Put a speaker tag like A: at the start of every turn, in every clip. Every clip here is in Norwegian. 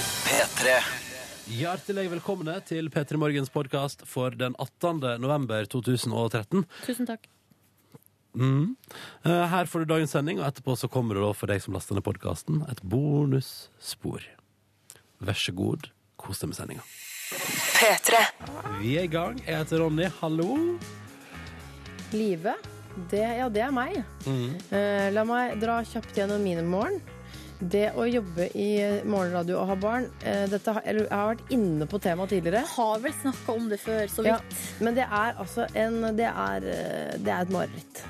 A: P3.
B: Hjertelig velkomne til P3 Morgens podkast for den 18. november 2013.
C: Tusen takk.
B: Eh, Her får du dagens sending, og etterpå så kommer det da for deg som laster ned podkasten, et bonusspor. Vær så god, kos deg med sendinga.
D: P3.
B: Vi er i gang. Jeg heter Ronny, hallo.
C: Live, det, ja, det er meg.
B: Mm.
C: Eh, la meg dra kjapt gjennom mine morgen. Det å jobbe i morgenradio og ha barn eh, dette har, eller, Jeg har vært inne på temaet tidligere.
E: Har vel snakka om det før, så
C: Ja,
E: vidt.
C: men det er altså en Det er, eh, det er et mareritt.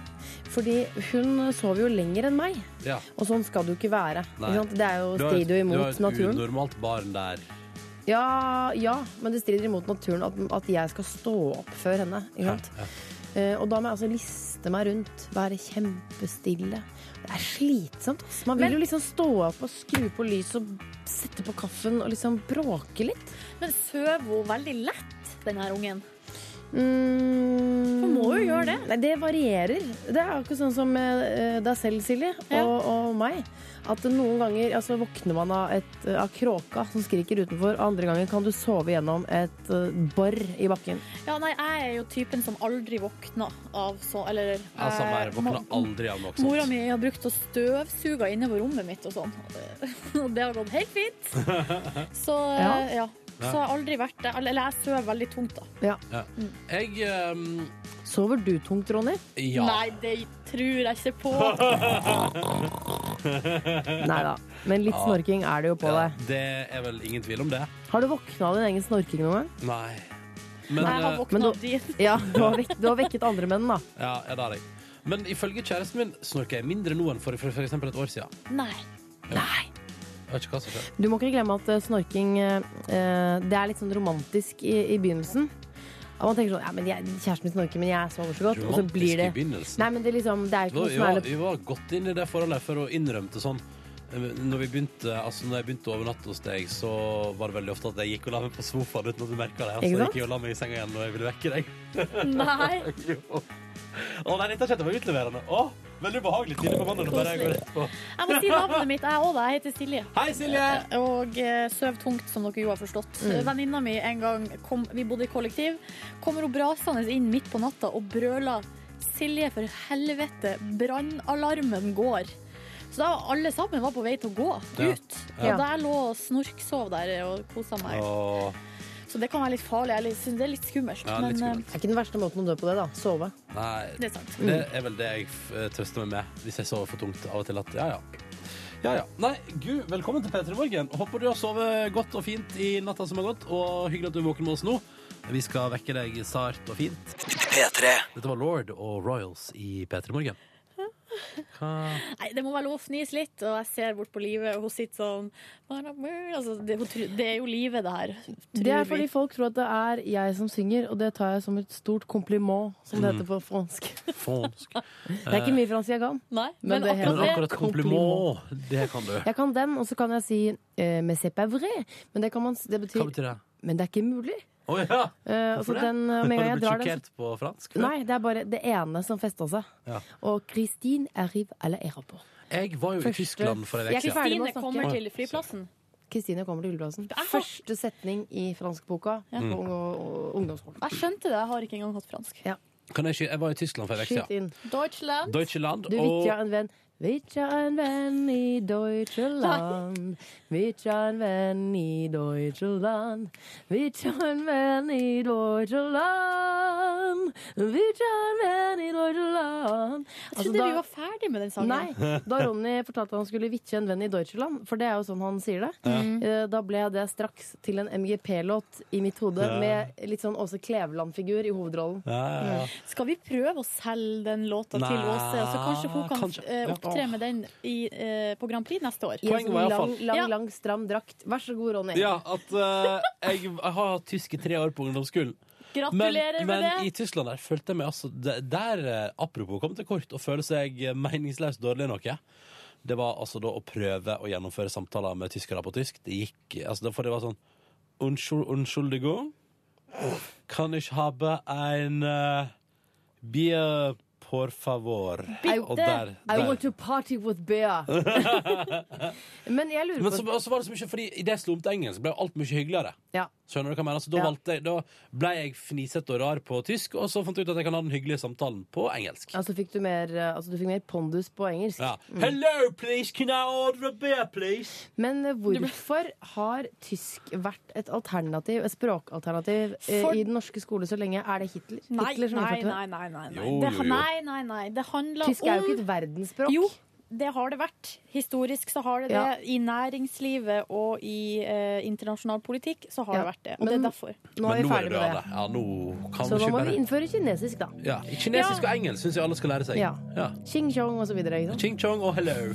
C: Fordi hun sover jo lenger enn meg,
B: Ja.
C: og sånn skal det jo ikke være.
B: Nei.
C: Ikke sant? Det er jo
B: Du har et-
C: strider jo
B: Du har
C: imot
B: et
C: naturen.
B: unormalt barn der.
C: Ja, ja, men det strider imot naturen at, at jeg skal stå opp før henne. Ikke sant?
B: Ja.
C: Eh, Og da må jeg altså liste meg rundt, være kjempestille. Det er slitsomt. ass. Man vil
E: Men-
C: jo liksom stå opp og skru på lyset og sette på kaffen og liksom bråke litt.
E: Men sover hun veldig lett, den her ungen?
C: Mm.
E: Man må jo gjøre det.
C: Nei, det varierer. Det er akkurat sånn som eh, deg selv, Silje,
E: Ja.
C: og, og meg. At noen ganger altså, våkner man av, et, av kråka som skriker utenfor, og andre ganger kan du sove gjennom et uh, bor i bakken.
E: Ja, nei, jeg er jo typen som aldri våkner av så Eller
B: Ja, samme her.
E: eh,
B: jeg Våkner
E: mo-
B: aldri av noe
E: Mora
B: sånt.
E: mi har brukt å støvsuge innover rommet mitt og sånn. Og det har gått helt fint. Så
C: Ja.
E: eh, ja. Så har jeg aldri vært det. Eller jeg sover veldig tungt, da.
B: Ja. Jeg ehm,
C: Sover du tungt, Ronny?
B: Ja.
E: Nei, det tror jeg ikke på.
C: Nei da. Men litt snorking er det jo på
B: Ja,
C: deg.
B: det er vel ingen tvil om det.
C: Har du våkna av din egen snorking noen gang?
B: Nei. Men,
E: Jeg har
B: eh,
C: men
E: våkna
C: da-
E: av din.
C: Ja, du har, vekk, du har vekket andre menn, da.
B: Ja, ja, det har jeg. Men ifølge kjæresten min snorker jeg mindre nå enn for for for eksempel et år siden.
E: Nei.
B: Jeg vet ikke hva som skjer.
C: Du må ikke glemme at eh, snorking eh, eh, Det er litt sånn romantisk i, i begynnelsen. Og man tenker sånn ja, men jeg, Kjæresten min snorker, men jeg sover så godt. Og så
B: Romantisk
C: blir
B: i
C: det
B: begynnelsen.
C: Nei, men det er liksom Det er
B: Vi
C: ikke
B: var,
C: noe
B: vi,
C: som er
B: var,
C: litt
B: vi var godt inn i det forholdet for å innrømte sånn eh, når, vi begynte, altså når jeg begynte å overnatte hos deg, så var det veldig ofte at jeg gikk og la meg på sofaen uten at du merka det. Og
C: Ikke
B: så
C: sant?
B: gikk jeg og la meg i senga igjen når jeg ville vekke deg.
E: Nei.
B: Jo. Å nei, dette kjente jeg var utleverende. Å, veldig ubehagelig tidlig på mandag. Bare jeg går rett på.
E: Jeg må si navnet mitt, jeg òg. Jeg heter Silje.
B: Hei, Silje!
E: Og eh, søv tungt, som dere jo har forstått. Venninna mi en gang kom, Vi bodde i kollektiv. Kommer hun brasende inn midt på natta og brøler 'Silje, for helvete, brannalarmen går'. Så da var alle sammen var på vei til å gå
B: Ja.
E: ut.
C: Ja.
E: Og da jeg lå og snorksov der og kosa meg.
B: Åh,
E: Så det kan være litt farlig. Jeg syns det er litt skummelt.
B: ja, litt
E: men, eh,
B: skummelt.
C: det er ikke den verste måten å dø på det, da. Sove.
B: Nei,
E: det er sant.
B: Det er vel det jeg eh, trøster meg med hvis jeg sover for tungt av og til. At, ja, ja. Ja, ja. Nei, gud, velkommen til P3 Morgen. Håper du har sovet godt og fint i natta som har gått, og hyggelig at du er våken med oss nå. Vi skal vekke deg sart og fint.
A: P3.
B: Dette var Lord og Royals i P3 Morgen. Hva?
E: Nei, det må være lov å fnise litt, og jeg ser bort på livet, og hun sitter sånn altså, det, hun tror- det er jo livet, det her.
C: Det
E: tror
C: er
E: vi.
C: fordi folk tror at det er jeg som synger, og det tar jeg som et stort kompliment, som det heter på fransk.
B: Mm. Fransk.
C: Det er ikke mye fransk jeg kan.
E: Nei,
C: Men
E: men,
C: det
B: Men
C: er
E: akkurat det
B: akkurat kompliment, det kan du.
C: Jeg kan den, og så kan jeg si eh, Mais c'est pas vrai. Men det kan man s- Det betyr
B: Hva betyr det?
C: Men det er ikke mulig.
B: Å ja!
C: Eh, og så
B: Hvorfor det?
C: den, eh,
B: Har
C: med
B: du
C: en gang jeg
B: blitt
C: drar den, så
B: sjokkert på fransk? før?
C: Nei, det er bare det ene som festa seg.
B: Ja.
C: Og Christine arrive à la aéroport.
B: Jeg var jo i
C: Første-
B: Tyskland for en
C: Jeg
B: uke
C: fikk
B: siden.
C: ferdig med
E: Kristine
C: å snakke.
E: kommer til flyplassen.
C: Kristine kommer til Gullbladsen.
E: har-
C: Første setning i franskboka
E: Ja.
C: på ung- ungdomsskolen.
E: Jeg skønte det, jeg har ikke engang hatt fransk.
B: Kan jeg, sky- jeg var i Tyskland for en uke
C: Skyt
B: siden.
C: inn.
E: Deutschland.
B: Deutschland.
C: Du
B: og-
C: vitja en venn. Vitja en venn i Deutschland. Vitja en venn i Deutschland. Vitja en venn i Deutschland. Vitja en venn i Deutschland. Altså,
E: Jeg trodde vi var ferdig med den sangen.
C: Nei, da Ronny fortalte at han skulle vitje en venn i Deutschland, for det er jo sånn han sier det,
E: Mm.
C: eh, da ble det straks til en MGP-låt i mitt hode med litt sånn Åse Kleveland-figur i hovedrollen.
B: Ja, ja, ja.
E: Skal vi prøve å selge den låta
B: Nei,
E: til Åse, så kanskje hun kan
B: kanskje.
E: eh,
B: Ja.
E: opptre med den i, eh, på Grand Prix neste år?
C: I en
B: Poenget var
C: sånn
B: i hvert
C: lang,
B: fall-
C: lang,
E: Ja.
C: lang, stram drakt. Vær så god,
E: Mm.
C: Ronny.
B: Ja, at eh, jeg, jeg har hatt tysk i tre år på ungdomsskolen. Men,
E: Gratulerer
B: men i
E: med det!
B: Tyskland der følte jeg meg altså de- Der, eh, apropos, kom til kort å føle seg eh, meningsløst dårlig i noe. Det var altså da å prøve å gjennomføre samtaler med tyskere på tysk. Det gikk altså, det- For det var sånn "Unschul- Unschuldigung. Kan ich habe ein eh, Bier Por favor.
E: Bitte.
B: Og der,
F: I
B: der.
F: want to party with Bea.
C: Men jeg lurer
B: Men
C: på
B: så, og så var det så mye Fordi idet jeg slo om til engelsk, ble alt mye hyggeligere.
C: Ja.
B: Skjønner du hva jeg mener? Så da,
C: Ja.
B: valgte jeg, da ble jeg fnisete og rar på tysk, og så fant jeg ut at jeg kan ha den hyggelige samtalen på engelsk.
C: Altså fikk du mer, eh, altså, du fikk mer pondus på engelsk.
B: Ja. Hello, please, can I order a beer, please?
C: Men eh, hvorfor har tysk vært et alternativ, et språkalternativ eh,
E: For-
C: i den norske skole så lenge? Er det Hitler?
E: Nei,
C: Hitler som
E: nei,
C: innførte det?
E: nei, nei, nei, nei.
B: Jo,
E: Det,
B: jo, jo.
E: nei, nei, nei. Det handler
C: Tysk er jo
E: om
C: ikke et verdensspråk.
E: Jo, det har det vært. Historisk så har det det.
C: Ja.
E: I næringslivet og i eh, internasjonal politikk så har
C: Ja,
E: det vært det. Og det er
C: men-
E: derfor.
C: Nå er
B: Men
C: vi ferdig
B: det
C: med
B: av
C: det.
B: det. Ja, nå kan
C: Så
B: vi
C: nå
B: ikke
C: må vi
B: bare
C: innføre kinesisk, da.
B: ja. Kinesisk
E: Ja.
B: og engelsk syns jeg alle skal lære seg.
C: Ja. Ching chong og så videre. Ikke sant?
B: Ching chong og hello.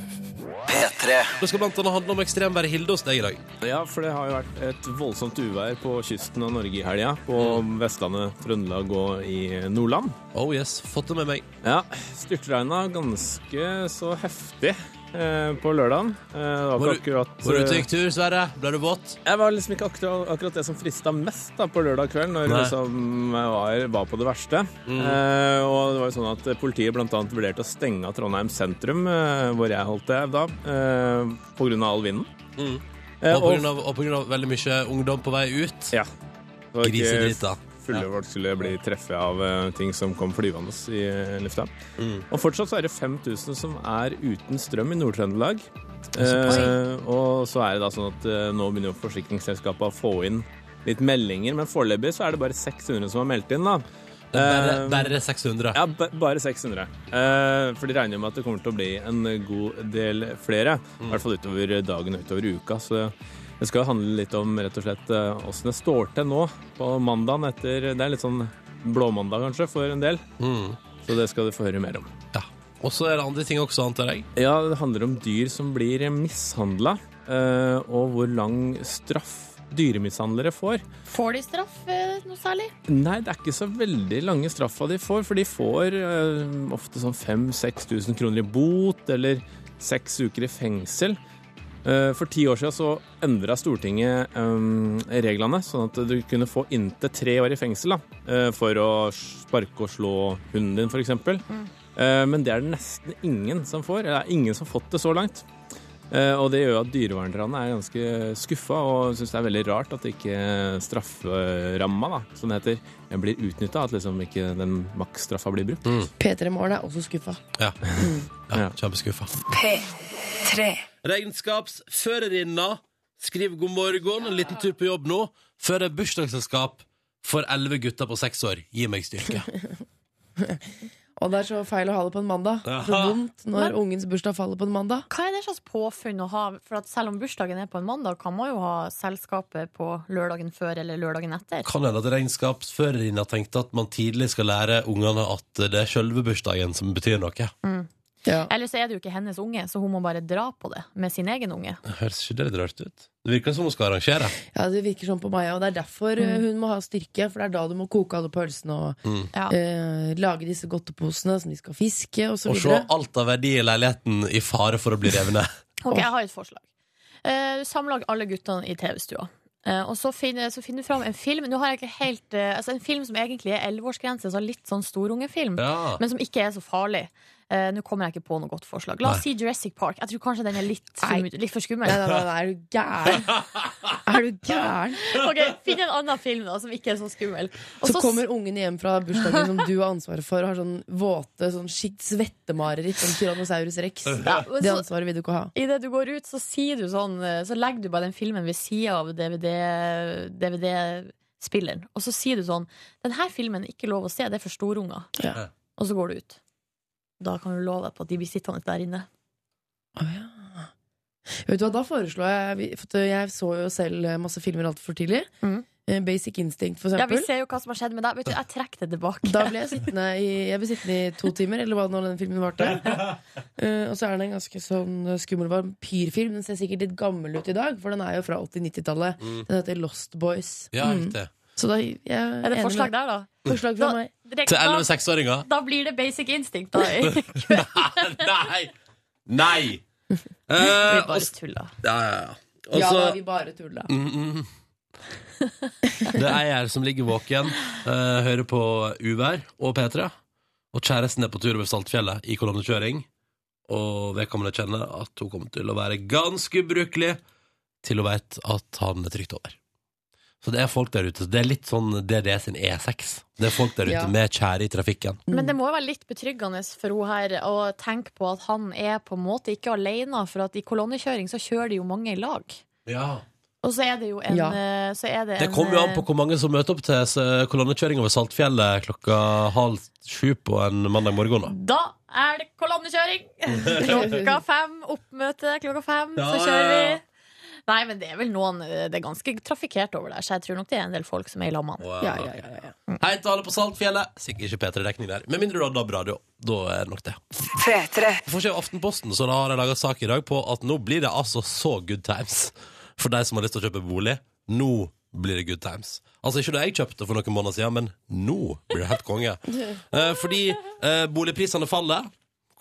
B: Det skal blant annet handle om ekstremværet Hilde hos deg i dag.
G: Ja, for det har jo vært et voldsomt uvær på kysten av Norge i helga. På Vestlandet, Trøndelag og i Nordland.
B: Oh yes, fått det med meg.
G: Ja, Styrtregna ganske så heftig eh, på lørdagen. Eh, det var
B: Var
G: ikke
B: du-
G: akkurat eh,
B: Var du ute og gikk tur, Sverre? Ble du våt?
G: Jeg var liksom ikke akkurat, akkurat det som frista mest da, på lørdag kveld, når
B: Nei.
G: liksom, jeg var, var på det verste. Eh, og det var jo sånn at politiet bl.a. vurderte å stenge av Trondheim sentrum, eh, hvor jeg holdt til da, eh, på grunn av all vinden.
B: Mm.
G: Eh,
B: Og på
G: og-
B: grunn av, og på grunn av veldig mye ungdom på vei ut.
G: Ja. Det var ikke-
B: Grisedrita.
G: Fulle
B: Ja.
G: folk skulle bli treffet av eh, ting som kom flyvende i eh, lufta.
B: Mm.
G: Og fortsatt så er det 5000 som er uten strøm i Nord-Trøndelag. Eh, og så er det da sånn at eh, nå begynner jo forsikringsselskapet å få inn litt meldinger, men foreløpig så er det bare 600 som har meldt inn, da.
B: Det er bare,
G: Eh,
B: bare 600.
G: Ja, ba- bare 600. Eh, for de regner jo med at det kommer til å bli en god del flere. I hvert fall utover dagen og utover uka. Så det skal jo handle litt om rett og slett eh, åssen det står til nå på mandagen etter Det er litt sånn blåmandag kanskje for en del.
B: Mm.
G: Så det skal du få høre mer om.
B: Ja. Og så er det andre ting også, antar jeg.
G: Ja, det handler om dyr som blir mishandla, eh, og hvor lang straff dyremishandlere får.
E: Får de straff eh, noe særlig?
G: Nei, det er ikke så veldig lange straffa de får, for de får eh, ofte sånn 5000-6000 kroner i bot eller seks uker i fengsel. Eh, for ti år siden så endra Stortinget eh, reglene, sånn at du kunne få inntil tre år i fengsel da, eh, for å sparke og slå hunden din, f.eks. eksempel. Eh, men det er det nesten ingen som får. eller Det er ingen som har fått det så langt. Eh, og det gjør jo at dyrevernerne er ganske skuffa og syns det er veldig rart at ikke strafferamma, da, som det heter, blir utnytta. At liksom ikke den maksstraffa blir brukt.
C: P3 Morgen er også skuffa.
B: Ja. ja
G: Ja.
B: Kjempeskuffa. Regnskapsførerinna skriver god morgen, en liten tur på jobb nå, før det er bursdagsselskap for elleve gutter på seks år. Gi meg styrke.
H: Og det er så feil å ha det på en mandag. Så
B: Aha.
H: vondt når ungens bursdag faller på en mandag.
I: Hva er det slags påfunn å ha? For at selv om bursdagen er på en mandag, kan man jo ha selskapet på lørdagen før eller lørdagen etter.
B: Kan hende at regnskapsførerinna tenkte at man tidlig skal lære ungene at det er sjølve bursdagen som betyr noe.
I: Eller så er det jo ikke hennes unge, så hun må bare dra på det med sin egen unge.
B: Høres ikke det litt rart ut? Det virker som hun skal arrangere.
H: Ja, Det virker sånn på meg, og det er derfor
I: Mm.
H: eh, hun må ha styrke. For det er da du må koke alle pølsene og
I: Ja.
H: eh, lage disse godteposene som de skal fiske, og så
B: Og se
H: videre.
B: alt av verdi i leiligheten i fare for å bli revet ned.
I: Ok, jeg har et forslag. Eh, Samlag alle guttene i TV-stua. Eh, og så finner, så finner du fram en film Nå har jeg ikke helt, eh, altså en film som egentlig er 11-årsgrense, så litt sånn storungefilm,
B: Ja.
I: men som ikke er så farlig. Eh, Nå kommer jeg ikke på noe godt forslag. La oss si Jurassic Park. Jeg tror kanskje den er litt,
H: Nei.
I: for- litt for skummel.
H: Nei, nei, nei, nei, er du gæren? Er du gæren?
I: Ok, Finn en annen film da, som ikke er så skummel. Og
H: Så kommer ungen hjem fra bursdagen som du har ansvaret for, og har sånn våte sånn skikt svettemareritt som Tyrannosaurus rex.
I: ja, men
H: Det
I: så,
H: ansvaret vil du ikke ha.
I: I det du går ut, så sier du sånn eh, Så legger du bare den filmen ved sida av DVD DVD-spilleren. og så sier du sånn Den her filmen er ikke lov å se, det er for storunger.
H: Ja.
I: Og så går du ut. Da kan du love deg på at de blir sittende der inne.
H: Å, ja. Vet du hva, da foreslår jeg vi- for at Jeg så jo selv masse filmer altfor tidlig.
I: Mhm.
H: Eh, Basic Instinct, for
I: Ja, Vi
H: eksempel.
I: ser jo hva som har skjedd med deg. Vet du, Jeg trekker det tilbake.
H: Da ble jeg sittende i, jeg ble sittende i to timer, eller hva nå den filmen varte. Eh, og så er den en ganske sånn eh, skummel vampyrfilm. Den ser sikkert litt gammel ut i dag, for den er jo fra 80-90-tallet. Den heter Lost Boys.
B: Ja,
H: Mm.
B: riktig.
H: Så da jeg,
I: Er det forslag der, da?
H: Forslag fra
I: Da-
H: meg.
I: Direkt-
B: Til elleve
I: Da,
B: seksåringer.
I: da blir det basic instinct, da. Vi
B: Nei! Nei! Eh, og
I: bare
B: s-
I: tuller.
B: ja, ja, ja. Og
H: Ja, da,
B: så
H: vi bare tulla.
B: Mm, mm. Det er ei her som ligger våken, eh, hører på Uvær og P3. Og kjæresten er på tur over Saltfjellet i kolonnekjøring. Og vedkommende kjenner at hun kommer til å være ganske ubrukelig til hun vet at han er trygt over. Så det er folk der ute. Det er litt sånn DDE sin E6. Det er folk der ute
H: Ja.
B: med kjære i trafikken.
I: Men det må jo være litt betryggende for hun her å tenke på at han er på en måte ikke alene, for at i kolonnekjøring så kjører de jo mange i lag. Og så er det jo en
H: Ja.
I: eh, så er det
B: Det
I: en,
B: kommer jo an
I: eh,
B: på hvor mange som møter opp til eh, kolonnekjøring over Saltfjellet klokka halv sju på en mandag morgen. Da.
I: eh, Da er det kolonnekjøring! Klokka fem, oppmøte klokka fem,
B: Ja,
I: så
B: ja,
I: kjører
B: ja.
I: vi. Nei, men det er vel noen eh, Det er ganske trafikkert over der, så jeg tror nok det er en del folk som er i lag med han.
B: Og, eh,
H: Ja, ja, ja, ja.
B: Hei til alle på Saltfjellet. Sikkert ikke P3-dekning der. Med mindre du har DAB-radio. Da er det nok det. På forsiden av Aftenposten så har de laga sak i dag på at nå blir det altså så good times for de som har lyst til å kjøpe bolig. Nå blir det good times. Altså ikke da jeg kjøpte for noen måneder siden, men nå blir det helt konge. Eh, fordi eh, boligprisene faller.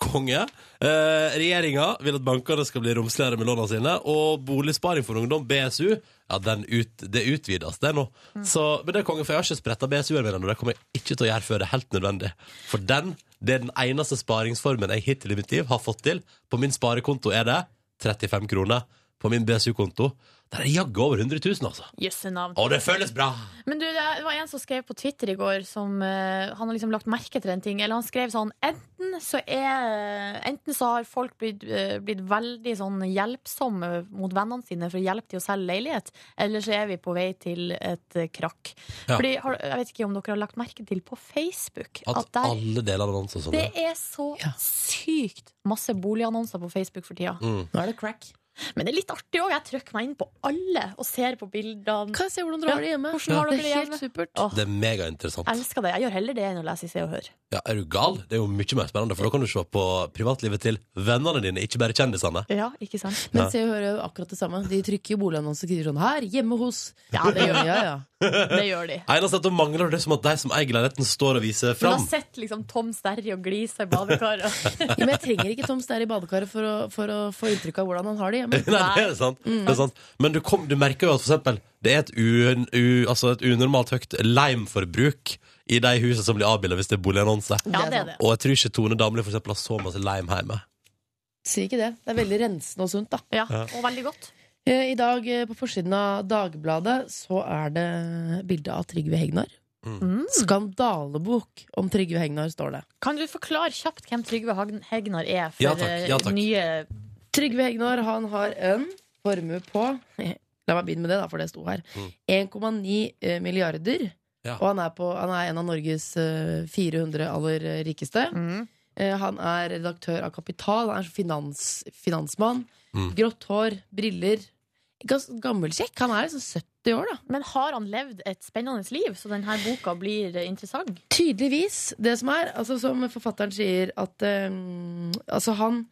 B: Konge. Eh, Regjeringa vil at bankene skal bli romsligere med lånene sine. Og Boligsparing for ungdom, BSU, ja, den ut, det utvides, det nå. Så, men det er konge, for jeg har ikke spretta BSU-en min ennå. Det kommer jeg ikke til å gjøre før det er helt nødvendig. For den, det er den eneste sparingsformen jeg hittil i mitt liv har fått til. På min sparekonto er det 35 kroner. På min BSU-konto der er det jaggu over 100 000, altså.
I: Jøsse navn.
B: Og det føles bra!
I: Men du, det var en som skrev på Twitter i går som eh, Han har liksom lagt merke til en ting. Eller han skrev sånn Enten så er Enten så har folk blitt, eh, blitt veldig sånn hjelpsomme mot vennene sine for å hjelpe til å selge leilighet, eller så er vi på vei til et eh, krakk.
B: Ja.
I: Fordi, har, jeg vet ikke om dere har lagt merke til på Facebook
B: At,
I: at, der,
B: alle deler av annonser sånn.
I: det
B: ja.
I: er så sykt masse boligannonser på Facebook for tida.
B: Mm.
H: Nå er det crack.
I: Men det er litt artig òg. Jeg trykker meg inn på alle og ser på bildene.
H: Kan jeg se hvordan dere har det hjemme?
I: Hvordan har
H: Det
I: dere
H: er
I: det
H: helt
I: hjemme?
H: supert.
I: Åh,
B: Det er megainteressant.
I: jeg elsker det. Jeg gjør heller det enn å lese i Se og Hør.
B: Ja, er du gal? Det er jo mye mer spennende, for da kan du se på privatlivet til vennene dine, ikke bare kjendisene.
I: Ja, ikke sant?
H: Men Se og Hør er jo akkurat det samme. De trykker jo boligannonser og skriver sånn 'her, hjemme hos'.
I: Ja, det gjør,
H: ja, ja.
I: det gjør de.
B: Eneste er at da mangler det som at de som eier leiligheten, står og viser
I: Men har
B: fram.
I: sett liksom Tom Sterry og glise i badekaret.
H: Ja, men jeg trenger ikke Tom Sterr i badekaret for å, for å få inntrykk av hvordan han har det hjemme.
B: Nei, det er sant. Det er sant. Men du, kom, du merker jo at for eksempel, det er et, un, u, altså et unormalt høyt leimforbruk i de husene som blir avbildet hvis det er boligannonse.
I: Ja, det er det.
B: Og jeg tror ikke Tone Damli for eksempel, har så masse leim hjemme.
H: Si ikke det. Det er veldig rensende og sunt, da.
I: Ja, og veldig godt.
H: Eh, I dag eh, på forsiden av Dagbladet så er det bilde av Trygve Hegnar.
I: Mm.
H: Skandalebok om Trygve Hegnar, står det.
I: Kan du forklare kjapt hvem Trygve Hagn- Hegnar er for
B: Ja, takk. Ja,
I: eh,
B: takk.
I: nye
H: Trygve Hegnar han har en formue på La meg begynne med det, da, for det sto her. 1,9 eh, milliarder.
B: Mm. Ja.
H: Og han er, på, han er en av Norges eh, 400 aller eh, rikeste.
I: mm.
H: Eh, Han er redaktør av Kapital, han er finans, finansmann.
B: Mm.
H: Grått hår, briller. Ganske gammelkjekk. Han er liksom 70 år, da.
I: Men har han levd et spennende liv, så denne boka blir eh, interessant?
H: Tydeligvis. Det som er, altså som forfatteren sier at eh, Altså han,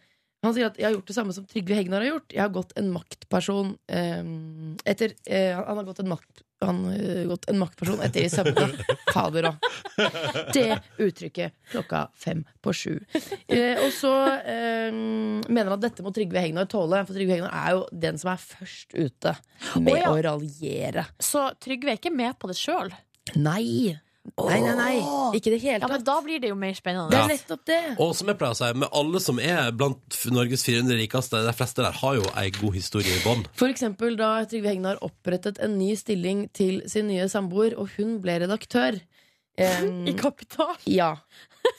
H: han sier at 'jeg har gjort det samme som Trygve Hegnar har gjort'. Jeg har gått en maktperson eh, etter eh, Han har gått en makt han eh, gått en maktperson etter i sømmene. Fader òg. Det uttrykket klokka fem på sju. Eh, og så eh, mener han at dette må Trygve Hegnar tåle, for Trygve Hegnar er jo den som er først ute med
I: Å, ja.
H: å raljere.
I: Så Trygve er ikke med på det sjøl.
H: Nei! Nei, nei, nei. Ikke i det hele
I: Ja, men
H: tatt.
I: da blir det jo mer spennende.
H: Det
B: Ja.
H: er nettopp det.
B: Og som jeg pleier å si, med alle som er blant f- Norges 400 rikeste, de fleste der har jo ei god historie i bånn.
H: For eksempel da Trygve Hegnar opprettet en ny stilling til sin nye samboer, og hun ble redaktør. Em,
I: I Kapital.
H: ja.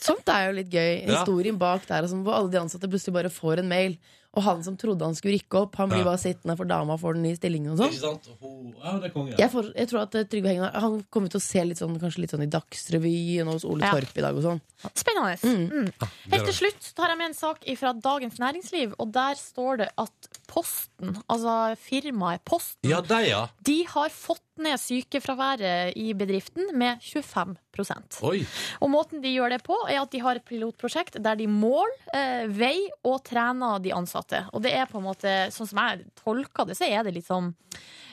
H: Sånt er jo litt gøy.
B: Ja.
H: Historien bak der, altså, hvor alle de ansatte plutselig bare får en mail. Og han som trodde han skulle rykke opp, han blir
B: Ja.
H: bare sittende, for dama får den nye stillingen og sånn.
B: Ikke sant? Ho- Ja, det er konge.
H: Jeg, får, jeg tror at eh, Trygve Hegnar Han kommer til å se litt sånn, kanskje litt sånn i Dagsrevyen og hos Ole
I: Ja.
H: Torp i dag og sånn.
I: Spennende. Mm. Helt til slutt tar jeg med en sak fra Dagens Næringsliv, og der står det at Posten, altså firmaet Posten,
B: Ja, de, ja.
I: de har fått ned sykefraværet i bedriften med 25
B: Oi.
I: Og måten de gjør det på, er at de har et pilotprosjekt der de måler eh, vei og trener de ansatte. Og det er på en måte, sånn som jeg tolker det, så er det litt sånn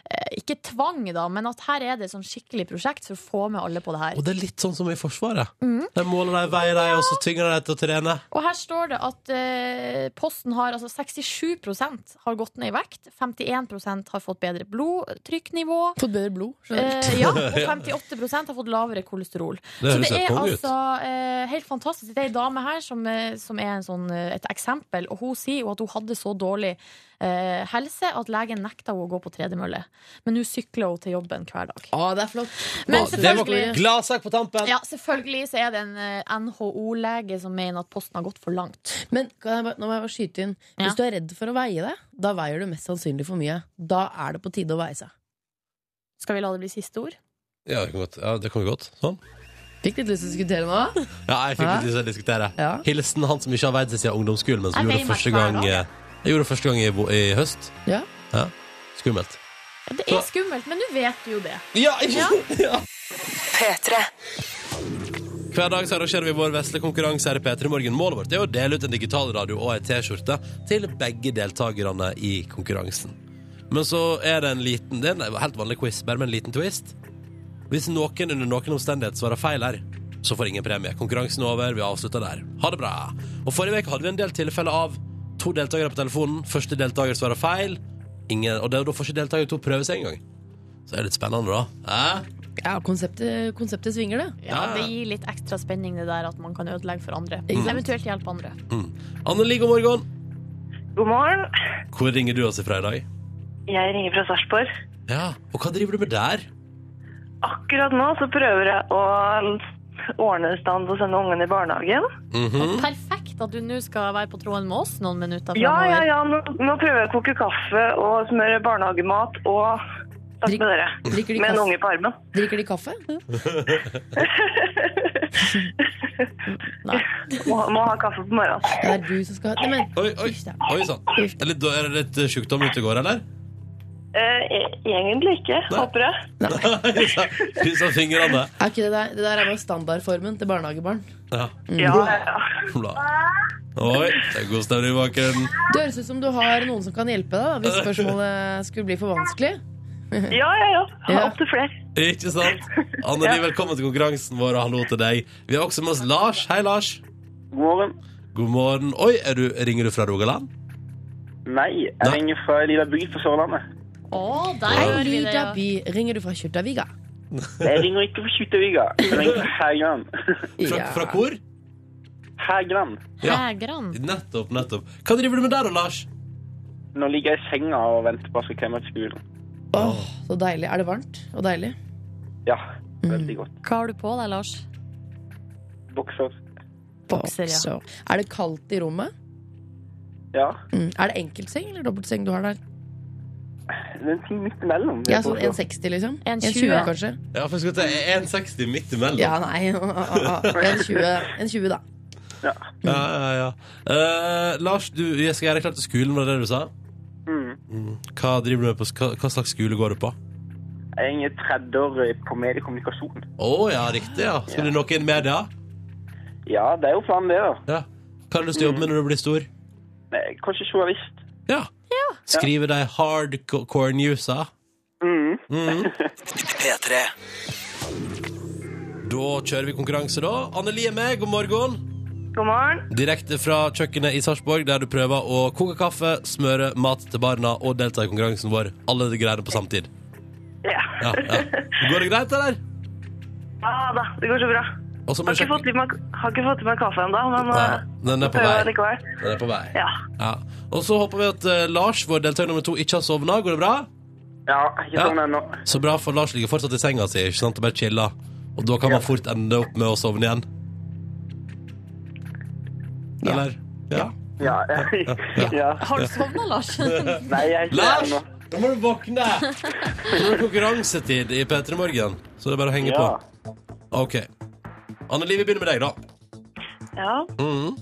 I: eh, Ikke tvang, da, men at her er det et sånn skikkelig prosjekt for å få med alle på det her.
B: Og det er litt sånn som i Forsvaret. De måler deg, veier deg, og så tvinger de deg til å trene.
I: Og her står det at eh, posten har altså 67 har gått ned i vekt, 51 har fått bedre blodtrykknivå.
H: Fått bedre i blod. skjønner
E: Eh, ja, og 58 har fått lavere kolesterol.
B: Det
E: så
B: høres
E: det
B: helt
E: er
B: konge ut.
E: altså eh, helt fantastisk. Det er ei dame her som, eh, som er en sånn, eh, et eksempel, og hun sier jo at hun hadde så dårlig eh, helse at legen nekta henne å gå på tredemølle. Men nå sykler hun til jobben hver dag.
H: Å, det er flott.
E: Men
B: Ja, det var
E: selvfølgelig,
B: gladsak på tampen!
E: ja, selvfølgelig så er det en eh, NHO-lege som mener at posten har gått for langt.
H: Men kan jeg bare, nå må jeg bare skyte inn.
E: Ja.
H: Hvis du er redd for å veie det, da veier du mest sannsynlig for mye. Da er det på tide å veie seg.
E: Skal vi la det bli siste ord?
B: Ja, det kan godt. Ja, det kan vi godt. Sånn.
H: Fikk litt lyst til å diskutere nå.
B: Ja, jeg fikk litt lyst til å diskutere.
H: Ja.
B: Hilsen han som ikke har veid seg siden ungdomsskolen, men som
E: Jeg
B: gjorde
E: veier
B: det
E: meg
B: første
E: hver
B: gang,
E: dag.
B: eh, jeg gjorde det første gang i, vo- i høst.
H: Ja.
B: Ja. Skummelt.
E: Ja, det er skummelt, men nå vet du jo det.
B: Ja! ja. Hver dag så arrangerer vi vår vesle konkurranse her i P3 Morgen. Målet vårt er å dele ut en digital radio og ei T-skjorte til begge deltakerne i konkurransen. Men så er det en liten Det er en helt vanlig quiz, bare med en liten twist. Hvis noen under noen omstendighet svarer feil her, så får ingen premie. Konkurransen er over, vi avslutter der. Ha det bra. Og forrige uke hadde vi en del tilfeller av to deltakere på telefonen. Første deltaker svarer feil, ingen, og det- da får ikke deltaker to prøve seg engang. Så det er litt spennende, da. Hæ?
H: Ja, konseptet, konseptet svinger, det.
E: Ja,
B: Ja.
E: Det gir litt ekstra spenning det der at man kan ødelegge for andre.
H: Ikke sant?
E: Eventuelt hjelpe andre.
B: Anneli, god morgen.
J: God morgen.
B: Hvor ringer du oss ifra i dag?
J: Jeg ringer fra Sarpsborg.
B: Ja, og hva driver du med der?
J: Akkurat nå så prøver jeg å ordne i stand til å sende ungene i barnehagen.
B: Mhm.
E: Perfekt at du nå skal være på tråden med oss noen minutter
J: Ja,
E: fremover.
J: ja, ja. Nå, nå prøver jeg å koke kaffe og smøre barnehagemat og snakke med dere.
H: Drikker de
J: Med en
H: kaffe?
J: unge på armen.
H: Drikker de kaffe?
J: Må, ha- må ha kaffe på morgenen.
H: Det er du som skal Nei, men,
B: Oi, oi,
H: hysj da.
B: oi sann. Er, litt- er det litt sjukdom ute og går, eller?
J: Eh, e- egentlig ikke, håper jeg.
B: Kryss av fingrene.
H: Er ikke det, der, det der er bare standardformen til barnehagebarn.
B: Ja.
H: Mm.
J: Ja, ja.
B: bla. Oi, det er god stemning i baken.
H: Det høres ut som du har noen som kan hjelpe deg da, hvis spørsmålet skulle bli for vanskelig.
J: ja, ja. ja.
H: Ja.
J: Ha Opp til flere.
B: Ikke sant? Anneli, velkommen til konkurransen vår, og hallo til deg. Vi har også med oss Lars. Hei, Lars.
I: God morgen.
B: God morgen. Oi, er du, ringer du fra Rogaland?
I: Nei, jeg
B: Nei.
I: ringer fra ei lita bygd på Sørlandet.
E: Å, der
H: Hei,
E: gjør vi det, ja.
H: Lyda by. Ringer du fra Kjørtaviga?
I: Jeg ringer ikke fra Kjuttaviga, jeg ringer fra Hægeland.
B: Fra, fra hvor?
I: Hægeland.
B: Ja.
E: Hægran.
B: Nettopp, nettopp. Hva driver du med der, da, Lars?
I: Nå ligger jeg i senga og venter på at jeg skal komme til skolen.
H: Åh, så deilig. Er det varmt og deilig?
I: Ja, veldig godt.
E: Hva har du på deg, Lars?
I: Bokser.
E: Bokser, ja.
H: Også. Er det kaldt i rommet?
I: Ja,
H: Mm. Er det enkeltseng eller dobbeltseng du har der?
I: det er en ting midt imellom. vil
H: Ja,
I: jeg
H: sånn
I: påstå.
H: 1,60 liksom?
E: En
H: 1,20
E: tjue.
H: kanskje?
B: Ja, for jeg skulle til 1,60 midt imellom.
H: Ja, nei. 1,20 1,20 da.
I: Ja.
B: Ja, ja, ja. Eh, Lars, du, jeg skal gjøre deg klar til skolen, var det det du sa?
I: Mm.
B: Hva driver du med på, hva, hva slags skole går du på?
I: Jeg ringer tredjeår på mediekommunikasjon.
B: Å ja, riktig, ja. Skal du noe inn i media?
I: Ja, det er jo planen det, da.
B: Ja. Hva har du lyst til å jobbe med når du blir stor?
I: Eh, Kanskje journalist.
B: Ja. Skrive de hardcore newsa.
I: Mm.
B: Da kjører vi konkurranse, da. Anneli er med, god morgen.
J: God morgen.
B: Direkte fra kjøkkenet i Sarpsborg, der du prøver å koke kaffe, smøre mat til barna og delta i konkurransen vår. Alle de greiene på samtid.
J: Ja.
B: Ja, ja. Går det greit, eller?
J: ja da, det går så bra.
B: Og så må
J: Har
B: jeg
J: ikke fått
B: sjekke.
J: i meg, har ikke fått i meg kaffe ennå, men
B: Nei,
J: eh,
B: den er på
J: prøver
B: vei.
J: likevel.
B: Den er på vei.
J: Ja.
B: Ja. Og så håper vi at eh, Lars, vår deltaker nummer to, ikke har sovna. Går det bra?
I: Ja, ikke
B: Ja.
I: sånn ennå.
B: Så bra, for Lars ligger fortsatt i senga si, ikke sant? Og bare chiller. Og da kan man fort ende opp med å sovne igjen. Eller? Ja.
I: Ja. ja.
E: Har du sovna, Lars?
I: Nei, jeg er ikke der
B: Lars!
I: ennå.
B: Nå må du våkne! Nå er det konkurransetid i P3 Morgen, så det er bare å henge
I: Ja.
B: på. OK. Anneli, vi begynner med deg, da.
J: Ja.
B: Mhm.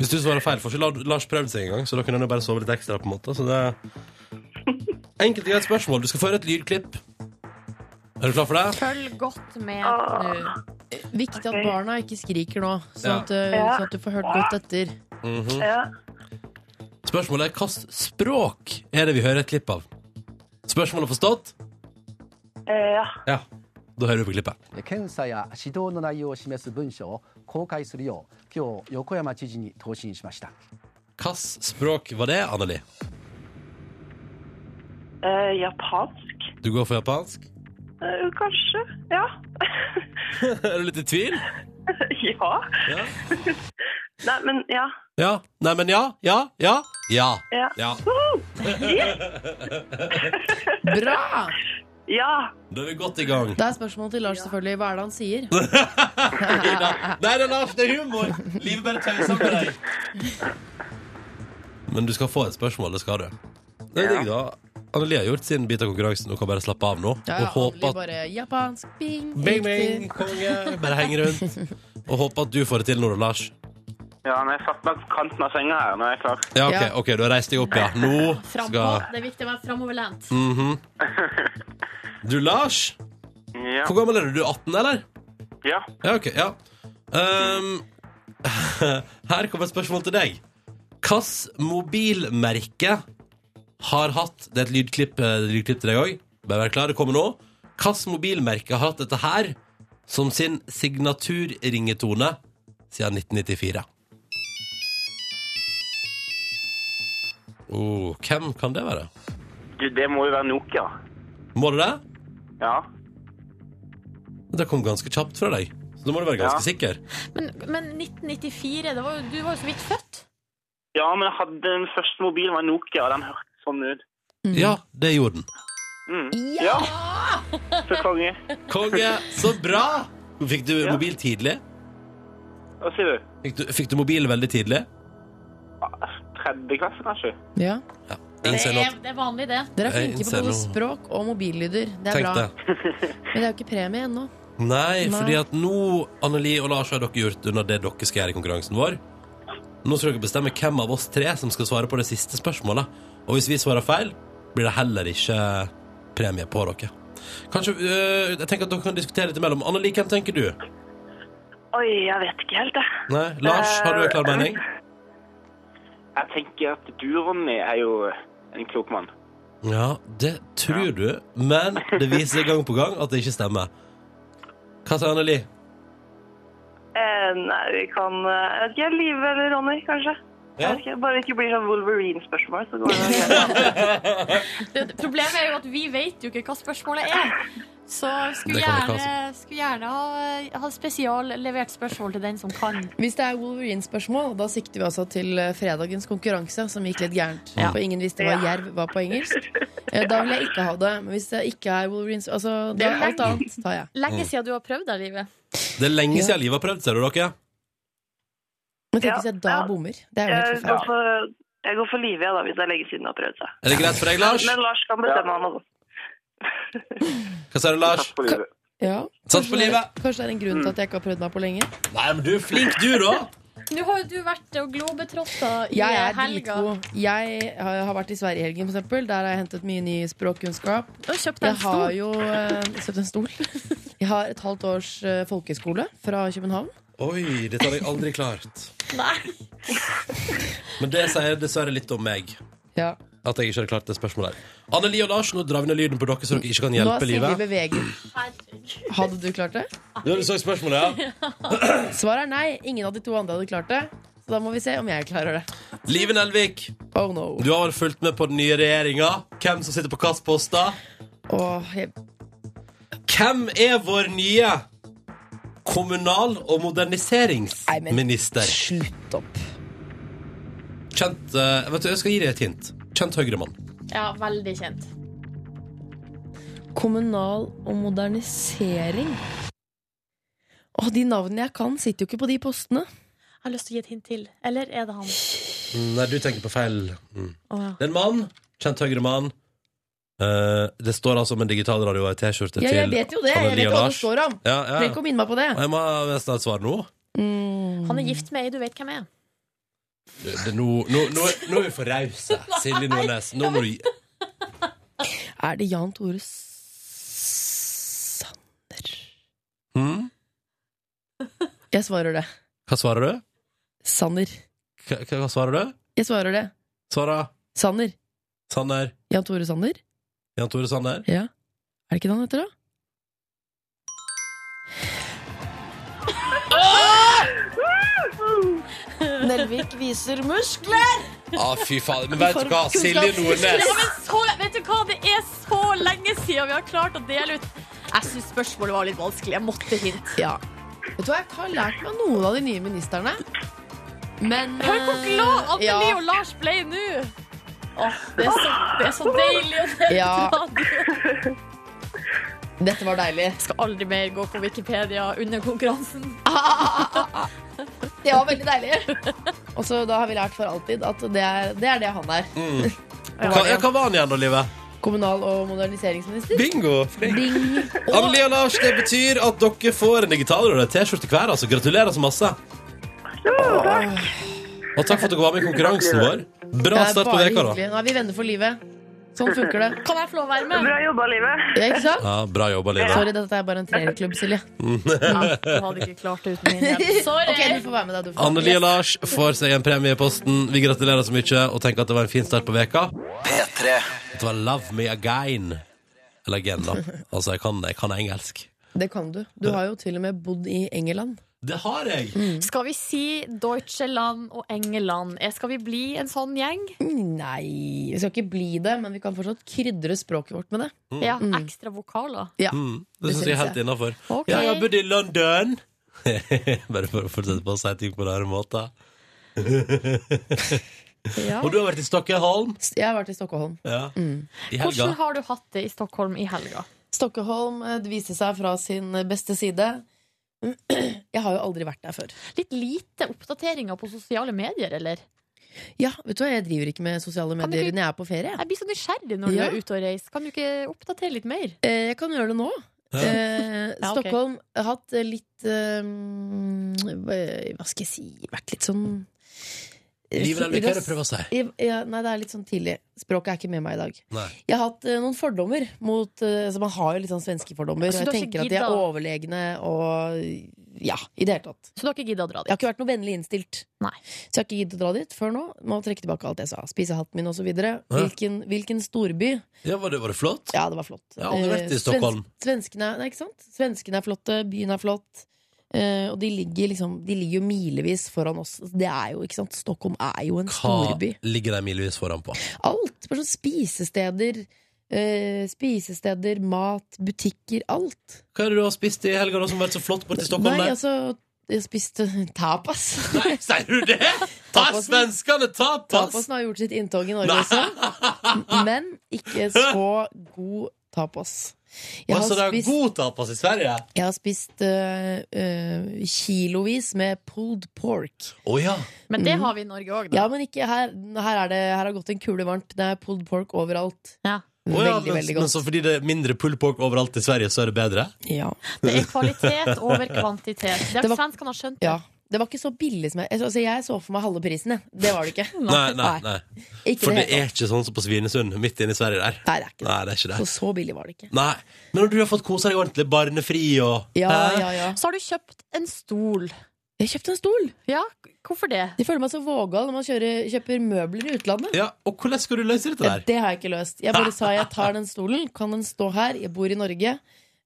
B: Hvis du svarer feil, får ikke La- Lars prøvd seg engang, så da kan han jo bare sove litt ekstra. på en måte Så det er Enkelt og greit spørsmål. Du skal få høre et lydklipp. Er du klar for det?
E: Følg godt med
J: Åh.
E: nå.
H: Viktig at
J: Ok.
H: barna ikke skriker nå,
B: Ja.
H: sånn at, eh,
J: Ja.
H: sånn at du får hørt godt etter.
B: Mhm.
J: ja.
B: Spørsmålet er hvilket språk er det vi hører et klipp av? Spørsmålet forstått?
J: Eh, ja.
B: Ja. Da hører vi på klippet.
A: 検査や指導の内容を示す文書を公開するよう今日横山知事に答申しました
B: Hvilket språk var det, Anneli?
J: Eh, japansk.
B: Du går for japansk?
J: Eh, Kanskje. Ja.
B: Er du litt i tvil?
J: ja.
B: Ja.
J: Nei, men ja.
B: Ja. Nei, men ja. Ja. Ja. Ja.
J: Ja.
B: ja.
H: Bra!
J: ja.
B: Da er vi godt i gang.
H: Da er spørsmålet til Lars selvfølgelig hva er det han sier.
B: Ida. Nei, det er Lars, det er humor! Livet bare tøyser med deg. Men du skal få et spørsmål, det skal du. Det er digg, da. Anneli har gjort sin bit av konkurransen og kan bare slappe av nå.
H: Ja,
B: og håpe
H: Anneli
B: at
H: bare japansk bing,
B: Bing,
H: riktig.
B: bing, konge! Bare henge rundt. Og håpe at du får det til nå, da, Lars.
K: Ja, men jeg satt meg på kanten av senga her. Nå er jeg klar.
B: Ja, OK,
H: Ja.
B: ok, du har reist deg opp, ja. Nå
I: Frem på.
B: skal
I: Det er viktig å være framoverlent.
C: Mm.
B: Mhm. Du, Lars.
K: Ja.
B: Hvor gammel er du? Du er 18, eller?
K: ja.
B: Ja, ok, ja. Ehm, her kommer et spørsmål til deg. Hvilket mobilmerke har hatt Det er et lydklipp, eh, lydklipp til deg òg. Bare vær klar, det kommer nå. Hvilket mobilmerke har hatt dette her som sin signaturringetone siden 1994? Oh, hvem kan det være?
K: Du, det må jo være Nokia.
B: Må det det?
K: Ja.
B: Det kom ganske kjapt fra deg. Så da må du være ganske sikker.
I: Men, men 1994, det var jo, du var jo så vidt født.
K: Ja, men jeg hadde den første mobilen var Nokia, og den hørtes sånn ut.
B: Ja, det gjorde den.
K: Mm. Ja! Så konge.
B: Konge, så bra! Fikk du
K: Ja.
B: mobil tidlig?
K: Hva sier du? Ah,
B: Fikk du, fikk du mobil veldig tidlig?
K: Tredje klasse, kanskje?
H: Ja.
I: Det
B: Innser nå
I: er,
B: at
I: det er vanlig, det.
H: Dere er
B: Jeg
H: flinke på
B: innser
H: både
B: noe.
H: språk og mobillyder. Det er
B: Tenk
H: bra.
B: det.
H: Men det er jo ikke premie ennå.
B: Nei,
H: Nei.
B: fordi at nå, Anneli og Lars, har dere gjort unna det dere skal gjøre i konkurransen vår. Nå skal dere bestemme hvem av oss tre som skal svare på det siste spørsmålet. Og hvis vi svarer feil, blir det heller ikke premie på dere. Kanskje, øh, jeg tenker at dere kan diskutere litt imellom. Anneli, hvem tenker du?
J: Oi, jeg vet ikke helt, jeg. Eh,
B: Nei, Lars, har du en
H: Eh,
B: klar mening?
K: Jeg tenker at du, Ronny, er jo en klok mann.
B: Ja, det tror du, men det viser seg gang på gang at det ikke stemmer. Hva sier Anneli?
J: Eh, nei, vi kan eh, Jeg vet ikke, Live eller Ronny, kanskje?
B: Ja.
J: Jeg vet ikke, Bare det ikke blir sånn Wolverine-spørsmål, så går det greit.
I: Det- Problemet er jo at vi vet jo ikke hva spørsmålet er. Så skulle
B: Det kan ikke
I: gjerne,
H: altså.
I: skulle gjerne ha, ha spesiallevert spørsmål til den som kan.
H: Hvis det er Wolverine-spørsmål, da sikter vi altså til eh, fredagens konkurranse, som gikk litt gærent.
B: Ja.
H: For ingen visste hva jerv var på engelsk. Eh, Da vil jeg ikke ha det. Men hvis det ikke er Wolverine altså, da, Alt annet tar jeg.
I: Lenge siden du har prøvd deg, Livet.
B: Det er lenge siden livet har prøvd, ser du dere?
H: Men tenk
J: Ja,
H: hvis jeg da
J: ja.
H: bommer. Det er jo helt
J: Jeg går
H: forferdelig.
J: for, jeg går for Live, jeg, da, hvis det er lenge siden jeg har prøvd seg.
B: Er det greit for deg, Lars?
J: Men Lars kan bestemme, han også.
B: Hva sier du, Lars?
K: Takk for livet.
H: Ja.
B: Sats på
H: Kanskje det-
B: livet.
H: Kanskje det er en grunn til at jeg ikke har prøvd meg på lenge.
B: Nei, men du er flink, du, da!
I: Nå har jo du vært og globetrotta i
H: Jeg er
I: helga.
H: dritgod. Jeg har har vært i Sverige i helgen, for eksempel. Der har jeg hentet mye ny språkkunnskap.
I: Du har kjøpt deg
H: Jeg
I: en
H: har
I: stol.
H: jo eh, kjøpt en stol. Jeg har et halvt års eh, folkeskole fra København.
B: Oi, dette hadde jeg aldri klart.
I: Nei.
B: Men det sier dessverre litt om meg.
H: Ja.
B: At jeg ikke hadde klart det spørsmålet her. Anneli og Lars, nå drar vi ned lyden på dere, så dere ikke kan
H: Nå
B: hjelpe
H: sier vi
B: livet.
H: beveger. Hadde du klart det?
B: Ja, du så spørsmålet, ja.
H: Svaret er nei. Ingen av de to andre hadde klart det. Så da må vi se om jeg klarer det.
B: Live Nelvik,
H: Oh no.
B: du har vel fulgt med på den nye regjeringa? Hvem som sitter på hvilke poster?
H: Åh, jeg,
B: Hvem er vår nye kommunal- og
H: Nei, men-
B: moderniseringsminister?
H: slutt opp.
B: Kjent eh, Vet du, jeg skal gi deg et hint. Kjent Høyre-mann.
I: Ja, veldig kjent.
H: Kommunal og modernisering. Åh, de navnene jeg kan, sitter jo ikke på de postene.
I: Jeg har lyst til å gi et hint til. Eller er det han?
B: Nei, du tenker på feil. Mm.
I: Å, ja.
B: Det er en mann. Kjent Høyre-mann. Eh, det står altså om en digital radio og ei T-skjorte
H: Ja, jeg
B: til
H: vet jo det. Jeg
B: Anneli
H: vet
B: og
H: hva det
B: Lars.
H: står om.
B: Ja, ja.
H: Trenger ikke å minne meg på det.
B: Og Jeg må nesten ha et svar nå.
H: Mm.
I: Han er gift med ei du vet hvem er.
B: Det, det, nå, nå, nå, nå er vi for rause. Silje Nordnes. Nå må du gi
H: Er det Jan Tore Sanner?
B: Hm?
H: Jeg svarer det.
B: Hva svarer du?
H: Sanner.
B: Hva, hva- hva svarer du?
H: Jeg svarer det.
B: Svara
H: Sanner.
B: Sanner.
H: Jan Tore Sanner?
B: Jan Tore Sanner.
H: Ja. Er det ikke det han heter, da? Nelvik viser muskler!
B: Ah, fy faen. Men vet du hva? Silje
I: Ja,
B: Nordnes.
I: men så, vet du hva? Det er så lenge siden vi har klart å dele ut Jeg syns spørsmålet var litt vanskelig. Jeg måtte hint.
H: Ja. Vet du hva, jeg har lært meg noen av de nye ministerne. Men eh,
I: Hør hvor glad Anneli og Lars ble nå! Åh, det, er så, det er så deilig å høre
H: Ja.
I: på radio.
H: Dette var deilig.
I: Jeg skal aldri mer gå på Wikipedia under konkurransen.
H: Det var veldig deilig. Og så da har vi lært for alltid at det er det, er det han er.
B: Mm. Hva, ja, hva var han igjen, da, Live?
H: Kommunal- og moderniseringsminister.
B: Bingo!
H: Bing.
B: Anneli og Lars, det betyr at dere får en digitalradio og en T-skjorte hver. altså. Gratulerer så masse. Og takk for at dere var med i konkurransen vår. Bra
H: Det er
B: start på
H: bare
B: veka da.
H: hyggelig. Nå er vi venner for livet. Sånn funker det.
I: Kan jeg få lov å være med?
J: Bra jobba, Livet.
H: Ja, ikke sant?
B: Ja, Bra jobba, Live.
H: Sorry, dette er bare en treerklubb, Silje.
I: Ja, du hadde ikke klart det uten min hjelp. Sorry.
H: Ok, du får være med deg, du. får.
B: Anneli og Lars får seg en premie i posten. Vi gratulerer så mye og tenker at det var en fin start på veka.
L: P3
B: Det var Love Me Again. Eller again, da. Altså, jeg kan, jeg kan engelsk.
H: Det kan du. Du har jo til og med bodd i England.
B: Det har jeg!
I: Skal vi si Deutscheland og Engeland? Eh, Skal vi bli en sånn gjeng?
H: Mm, Nei, vi skal ikke bli det, men vi kan fortsatt krydre språket vårt med det.
I: Ja,
H: Mm.
I: ekstra vokaler.
H: Ja.
B: Mm, det syns jeg er helt innafor.
I: Ok.
B: Ja, jeg har bodd i London. Bare for å fortsette på å si ting på rare måter.
I: Ja.
B: Og du har vært i Stockholm?
H: Jeg har vært i Stockholm.
B: Ja. I helga.
I: Hvordan har du hatt det i Stockholm i helga?
H: Stockholm eh, det viste seg fra sin eh, beste side. Jeg har jo aldri vært der før.
I: Litt lite oppdateringer på sosiale medier, eller?
H: Ja, vet du hva, Jeg driver ikke med sosiale
I: Kan du
H: medier
I: ikke-
H: når jeg er på ferie. jeg.
I: Jeg blir så nysgjerrig når du
H: Ja.
I: er ute og reiser. Kan du ikke oppdatere litt mer?
H: Eh, Jeg kan gjøre det nå.
B: Ja.
H: Eh,
I: Ja, ok.
H: Stockholm har hatt eh, litt eh, hva- Hva skal jeg si Vært litt sånn eh,
B: Livet er lykkelig, prøv å si.
H: Jeg- jeg- Nei, det er litt sånn tidlig. Språket er ikke med meg i dag.
B: Nei.
H: Jeg har hatt eh, noen fordommer mot eh, Så man har jo litt sånn svenske fordommer.
I: Så
H: og
I: Altså,
H: jeg
I: du har ikke
H: tenker at de er
I: gidda?
H: overlegne og Ja, i det hele tatt.
I: Så du har ikke gidda å dra
H: Jeg har
I: dit?
H: ikke vært noe vennlig innstilt.
I: Nei.
H: Så jeg har ikke giddet å dra dit før nå. Må trekke tilbake alt jeg sa. Spise hatten min osv. Hvilken, hvilken storby?
B: Ja, var det, var det flott?
H: Ja, det var flott. Eh,
B: Jeg har aldri vært i Stockholm.
H: Svensk, svenskene, nei, ikke sant? svenskene er flotte, byen er flott. Eh, og de ligger, liksom, de ligger jo milevis foran oss. Altså, Det er jo, ikke sant? Stockholm er jo en
B: Hva
H: storby.
B: ligger de milevis foran på?
H: Alt! Bare sånn spisesteder, eh, spisesteder, mat, butikker. Alt.
B: Hva er det du har spist i helga da som har vært så flott borte i Stockholm?
H: Nei,
B: der?
H: altså Jeg spiste tapas.
B: Nei, sier du det?! Har
H: Tapasen.
B: svenskene tapas?!
H: Tapasen har gjort sitt inntog i Norge
B: Nei.
H: også. Men ikke så god tapas. Jeg har
B: Altså, det er
H: spist-
B: god tapas i Sverige?
H: Jeg har spist øh, øh, kilovis med pulled pork.
B: Å ja.
I: Men det
H: Mm.
I: har vi i Norge òg, da.
H: Ja, men ikke her. Her, er det, her har gått en kule varmt. Det er pulled pork overalt.
I: Ja.
B: Å ja,
H: veldig,
B: men,
H: veldig
B: men
H: godt.
B: så fordi det er mindre pulled pork overalt i Sverige, så er det bedre?
H: ja.
I: Det er kvalitet over kvantitet. Det
H: Det
I: har
H: var-
I: svenskene har skjønt.
H: ja. Det var ikke så billig som jeg Altså, jeg så for meg halve prisen, jeg. Det var det ikke.
B: Nei, nei,
H: Nei.
B: nei.
H: Ikke
B: For
H: det
B: det
H: hele tatt.
B: er ikke sånn som på Svinesund, midt inne i Sverige der.
H: Nei, det er ikke det.
B: Nei, det er ikke
H: Så
B: det.
H: så billig var det ikke.
B: Nei. Men når du har fått kosa deg ordentlig, barnefri og
H: Ja,
B: Hæ?
H: ja, ja.
I: Så har du kjøpt en stol.
H: Jeg kjøpte en stol!
I: Ja, hvorfor det?
H: Jeg føler meg så vågal når man kjører, kjøper møbler i utlandet.
B: Ja, Og hvordan skal du løse dette
H: Ja,
B: der?
H: det har jeg ikke løst. Jeg bare sa jeg tar den stolen, kan den stå her, jeg bor i Norge.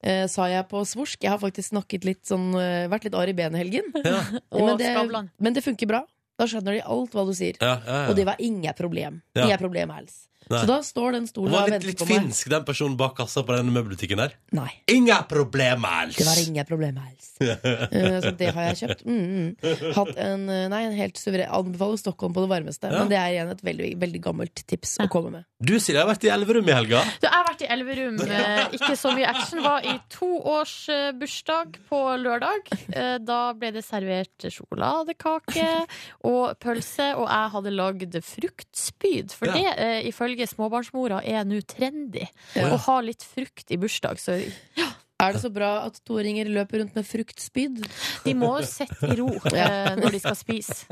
H: Eh, sa jeg på svorsk. Jeg har faktisk snakket litt sånn, eh, vært litt arr i benet i helgen.
B: Ja.
I: Og
H: men, det,
I: Skavlan.
H: men det funker bra. Da skjønner de alt hva du sier.
B: Ja, ja, ja.
H: Og det var ingen problem.
B: Ja.
H: Ingen problem helst.
B: Nei.
H: Så da står den
B: Hun
H: stolen
B: var
H: og
B: litt,
H: venter
B: litt
H: på meg.
B: finsk, den personen bak kassa på den møbelbutikken der.
H: Nei,
B: Inga problem alls!
H: det var ingen problem helst. Eh, så det har jeg kjøpt. Mm, mm. Hatt en, eh, nei, en helt suveren Anbefaler Stockholm på det varmeste.
B: Ja.
H: Men det er igjen et veldig, veldig gammelt tips å komme med.
B: Du, Silje, har vært i Elverum i helga.
I: Du, jeg har vært i Elverum. eh, Ikke så mye action. Var i toårsbursdag på lørdag. Eh, Da ble det servert sjokoladekake og pølse, og jeg hadde lagd fruktspyd. For
B: Ja.
I: det, eh, ifølge småbarnsmora, er nå trendy.
H: Ja.
I: Å ha litt frukt i bursdag. Så
H: Er det så bra at toåringer løper rundt med fruktspyd?
I: de må jo sitte i ro eh, når de skal spise.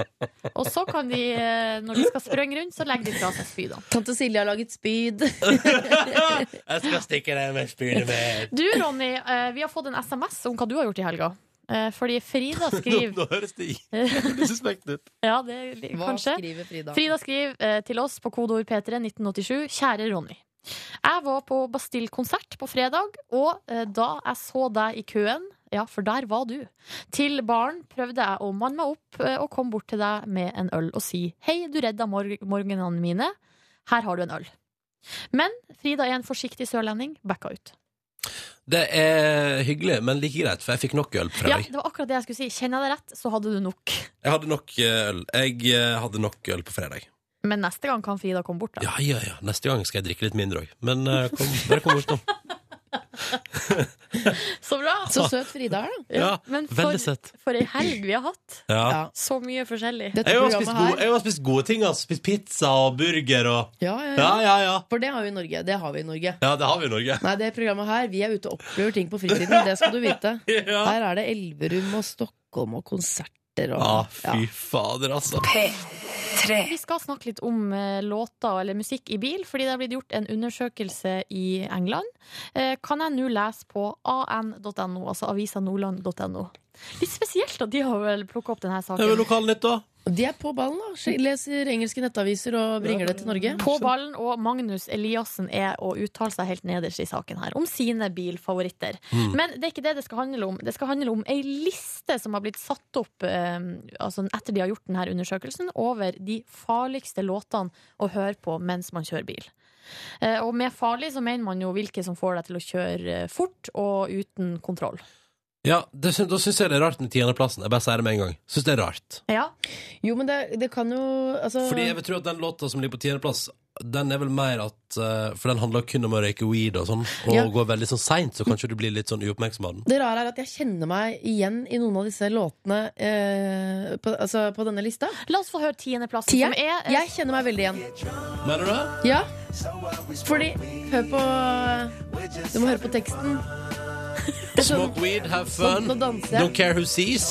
I: Og så kan de, eh, når de skal sprønge rundt, så legger de fra seg spydene.
H: Tante Silje har laget spyd.
B: Jeg skal stikke deg med spydet mitt.
I: Du, Ronny, eh, vi har fått en SMS om hva du har gjort i helga. Eh, Fordi Frida
B: Nå,
I: skriver
B: nå høres det jævlig suspekt ut.
I: Ja, det er li-
H: Hva
I: kanskje.
H: skriver Frida?
I: Frida skriver eh, til oss på kodeord P3 1987. Kjære Ronny. Jeg var på Bastille-konsert på fredag, og eh, da jeg så deg i køen ja, for der var du. Til baren prøvde jeg å manne meg opp eh, og kom bort til deg med en øl og si hei, du redda mor morgenene mine, her har du en øl. Men Frida er en forsiktig sørlending, backa ut.
B: Det er hyggelig, men like greit, for jeg fikk nok øl fra
I: Ja,
B: deg.
I: det var akkurat det jeg skulle si. Kjenner jeg det rett, så hadde du nok.
B: Jeg hadde nok eh, øl. Jeg eh, hadde nok øl på fredag.
I: Men neste gang kan Frida komme bort, da.
B: Ja, ja, ja. Neste gang skal jeg drikke litt mindre òg. Men eh, kom, bare kom bort nå.
I: Så bra!
H: Så søt Frida er, da.
B: Ja,
I: Men for,
B: veldig søtt.
I: for ei helg vi har hatt.
B: Ja.
I: Så mye forskjellig.
H: Dette
B: Jeg har spist,
H: programmet
B: gode,
H: her
B: jeg har spist gode ting. Altså. Spist pizza og burger og
H: ja, ja,
B: Ja,
H: ja.
B: ja, ja.
H: For det har vi i Norge. Det har vi i Norge.
B: Ja, det har vi i Norge.
H: Nei, det programmet her, vi er ute og opplever ting på fritiden. Det skal du vite.
B: Ja,
H: Her er det Elverum og Stockholm og konserter og
B: ah, fy fader, altså.
I: Vi skal snakke litt om eh, låter eller musikk i bil, fordi det har blitt gjort en undersøkelse i England. Eh, Kan jeg nå lese på an.no, altså avisanordland.no. Litt spesielt at de har vel plukka opp denne
B: Det er vel
I: saken.
B: Lokalnytt, da.
H: Og De er på ballen, da. Leser engelske nettaviser og bringer det til Norge.
I: På ballen, og Magnus Eliassen er å uttale seg helt nederst i saken her om sine bilfavoritter. Men det er ikke det det skal handle om. Det skal handle om ei liste som har blitt satt opp eh, altså etter de har gjort denne undersøkelsen, over de farligste låtene å høre på mens man kjører bil. Eh, og med farlig så mener man jo hvilke som får deg til å kjøre eh, fort og uten kontroll.
B: Ja, det, syn- Da syns jeg det er rart med tiendeplassen. Jeg bare sier det med en gang. Synes det er rart
I: Ja,
H: Jo, men det, det kan jo altså,
B: Fordi jeg vil tro at den låta som ligger på tiendeplass, den er vel mer at eh, For den handler kun om å røyke weed og sånn, og
H: Ja.
B: går veldig sånn seint, så kanskje du blir litt sånn uoppmerksom av den.
H: Det rare er at jeg kjenner meg igjen i noen av disse låtene eh, på, altså, på denne lista.
I: La oss få høre tiendeplassen,
H: Tieren?
I: som er eh,
H: Jeg kjenner meg veldig igjen.
B: Mener du det?
H: Ja, fordi Hør på eh, Du må høre på teksten. Det er sånn,
B: Smoke weed, have
H: sånn,
B: fun.
H: nå danser jeg.
B: Don't care who sees.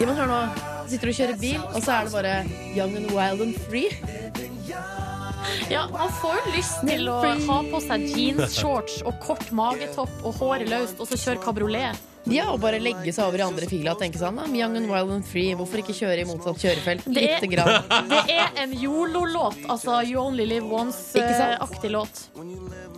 H: Ja, men hør nå. Du sitter og kjører bil, og så er det bare Young and wild and free.
I: Ja, Man får jo lyst til å ha på seg jeans, shorts og kort magetopp og håret løst, og så kjøre kabriolet.
H: Ja, og bare legge seg over i andre fila og tenke sånn "Ah, Young and wild and free, hvorfor ikke kjøre i motsatt kjørefelt?
I: Det-
H: Lite grann.
I: Det er en YOLO-låt, altså You Only Live
H: Ikke sant?
I: Once-aktig låt.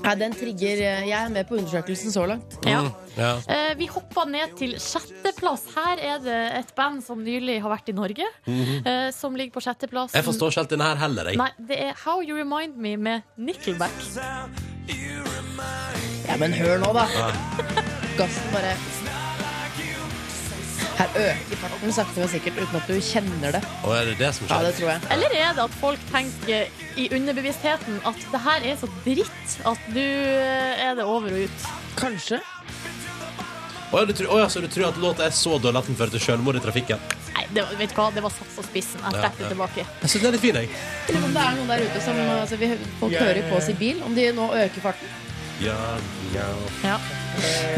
H: Nei, den trigger eh, Jeg er med på undersøkelsen så langt.
I: Ja.
B: Mm, Ja.
I: Eh, Vi hoppa ned til sjetteplass. Her er det et band som nylig har vært i Norge, eh, som ligger på sjetteplass.
B: Jeg forstår ikke helt denne her heller, jeg.
I: Nei, det er How You Remind Me med Nickelback.
H: Ja, men hør nå, da. Gassen bare Her øker farten sakte, men sikkert uten at du kjenner det.
B: Og er det det som
H: Ja,
B: skjer?
H: det tror jeg.
I: Eller er det at folk tenker i underbevisstheten at det her er så dritt at du eh, er det over og ut?
H: Kanskje.
B: Å ja, du tror, å ja, så du tror at låta er så dårlig at den fører til selvmord i trafikken?
I: Nei, det var, vet du hva? Det var satt på spissen. Jeg trekker
B: Ja, ja.
I: det tilbake.
B: Jeg synes den er litt fin, jeg.
H: Eller om det er noen der ute som altså, vi, Folk hører på oss i bil, om de nå øker farten.
B: Ja, ja.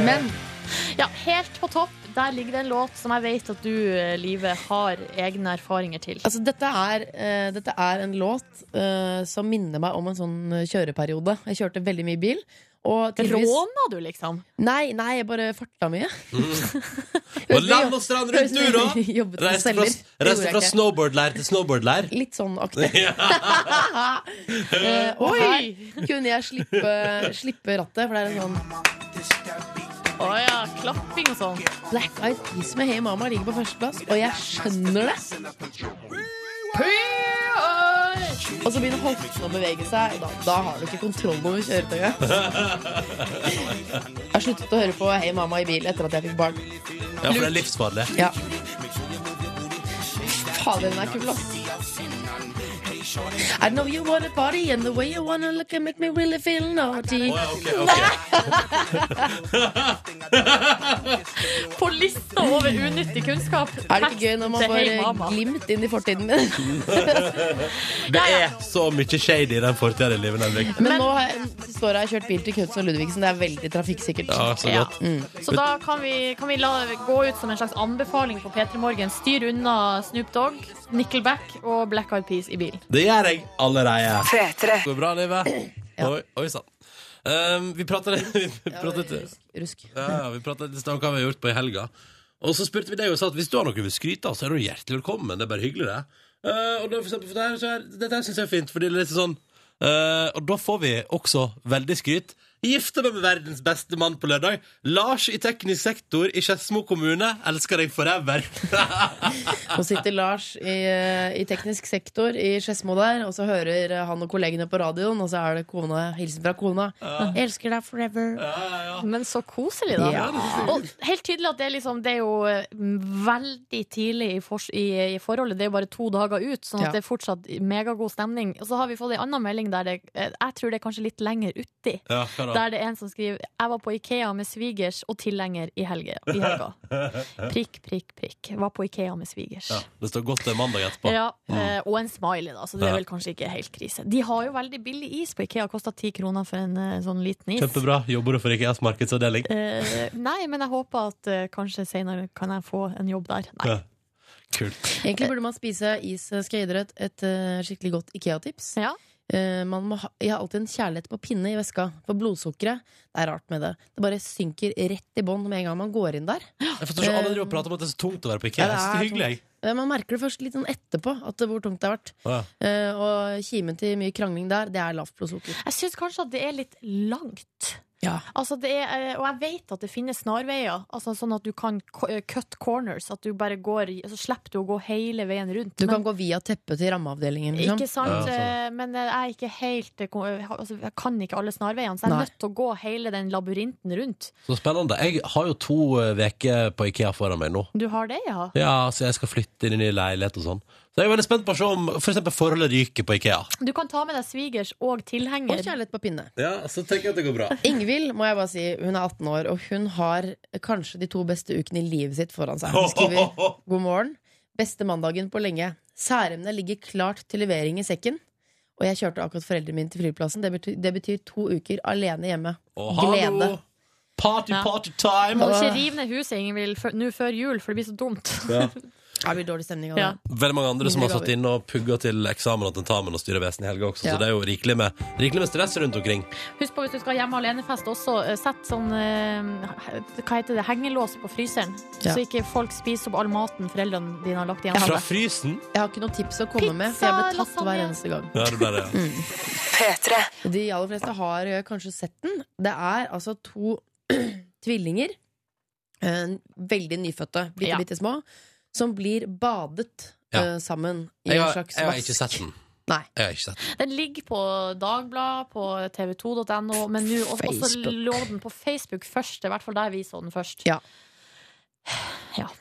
H: Men
I: Ja, Helt på topp, der ligger det en låt som jeg vet at du, eh, Live, har egne erfaringer til.
H: altså, dette, er, eh, dette er en låt eh, som minner meg om en sånn eh, kjøreperiode. Jeg kjørte veldig mye bil. Og tidvis
I: Råna du, liksom?
H: Nei, nei, jeg bare farta mye.
B: Og land og strand rundt nå, da!
H: Jobbet på
B: Reiste fra,
H: celler. Det gjorde
B: reiste
H: jeg
B: fra
H: ikke.
B: snowboardleir til snowboardleir.
H: Litt sånn aktig. Eh, og her kunne jeg slippe, slippe rattet, for det er en sånn
I: Å ja, klapping og sånn.
H: Black Eyed Peas med Hey Mama ligger på førsteplass, og jeg skjønner det. Og så begynner hoften å bevege seg, og da, da har du ikke kontroll over kjøretøyet. Jeg har sluttet å høre på Hey Mama i bil etter at jeg fikk barn.
B: Ja, for det er livsfarlig.
H: Ja. Fader, den er kul, ass. I know you wanna party, and the way you wanna look and make me really feel naughty.
B: Å ja, ok, ok.
I: På lista over unyttig kunnskap.
H: Er det ikke gøy når man
I: Teksten
H: får
I: til Hey Mama.
H: eh, glimt inn i fortiden min?
B: Det er så mye shady i den fortida i livet, Henrik.
H: Men nå har jeg- siste året har jeg kjørt bil til Knutsen og Ludvigsen. Det er veldig trafikksikkert.
B: Ja, så
I: Ja.
B: godt.
H: Mm.
I: Så da kan vi, kan vi la, gå ut som en slags anbefaling på P3 Morgen. Styr unna Snoop Dogg, Nickelback og Black Eyed Peas i bil.
B: Det gjør jeg allerede. Går det bra, livet? Oi, oi sann. Um, vi pratet vi pratet-
H: Rusk.
B: ja, ja, vi pratet litt om hva vi har gjort på i helga. Og så spurte vi deg og sa at hvis du har noe du vil skryte av, så er du hjertelig velkommen. Det er bare hyggelig, det. Eh, og da for eksempel, for det her, så er, dette her syns jeg er fint, fordi det er litt sånn eh, Og da får vi også veldig skryt. Gifte meg med verdens beste mann på lørdag. Lars i teknisk sektor i Skedsmo kommune. Elsker deg forever.
H: Nå sitter Lars i, eh, i teknisk sektor i Skedsmo der, og så hører eh, han og kollegene på radioen, og så er det kona, hilsen fra kona. Jeg elsker deg forever.
I: Men så koselig, da.
H: Ja.
I: Og helt tydelig at det er, liksom, det er jo eh, veldig tidlig i, fors- i, i forholdet. Det er jo bare to dager ut, sånn at
H: Ja.
I: det er fortsatt megagod stemning. Og så har vi fått en annen melding der det eh, Jeg tror det er kanskje litt lenger uti.
B: Ja, hva da?
I: Der det er en som skriver Jeg var på Ikea med svigers og tilhenger i, helge, i helga. Prikk, prikk, prikk. Var på Ikea med svigers.
B: Ja, det står godt det er mandag etterpå.
I: Ja, eh, og en smiley, da, så det
B: Ja.
I: er vel kanskje ikke helt krise. De har jo veldig billig is på Ikea, kosta ti kroner for en eh, sånn liten is.
B: Kjempebra. Jobber du for IKEAs markedsavdeling?
I: Eh, nei, men jeg håper at eh, kanskje senere kan jeg få en jobb der. Nei.
B: Ja. Kult.
H: Egentlig burde man spise is, eh, skal jeg gi dere et, et eh, skikkelig godt Ikea-tips.
I: Ja.
H: Eh, man må ha, jeg har alltid en kjærlighet på pinne i veska. For blodsukkeret. Det er rart med det. Det bare synker rett i bånn med en gang man går inn der.
B: Jeg forstår ikke alle driver og prater om at det er så tungt å være på IKEA.
H: Ja, det
B: Jeg synes det
H: er
B: er hyggelig, jeg.
H: Eh, Man merker det først litt sånn etterpå, at det- hvor tungt det har vært.
B: Å, ja.
H: Eh, og kimen til mye krangling der, det er lavt blodsukker.
I: Jeg syns kanskje at det er litt langt.
H: Ja.
I: Altså det er, eh, og jeg vet at det finnes snarveier, altså sånn at du kan k- eh, cut corners. At du bare går, i- så slipper du å gå hele veien rundt.
H: Du
I: Men-
H: kan gå via teppet til rammeavdelingen. Liksom.
I: Ikke sant?
B: Ja,
I: Eh, Men jeg er ikke helt eh, ko- eh, altså, Jeg kan ikke alle snarveiene, så jeg er
H: Nei.
I: nødt til å gå hele den labyrinten rundt.
B: Så spennende. Jeg har jo to uker på IKEA foran meg nå.
I: Du har det, ja?
B: Ja, så jeg skal flytte inn i ny leilighet og sånn. Så jeg er veldig spent på å se om for eksempel forholdet ryker på IKEA.
I: Du kan ta med deg svigers og tilhenger.
H: Og kjærlighet på pinne.
B: Ja, så tenker jeg at det går bra.
H: Ingvild må jeg bare si, hun er 18 år, og hun har kanskje de to beste ukene i livet sitt foran seg. Hun skriver god morgen. Beste mandagen på lenge. Særemnet ligger klart til levering i sekken. Og jeg kjørte akkurat foreldrene mine til flyplassen. Det betyr, det betyr to uker alene hjemme.
B: Og hallo!
H: Glede.
B: Party,
I: Ja.
B: party
I: Du må
B: time!
I: ikke rive ned huset Ingvild, før- nå før jul, for det blir så dumt.
H: Det blir dårlig stemning av det.
I: Ja.
B: Veldig mange andre som har
H: Mindre
B: satt
H: gaver.
B: inn og pugga til eksamen og tentamen og styrevesen i helga også,
H: Ja.
B: så det er jo rikelig med, rikelig med stress rundt omkring.
I: Husk på hvis du skal hjemme alene-fest også, eh, sett sånn eh, Hva heter det? Hengelås på fryseren.
H: Ja.
I: Så ikke folk spiser opp all maten foreldrene dine har lagt igjen.
B: Fra frysen!
H: Jeg har ikke noe tips å komme med, for jeg ble tatt hver eneste gang.
B: Ja, det ble det.
H: Mm, De aller fleste har eh, kanskje sett den. Det er altså to tvillinger, eh, veldig nyfødte, bitte,
I: Ja.
H: bitte små, som blir badet
B: Ja.
H: eh, sammen i
B: Jeg
H: en
B: har,
H: slags
B: jeg har ikke
H: vask.
B: sett den.
H: Nei.
B: Jeg har ikke sett den.
I: Den ligger på Dagbladet, på tv2.no, men nå og- også
H: Facebook.
I: lå den på Facebook først. Det er i hvert fall der vi så den først.
H: Ja.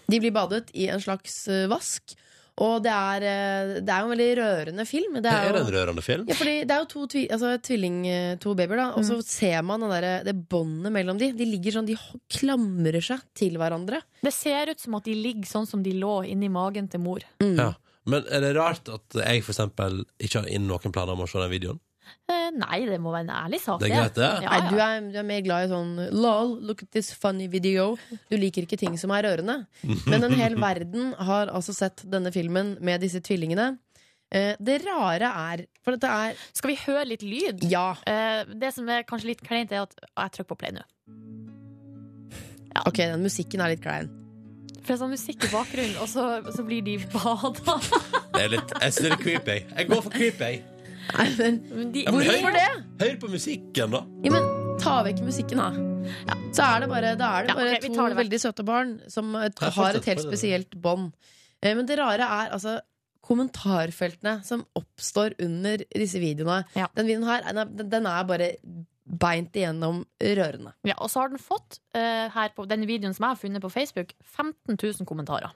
H: De blir badet i en slags eh, vask, og det er, eh, det er jo en veldig rørende film. Det
B: Er
H: er,
B: det en
H: jo,
B: rørende film?
H: ja, fordi det er jo to, tvi, altså, tvilling, eh, to babyer, da, og så ser man den derre- det båndet mellom de. De ligger sånn, de h- klamrer seg til hverandre.
I: Det ser ut som at de ligger sånn som de lå inni magen til mor.
B: Ja. Men er det rart at jeg for eksempel ikke har inn noen planer om å se den videoen?
I: Eh, nei, det må være en ærlig sak.
B: Det er greit, det.
I: Ja,
H: Nei, du
I: ja.
H: er, du er mer glad i sånn lol, look at this funny video. Du liker ikke ting som er rørende. Men en hel verden har altså sett denne filmen med disse tvillingene. Eh, det rare er For dette er
I: Skal vi høre litt lyd?
H: Ja,
I: Eh, det som er kanskje litt kleint, er at Å, Jeg trykker på play nå.
H: ok, den musikken er litt klein.
I: For det er sånn musikk i bakgrunnen, og så, så blir de bada.
B: Det er litt, jeg synes det er litt creepy. Jeg går for creepy.
I: Men de-
B: Ja, men
I: Hvorfor
B: hør-
I: det?
B: Hør på musikken, da.
H: Ja, men ta vekk musikken, da. Så er det bare, da er det
I: Ja,
H: bare
I: ok, vi
H: to
I: tar det vekk.
H: veldig søte barn som eh,
B: Ja,
H: har
B: fortsett,
H: et helt
B: fortsett.
H: spesielt bånd. Eh, Men det rare er altså kommentarfeltene som oppstår under disse videoene.
I: Ja.
H: Den videoen her, den er- den er bare beint igjennom rørende.
I: Ja, og så har den fått, eh, her på den videoen som jeg har funnet på Facebook, 15 000 kommentarer.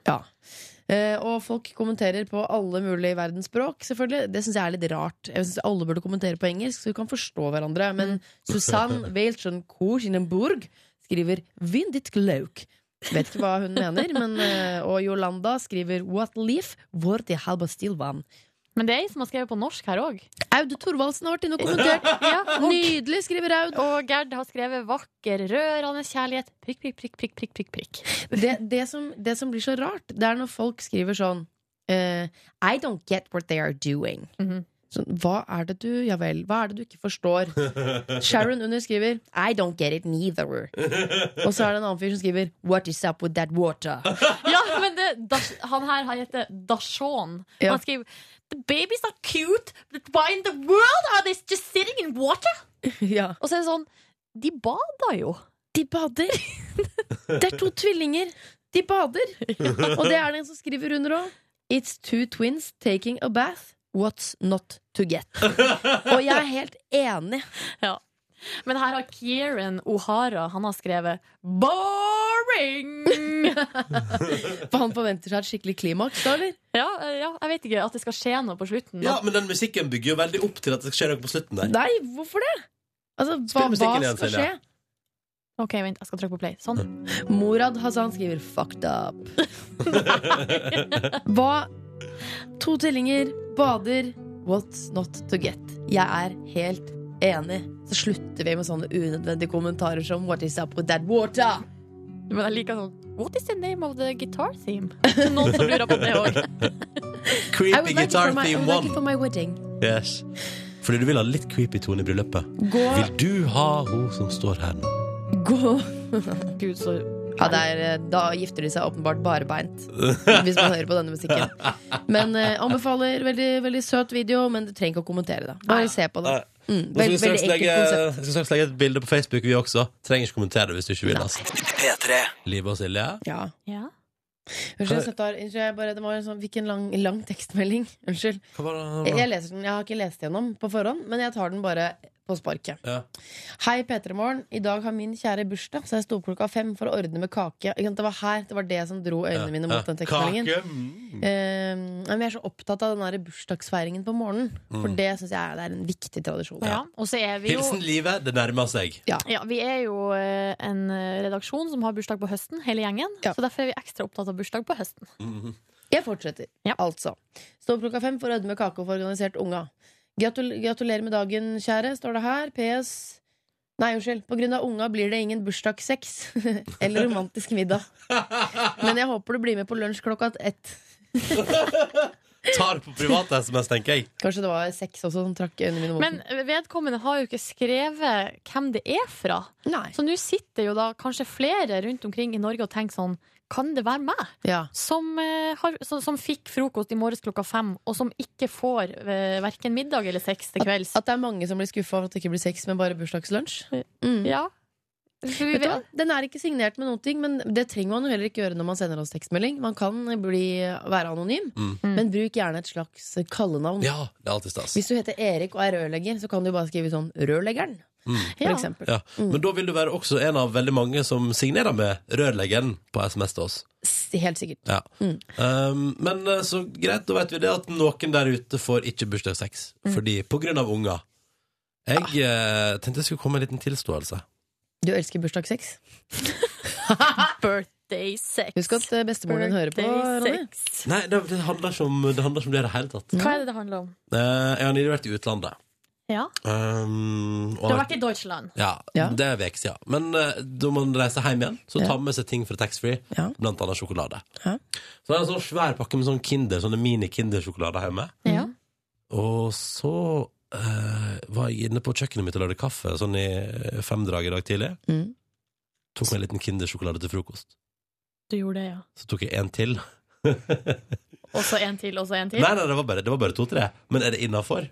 H: Eh, Og folk kommenterer på alle mulige verdensspråk, selvfølgelig. Det syns jeg er litt rart. Jeg synes alle burde kommentere på engelsk, så vi kan forstå hverandre. Men Susanne Weilchen Korchinenburg skriver 'Vindigt glauk'. Vet ikke hva hun mener, men eh, Og Yolanda skriver 'What leaf? Hvor til halva stilvann'?
I: Men det er ei som har skrevet på norsk her òg.
H: Aud Thorvaldsen har vært inne og kommentert. Nydelig, skriver Aud.
I: Og Gerd har skrevet 'vakker, rørende kjærlighet'. Prikk, prikk, prikk, prikk, prikk, prikk, prikk.
H: det, det, som, det som blir så rart, det er når folk skriver sånn eh, I don't get what they are doing.
I: Mhm.
H: Sånn, hva er det du Ja vel, hva er det du ikke forstår? Sharon under skriver I don't get it neither. Og så er det en annen fyr som skriver What is up with that water?
I: Ja, men det, Dash- han her han heter Dashon.
H: Ja.
I: Han skriver 'The babies are cute, but why in the world are they just sitting in water?'
H: ja.
I: Og så er det sånn De bader jo.
C: De bader! Det er to tvillinger! De bader! Og det er det en som skriver under òg. It's two twins taking a bath. What's not to get? Og jeg er helt enig.
I: Men her har Kieran O'Hara Han har skrevet 'boring'!
C: For han forventer seg et skikkelig klimaks, da, eller?
I: ja, eh, ja, jeg vet ikke. At det skal skje noe på slutten.
B: Ja, men den musikken bygger jo veldig opp til at det skal skje noe på slutten der.
C: Nei, hvorfor det? Altså, hva,
B: Spill musikken
C: hva
B: igjen,
C: skal skje?
B: Silje.
I: Ok, vent, jeg skal trykke på play. Sånn.
C: Mm. Morad Hassan skriver 'fucked up'. Hva To tvillinger bader. What's not to get? Jeg er helt enig. Så slutter vi med sånne unødvendige kommentarer som 'What is up with that water?'
I: Men jeg liker sånn What is the name of the guitar theme? Noen som lurer på det òg.
C: I would
B: Creepy
C: like it for
B: guitar
C: my, I
B: theme
C: would like it for
B: one.
C: my wedding.
B: Yes. Fordi du vil ha litt creepy tone i bryllupet. Vil
C: Gå,
B: du ha hun som står her nå?
C: gå
I: Gud, så
C: Ja, det er, eh, da gifter de seg åpenbart barbeint, hvis man hører på denne musikken. Men eh, anbefaler veldig, veldig søt video, men du trenger ikke å kommentere det. Bare se på det. Mm,
B: Nå skal vi
C: veld,
B: straks
C: veldig
B: legge,
C: enkelt konsept.
B: jeg skal straks legge et bilde på Facebook, vi også. Trenger ikke kommentere det hvis du ikke vil. Altså. Liv og Silje.
C: Ja.
I: Ja.
C: Unnskyld, jeg setter, unnskyld jeg bare, det var en sånn, fikk en lang, lang tekstmelding. Unnskyld.
B: Hva var
C: Jeg,
B: det?
C: jeg leser den, jeg har ikke lest gjennom på forhånd, men jeg tar den bare på sparket.
B: Ja.
C: Hei, P3morgen. I dag har min kjære bursdag, så jeg sto opp klokka fem for å ordne med kake. Ikke sant, Det var her, det var det som dro øynene mine mot den tekstmeldingen.
B: Kake. Mm.
C: Eh, men jeg er så opptatt av den der bursdagsfeiringen på morgenen, for det syns jeg er, det er en viktig tradisjon.
I: ja. Og så er vi jo
B: Hilsen livet, det nærmer seg.
I: ja, Vi er jo eh, en redaksjon som har bursdag på høsten, hele gjengen.
C: Ja.
I: Så derfor er vi ekstra opptatt av bursdag på høsten.
C: Jeg fortsetter,
I: Ja.
C: altså. Står opp klokka fem for å ødme kake og få organisert unga. Gratul gratulerer med dagen, kjære, står det her. PS Nei, unnskyld. På grunn av unga blir det ingen bursdagssex eller romantisk middag. Men jeg håper du blir med på lunsj klokka ett.
B: Tar på privat SMS, tenker jeg.
C: Kanskje det var sex også som trakk øynene mine mot
I: Men vedkommende har jo ikke skrevet hvem det er fra.
C: den. Nei.
I: Så nå sitter jo da kanskje flere rundt omkring i Norge og tenker sånn Kan det være meg
C: Ja.
I: som, eh, har, som, som fikk frokost i morges klokka fem, og som ikke får eh, verken middag eller sex til kvelds?
C: At det er mange som blir skuffa over at det ikke blir sex, men bare bursdagslunsj. Mm.
I: Ja. For vi
C: Vet du hva?
I: vet,
C: Den er ikke signert med noen ting, men det trenger man jo heller ikke gjøre når man sender oss tekstmelding. Man kan bli, være anonym,
B: Mm.
C: men bruk gjerne et slags kallenavn.
B: Ja, det er alltid stas.
C: Hvis du heter Erik og er rørlegger, så kan du bare skrive sånn 'Rørleggeren',
B: Mm.
C: for
I: Ja.
C: eksempel.
B: Ja. Men da vil du være også en av veldig mange som signerer med rørleggeren på SMS til oss.
C: S- Helt sikkert.
B: Ja. Um, men eh, så greit, da vet vi det at noen der ute får ikke bursdagssex. Fordi på grunn av unger. Jeg
I: Ah.
B: eh, tenkte jeg skulle komme med en liten tilståelse.
C: Du elsker bursdagssex.
I: Birthday sex.
C: Husk at eh, bestemoren din hører på, Ronny.
I: sex.
B: Nei, det, det handler ikke om det handler ikke om det i det hele tatt.
I: Hva er det det handler om?
B: Eh, jeg har nylig vært i utlandet.
I: Ja.
B: Um, og
I: Du har vært i Deutschland.
B: ja,
C: Ja.
B: det er en uke siden. Men eh, da man reiser hjem igjen, så
C: Ja.
B: tar man med seg ting fra taxfree,
C: Ja.
B: blant annet sjokolade.
C: Ja.
B: Så det er en sånn svær pakke med sånn Kinder, sånne mini-Kinder-sjokolader hjemme.
I: Ja.
B: Og så eh, var jeg inne på kjøkkenet mitt og lagde kaffe sånn i femdraget i dag tidlig.
C: Mm.
B: Tok meg en liten Kindersjokolade til frokost.
I: Du gjorde det, ja.
B: Så tok jeg en til.
I: Og så en til, og så en til.
B: Nei, nei, det var bare, det var bare to-tre. Men er det innafor?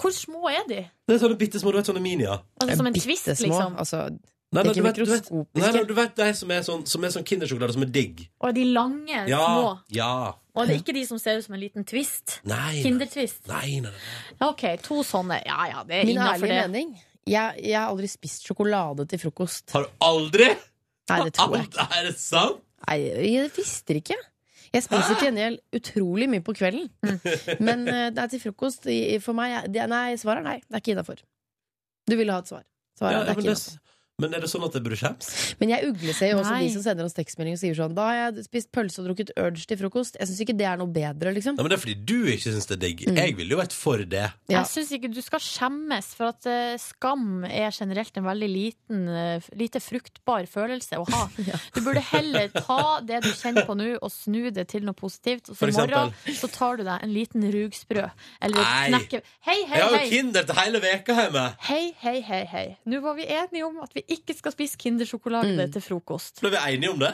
I: Hvor små er de?
B: Det er sånne bitte små, du vet, sånne minier.
I: Altså Som en twist,
C: Bittesmå,
I: liksom.
C: Altså,
B: Nei, nei,
C: ikke
B: du vet, du vet, nei, nei,
C: mikroskopiske.
B: du vet de som er sånn, som er sånn Kindersjokolade som er digg.
I: Og de lange,
B: Ja,
I: små.
B: ja.
I: Og det er ikke de som ser ut som en liten twist.
B: Nei. nei,
I: Kindertvist.
B: Nei, nei, nei.
I: OK, to sånne. Ja ja, det er
C: Min
I: innafor
C: ærlige
I: det.
C: mening jeg, jeg har aldri spist sjokolade til frokost.
B: Har du aldri?
C: Nei, det tror jeg ikke.
B: Alt, er det sant?
C: Nei, jeg visste det ikke. Jeg spiser til gjengjeld utrolig mye på kvelden.
B: Mm.
C: Men eh, det er til frokost i- i- for meg. jeg- Det, nei, svaret er nei. Det er ikke innafor. Du ville ha et svar. Svaret
B: Ja,
C: er, det er
B: men,
C: ikke
B: det,
C: innenfor.
B: men er det sånn at det burde skjems?
C: Men jeg ugleser jo også
I: Nei.
C: de som sender oss tekstmelding og sier sånn Da har jeg spist pølse og drukket Urge til frokost. Jeg syns ikke det er noe bedre, liksom.
B: Nei, men Det er fordi du ikke syns det er digg.
C: Mm.
B: Jeg ville jo vært for det.
C: Ja.
I: Jeg syns ikke du skal skjemmes, for at eh, skam er generelt en veldig liten, eh, lite fruktbar følelse å ha. Du burde heller ta det du kjenner på nå, og snu det til noe positivt. Og
B: For
I: så i morgen så tar du deg en liten rugsprø. Eller et
B: Nei.
I: knekke... Hei, hei,
B: Jeg har jo
I: hei!
B: Kinder til hele veka hjemme!
I: Hei, hei, hei, hei. Nå var vi enige om at vi ikke skal spise Kindersjokolade til frokost.
B: Ble vi enige om det?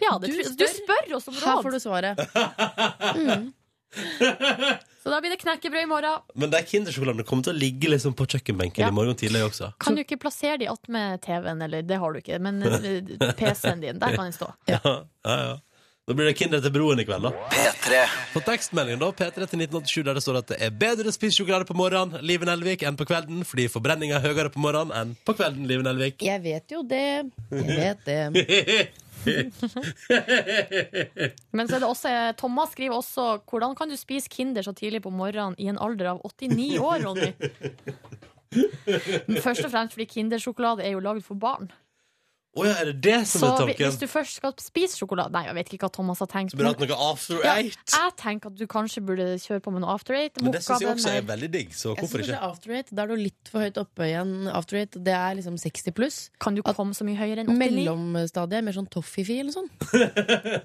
I: Ja, det,
C: Du
I: du,
C: spør.
I: du spør oss om
C: Her får
I: råd!
C: du svaret.
I: Så da blir det knekkebrød i morgen.
B: Men de kindersjokoladene kommer til å ligge liksom på kjøkkenbenken
I: Ja.
B: i morgen tidlig også.
I: Kan du ikke plassere de attmed TV-en, eller det har du ikke, men eh, PC-en din, der kan den stå.
B: Ja, ja, ja. Da blir det Kinder til broen i kveld, da. På tekstmeldingen da, P3 til 1987, der det står at det er bedre å spise sjokolade på morgenen, Live Nelvik, enn på kvelden, fordi forbrenninga er høyere på morgenen enn på kvelden, Live Nelvik.
H: Jeg vet jo det. Jeg vet det.
I: Men så er det også, eh, Thomas skriver også hvordan kan du spise Kinder så tidlig på morgenen i en alder av 89 år, Ronny? Men Først og fremst fordi Kindersjokolade er jo lagd for barn.
B: Å ja, er det det som
I: Så
B: er
I: hvi- hvis
B: tanken?
I: du først skal spise sjokolade Nei, jeg vet ikke hva Thomas har tenkt.
B: Burde hatt noe after
I: Ja,
B: eight.
I: jeg tenker at du kanskje burde kjøre på med noe after eight.
B: Men det
I: mokka
B: syns jeg også
I: den
B: er
I: der.
B: veldig digg, så
H: Jeg
B: hvorfor
H: synes
B: ikke?
H: kanskje after eight, Da er du litt for høyt oppe igjen. After eight, Det er liksom 60 pluss.
I: Kan du komme så mye høyere enn 89?
H: Mellomstadiet. Mer sånn toffifee eller sånn.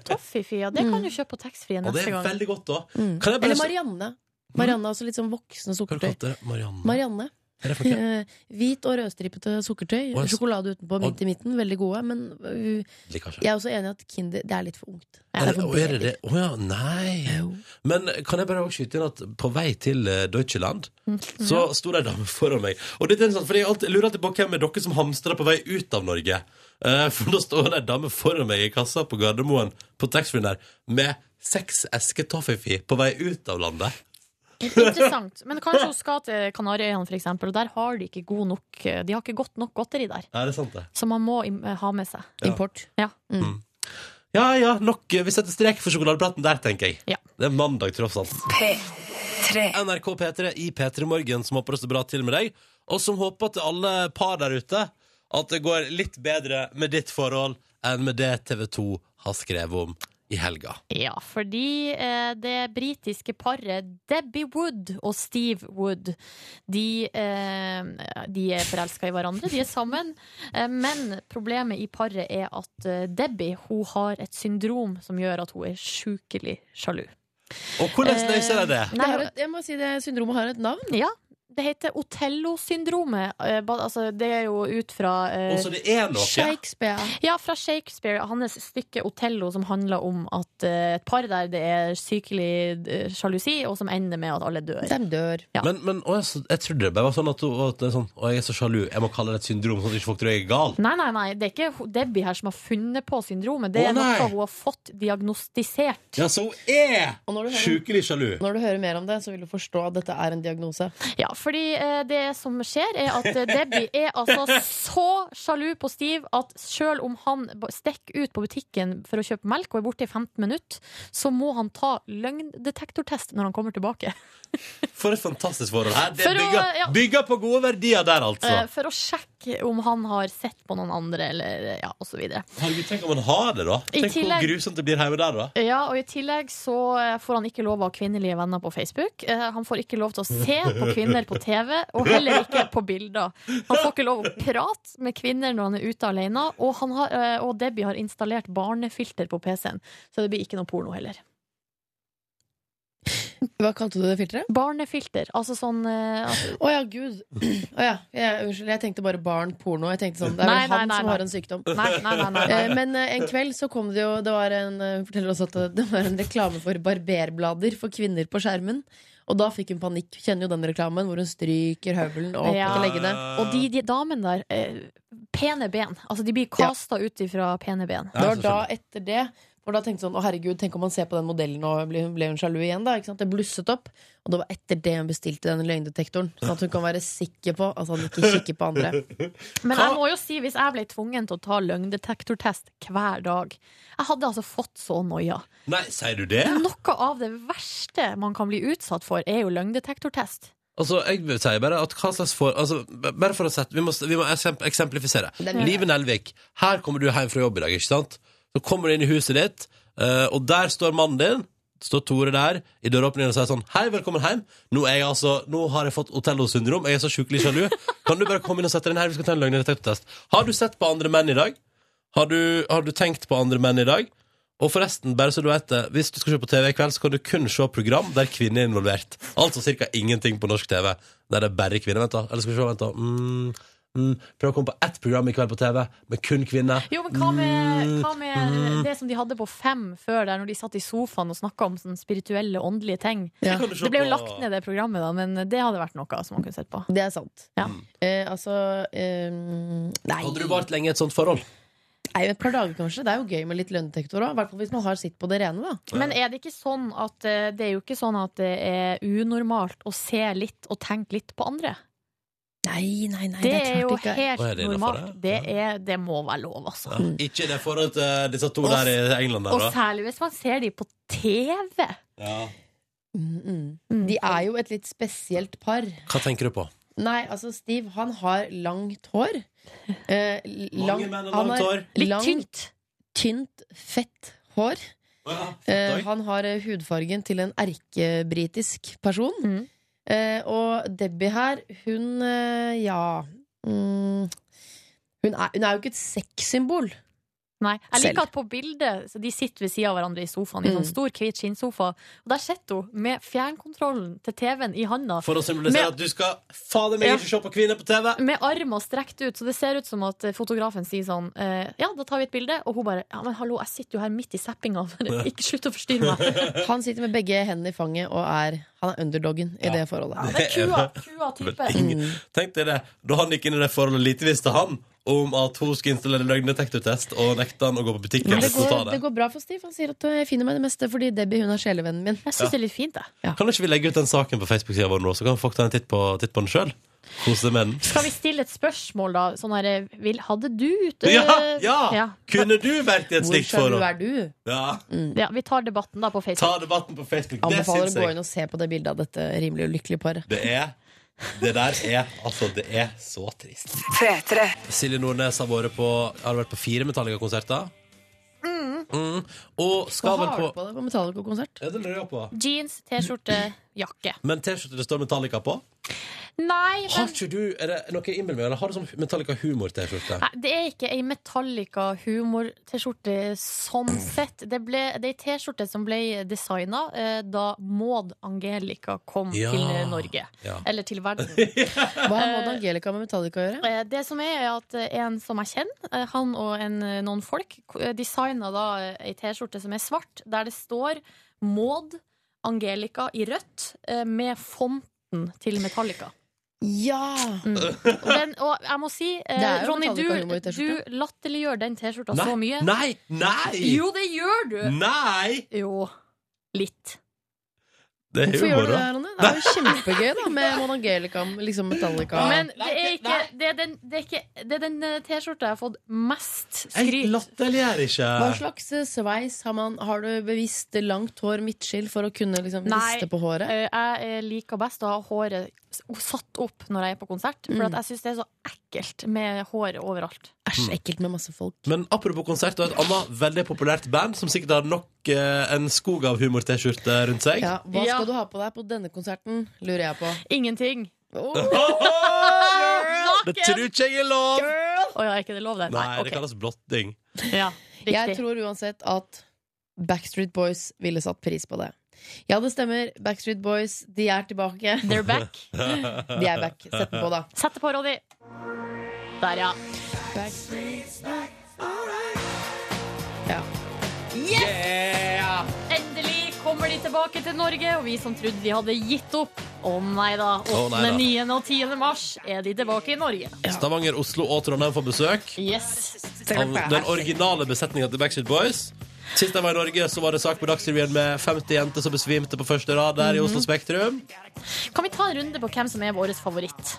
I: Toffifee, ja. Det kan du kjøpe på taxfree
B: Og det
I: neste
B: er
I: gang.
B: veldig godt, da. Kan jeg bare
H: Eller Marianne. Marianne er også litt sånn voksne
B: Hva kalte
H: sukkertøy.
B: du det? Marianne?
H: Marianne.
B: Er det for noe?
H: Eh, Hvit og rødstripete sukkertøy.
B: Å, jeg s-
H: Sjokolade utenpå,
B: Å.
H: midt i midten. Veldig gode. Men
C: øh,
H: uh,
B: Liker ikke.
H: jeg er også enig i at Kinder det er litt for ungt.
B: Er det, å, er det
H: babyer.
B: det? Å ja, nei. Men kan jeg bare også skyte inn at på vei til eh, Deutschland så sto det ei dame foran meg. Og det er interessant, for jeg alltid, lurer alltid på hvem er dere som hamstrer på vei ut av Norge. Eh, for da står det ei dame foran meg i kassa på Gardermoen på taxfree-en der med seks esker toffifee på vei ut av landet.
I: Interessant. Men kanskje hun skal til Kanariøyene, for eksempel, og der har de ikke god nok eh, De har ikke godt nok godteri der.
B: Er det sant, det?
I: Som man må im- ha med seg.
H: Import.
I: Ja.
B: Ja ja, nok. eh, Vi setter strek for sjokoladeplaten der, tenker jeg.
I: Ja.
B: Det er mandag, tross alt. NRK P3 i P3 Morgen, som håper det står bra til med deg, og som håper til alle par der ute at det går litt bedre med ditt forhold enn med det TV 2 har skrevet om i helga.
I: Ja, fordi eh, det britiske paret Debbie Wood og Steve Wood De, eh, de er forelska i hverandre, de er sammen. Eh, men problemet i paret er at eh, Debbie hun har et syndrom som gjør at hun er sjukelig sjalu.
B: Og
I: Eh,
B: hvordan løser de det?
H: Det
I: Nei,
H: har et, jeg må si det syndromet har et navn.
I: ja, det heter Otello-syndromet. Eh, ba- altså, det er jo ut fra eh,
B: Og så det er noe.
H: Shakespeare.
I: Ja, fra Shakespeare, hans stykke 'Otello', som handler om at eh, et par der det er sykelig eh, sjalusi, og som ender med at alle dør.
H: De dør.
I: Ja.
B: Men, men å, jeg, så- jeg trodde det bare var sånn at, hun- at det er sånn, å, jeg er så sjalu. Jeg må kalle det et syndrom, sånn at ikke folk tror jeg er gal.
I: Nei, nei, nei, det er ikke ho- Debbie her som har funnet på syndromet. Det
B: Å,
I: er
B: nei.
I: noe hun har fått diagnostisert.
B: Ja, så hun er
H: Og når du hører,
B: sjukelig sjalu.
H: når du hører mer om det, så vil du forstå at dette er en diagnose.
I: Ja, fordi eh, det som skjer, er at eh, Debbie er altså så sjalu på Steve at sjøl om han ba- stikker ut på butikken for å kjøpe melk og er borte i 15 minutter, så må han ta løgndetektortest når han kommer tilbake.
B: For et fantastisk forhold her. Det
I: For å-
B: bygger,
I: ja.
B: bygger på gode verdier der,
I: Eh,
B: altså.
I: For å sjekke om han har sett på noen andre, eller ja, osv.
B: Herregud, tenk om man har det, da.
I: I
B: Tenk hvor
I: tillegg-
B: grusomt det blir hjemme der, da.
I: Ja, og i tillegg så eh, får han ikke lov av kvinnelige venner på Facebook. Eh, Han får ikke lov til å se på kvinner på TV, og heller ikke på bilder. Han får ikke lov å prate med kvinner når han er ute alene, og, han har, eh, og Debbie har installert barnefilter på PC-en, så det blir ikke noe porno heller.
H: Hva kalte du det filteret?
I: Barnefilter, altså sånn eh, altså,
H: Å ja, gud. Å ja. Jeg, unnskyld, jeg tenkte bare barn porno. Jeg tenkte sånn, Det er
I: Nei,
H: vel
I: nei,
H: han
I: nei,
H: som
I: nei.
H: har en sykdom.
I: Nei, nei, nei. nei,
H: Eh,
I: nei.
H: Men eh, en kveld så kom det jo Det var en, eh, hun forteller oss at det var en reklame for barberblader for kvinner på skjermen. Og da fikk hun panikk. Kjenner jo den reklamen hvor hun stryker høvelen og
I: Ja.
H: ikke legger det.
I: Eh, Og de, de damene der, eh, pene ben. Altså, de blir kasta ut ifra pene ben.
B: Ja,
H: Det var
B: så
H: da etter det hvor da tenkte jeg sånn, å herregud, Tenk om han ser på den modellen og ble, ble hun sjalu igjen? da, ikke sant? Det blusset opp. Og det var etter det hun bestilte den løgndetektoren. Sånn at hun kan være sikker på altså at han ikke kikker på andre.
I: Men
B: Hva-
I: jeg må jo si, hvis jeg ble tvungen til å ta løgndetektortest hver dag Jeg hadde altså fått så noia.
B: Nei, sier du det?
I: Noe av det verste man kan bli utsatt for, er jo løgndetektortest.
B: Altså, jeg vil si bare at hva slags for... Altså, b- bare for å sette... Vi må, vi må eksem- eksemplifisere. Live Nelvik, her kommer du hjem fra jobb i dag, ikke sant? Så kommer du inn i huset ditt, eh, og der står mannen din, står Tore der, i døråpningen og sier sånn, hei, velkommen hjem. Nå, er jeg, altså, nå har jeg fått Otello-syndrom, jeg er så sjukelig sjalu. Kan du bare komme inn og sette deg inn her, vi skal ta en løgndetektortest. Har du sett på andre menn i dag? Har du, har du tenkt på andre menn i dag? Og forresten, bare så du vet det, hvis du skal se på TV i kveld, så kan du kun se program der kvinner er involvert. Altså cirka ingenting på norsk TV der det er bare kvinner. Vent, da. Eller skal vi se, vent, da. Mm, Mm, prøv å komme på ett program i kveld på TV med kun kvinner.
I: Jo, men hva med,
B: Mm,
I: hva med
B: mm.
I: det som de hadde på fem før, der når de satt i sofaen og snakka om sånne spirituelle, åndelige ting?
C: Ja.
B: kan du se
I: Det ble jo
B: på.
I: lagt ned, det programmet, da, men det hadde vært noe som man kunne sett på.
C: Det er sant.
I: Ja.
C: Eh, altså eh,
B: Mm.
C: Nei.
B: Hadde du vart lenge i et sånt forhold?
C: Nei, et par dager kanskje. Det er jo gøy med litt lønndetektor òg. I hvert fall hvis man har sitt på det rene, da.
I: Men er det ikke sånn at eh, det er jo ikke sånn at det er unormalt å se litt og tenke litt på andre?
C: Nei, nei, nei.
I: Det er jo
C: klart ikke.
I: helt
B: Å, er det innenfor
I: normalt. Det,
B: det?
I: er, det må være lov, altså.
B: Ja. Ikke i det forholdet til disse to
I: Og s-
B: der i England
I: Og
B: der, da.
I: særlig hvis man ser de på TV.
B: Ja.
C: Mm, mm. De er jo et litt spesielt par.
B: Hva tenker du på?
C: Nei, altså Steve, han har langt hår. Eh, lang-
B: Mange menn har
C: han
B: langt
C: har
B: hår.
I: Litt
C: langt,
I: tynt.
C: tynt, fett hår. Eh, han har eh, hudfargen til en erkebritisk person.
I: Mm.
C: Eh, og Debbie her, hun eh, ja mm, hun, er, hun er jo ikke et sexsymbol.
I: Nei. Jeg liker
C: Selv.
I: at på bildet så de sitter ved siden av hverandre i sofaen, i
C: Mm.
I: sånn stor, hvit skinnsofa. Og der sitter hun med fjernkontrollen til TV-en i handa.
B: For å symbolisere
I: Men-
B: at du skal fader meg
I: Ja.
B: ikke se på kvinner på TV!
I: Med armen strekt ut, så det ser ut som at eh, fotografen sier sånn eh, Ja, da tar vi et bilde. Og hun bare Ja, men hallo, jeg sitter jo her midt i seppinga. Ikke slutt å forstyrre meg.
C: Han sitter med begge hendene i fanget og er, han er underdogen i det forholdet.
I: Det er kua, kua type.
B: Ingen- Tenk deg det, da han gikk inn i det forholdet, lite visste han om at hun skulle installere løgndetektortest, og nekta han å gå på butikken.
C: Men det
B: hvis hun
C: går,
B: sa
C: det
B: det.
C: går bra for Steve. Han sier at eh, jeg finner meg det meste fordi Debbie hun er sjelevennen min.
I: Jeg syns det er litt fint, jeg.
B: Kan ikke vi legge ut den saken på Facebook-sida vår nå, så kan folk ta en titt på, titt på den sjøl? Kose seg med den.
I: Skal vi stille et spørsmål, da? Sånn her eh, vil, Hadde du ut eh,
B: Ja, ja!
I: ja.
B: Kunne du vært i et
C: Hvor
B: slikt
C: sjalu
B: forhold?
C: er du?
B: Ja.
I: Ja, Vi tar debatten da på
B: Ta
I: Facebook.
B: debatten på Facebook. Det
C: Anbefaler
B: syns
C: å gå
B: jeg.
C: inn og se på det bildet av dette rimelig ulykkelige paret.
B: Det er Det der er Altså, det er så trist. Silje Nordnes har vært på Har vært på fire Metallica-konserter. Mm. Og
C: Hva
B: skal vel
C: har du
B: på
C: på deg på Metallica-konsert?
B: Ja, det lurer jeg på.
I: Jeans, T-skjorte, jakke.
B: Men T-skjorte det står Metallica på?
I: Nei,
B: Har
I: men
B: ikke du Er det noe jeg innbiller meg, eller har du sånn Metallica-humor-T-skjorte?
I: Nei, det er ikke ei Metallica-humor-T-skjorte sånn sett. Det, ble, det er ei T-skjorte som ble designa eh, da Maud Angelica kom
B: Ja.
I: til eh, Norge.
B: Ja.
I: Eller til verden.
C: Hva har Maud Angelica med Metallica å gjøre?
I: Eh, det som er, er at eh, en som jeg kjenner, eh, han og en, eh, noen folk, designa da eh, ei T-skjorte som er svart, der det står Maud Angelica i rødt eh, med fonten til Metallica.
C: Ja!
I: Mm. Og, den, og jeg må si,
C: Det
I: eh,
C: er jo
I: Ronny, du,
C: Metallica-humor i T-skjorta.
I: du latterliggjør den T-skjorta
B: Nei,
I: så mye.
B: nei! Nei!
I: Jo, det gjør du!
B: Nei!
I: Jo, litt.
B: Det er
C: Hvorfor gjør
B: humor,
C: du det,
B: da.
C: Ronny? Det er jo kjempegøy da med Maud Angelica liksom Metallica.
I: Men det er, ikke, det, er den, det, er ikke, det er den eh, T-skjorta jeg har fått mest
B: Jeg
I: skryt
B: latterliggjør ikke.
C: Hva slags eh, sveis har man? Har du bevisst langt hår midtskill for å kunne liksom
I: Nei.
C: riste på håret?
I: Eh, Jeg eh, liker best å ha håret s- satt opp når jeg er på konsert, for
C: Mm.
I: at jeg syns det er så ekkelt med håret overalt.
C: Æsj, ekkelt med masse folk.
B: Men apropos konsert, og et annet veldig populært band som sikkert har nok eh, en skog av humor-T-skjorte rundt seg.
C: Ja, hva
I: Ja.
C: skal du ha på deg på denne konserten, lurer jeg på.
I: Ingenting.
C: Åh,
B: Det tror ikke jeg er lov!
I: Å ja, er ikke det lov, det?
B: Nei, det
I: ok.
B: kalles blotting.
I: ja,
C: jeg
I: riktig.
C: tror uansett at Backstreet Boys ville satt pris på det. Ja, det stemmer. Backstreet Boys, de er tilbake.
I: They're back.
C: De er back. Sett den på, da.
I: Sett det på, Ronny. Der, ja.
C: Ja.
I: Endelig kommer de tilbake til Norge, og vi som trodde de hadde gitt opp. Å nei da. 8.,
B: Å nei da.
I: 9. og 10. mars er de tilbake i Norge.
B: Stavanger, Oslo og Trondheim får besøk
I: Yes.
B: av den originale besetninga til Backstreet Boys. Sist jeg var i Norge, så var det sak på Dagsrevyen med 50 jenter som besvimte på første rad der i Oslo Spektrum.
I: Kan vi ta en runde på hvem som er vår favoritt?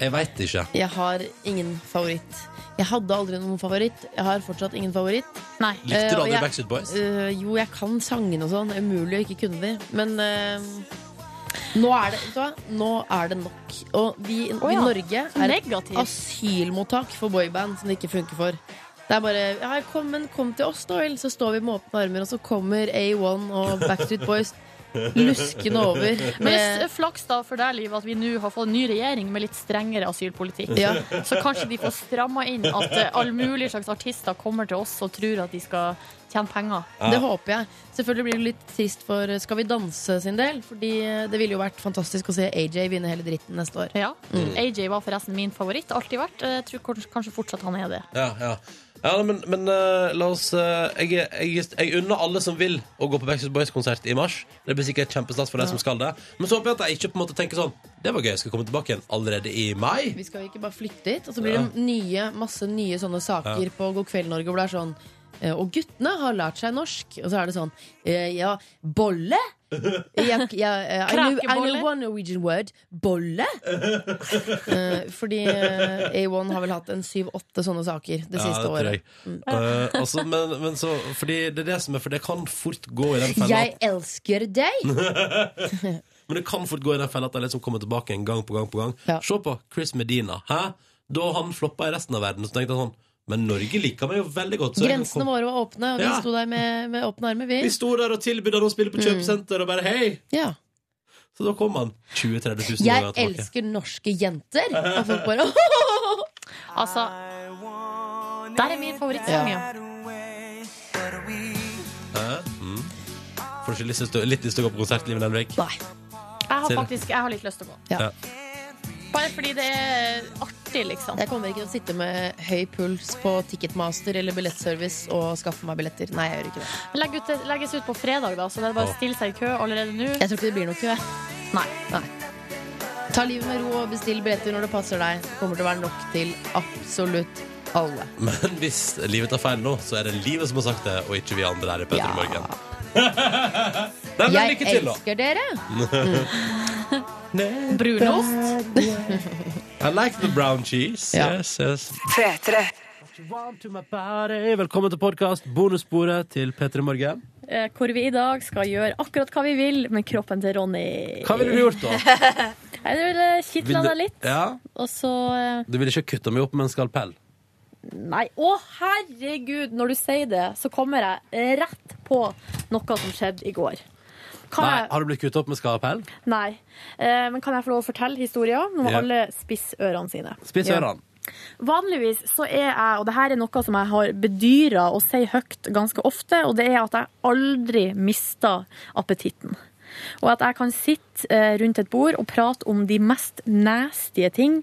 B: Jeg veit ikke.
C: Jeg har ingen favoritt. Jeg hadde aldri noen favoritt. Jeg har fortsatt ingen favoritt.
I: Nei.
B: Likte
C: Eh,
B: du
C: og
B: aldri
C: jeg-
B: Backstreet Boys?
C: Øh, jo, jeg kan sangene og sånn. Det er Umulig å ikke kunne de. Men øh, nå, er det, vet du hva? nå er det nok. Og vi, vi
I: ja.
C: Norge
I: Så
C: er et
I: negativ.
M: Altså,
C: asylmottak for boyband som det ikke funker for. Det er bare ja, kom, men kom til oss, da vel. Så står vi med åpne armer, og så kommer A1 og Backstreet Boys.
H: luskende over
M: Men
H: med
M: s- flaks da for deg, Liv, at vi nå har fått en ny regjering med litt strengere asylpolitikk.
H: Ja.
M: Så kanskje de får stramma inn at eh, all mulig slags artister kommer til oss og tror at de skal tjene penger.
H: Det håper jeg. Selvfølgelig blir det litt trist
C: eh,
H: for Skal vi danse sin del, fordi det ville jo vært fantastisk å se AJ vinne hele dritten neste år.
M: Ja. AJ var forresten min favoritt. Alltid vært. Eh, Jeg tror kanskje- kanskje fortsatt han er det.
B: Ja, ja. ja nei, men, men eh, la oss eh, Jeg, jeg, jeg unner alle som vil å gå på Backstreet Boys-konsert i mars. Det blir sikkert kjempestas for de som skal det. Men så håper jeg at de ikke på en måte tenker sånn Det var gøy, jeg skal komme tilbake igjen allerede i mai.
H: Vi skal jo ikke bare flytte dit. Og så blir det nye, masse nye sånne saker
B: Ja.
H: på God kveld Norge hvor det er sånn eh, Og guttene har lært seg norsk. Og så er det sånn eh, Ja, bolle? Jeg, jeg, eh, I, know, I
M: Krakebolle?
H: know one Norwegian word. Bolle? Eh, fordi eh, A1 har vel hatt en syv-åtte sånne saker det siste
B: tror jeg.
H: året.
B: Eh, altså, men, men så Fordi det er det som er For det kan fort gå i den fella
H: Jeg elsker deg!
B: Men det kan fort gå i den fella at de liksom kommer tilbake en gang på gang på gang.
H: Ja.
B: Se på Chris Medina. Hæ? Da han floppa i resten av verden, så tenkte han sånn Men Norge liker meg jo veldig godt. Så jeg kan
H: Grensene
B: komme-
H: våre var åpne, og vi
B: Ja.
H: sto der med, med åpne armer.
B: Vi
H: Vi.
B: sto der og tilbød han å spille på kjøpesenter, og bare hei!
H: Mm. Ja.
B: Så da kom han 20 000-30 000
H: Jeg
B: ganger tilbake.
H: elsker norske jenter! Og folk bare
M: Altså Der er min favorittsang, ja.
B: Hæ? Mm. Får du ikke lyst til å- litt lyst til å gå på konsert, Liv Nelvik?
H: Nei.
M: Jeg har
B: Ser du?
M: faktisk jeg har litt lyst til å gå.
H: Ja.
B: Ja.
M: Bare fordi det er artig, liksom.
H: Jeg kommer ikke til å sitte med høy puls på Ticketmaster eller billettservice og skaffe meg billetter. Nei, jeg gjør ikke det.
M: Legg ut, legges ut på fredag, da, så det er bare å stille seg i kø allerede nå.
H: Jeg tror ikke det blir noe kø.
M: Nei.
H: Nei. Ta livet med ro og bestill billetter når det passer deg. Det kommer til å være nok til absolutt alle.
B: Men hvis livet tar feil nå, så er det livet som har sagt det, og ikke vi andre her i Petter
H: Ja.
B: Morgen. Nei, men
H: Jeg
B: lykke til, da. Mm.
H: elsker dere!
M: Brunost.
B: I like the brown cheese.
H: Ja.
B: Yes, yes. Want to my body. Velkommen til podkast bonussporet til P3 Morgen.
I: Eh, Hvor vi i dag skal gjøre akkurat hva vi vil med kroppen til Ronny.
B: Hva ville du gjort, da?
I: Jeg ville kitla deg litt,
B: ja,
I: og så eh,
B: du ville ikke kutta meg opp med en skalpell?
I: Nei, å herregud, når du sier det, så kommer jeg rett på noe som skjedde i går. Kan
B: Nei,
I: jeg,
B: Har du blitt kutta opp med skalpell?
I: nei. Eh, men kan jeg få lov å fortelle historien? Nå må
B: Ja.
I: alle spisse ørene sine.
B: Spiss
I: Ja.
B: ørene.
I: Vanligvis så er jeg, og det her er noe som jeg har bedyra og sier høyt ganske ofte, og det er at jeg aldri mister appetitten. Og at jeg kan sitte eh, rundt et bord og prate om de mest nasty ting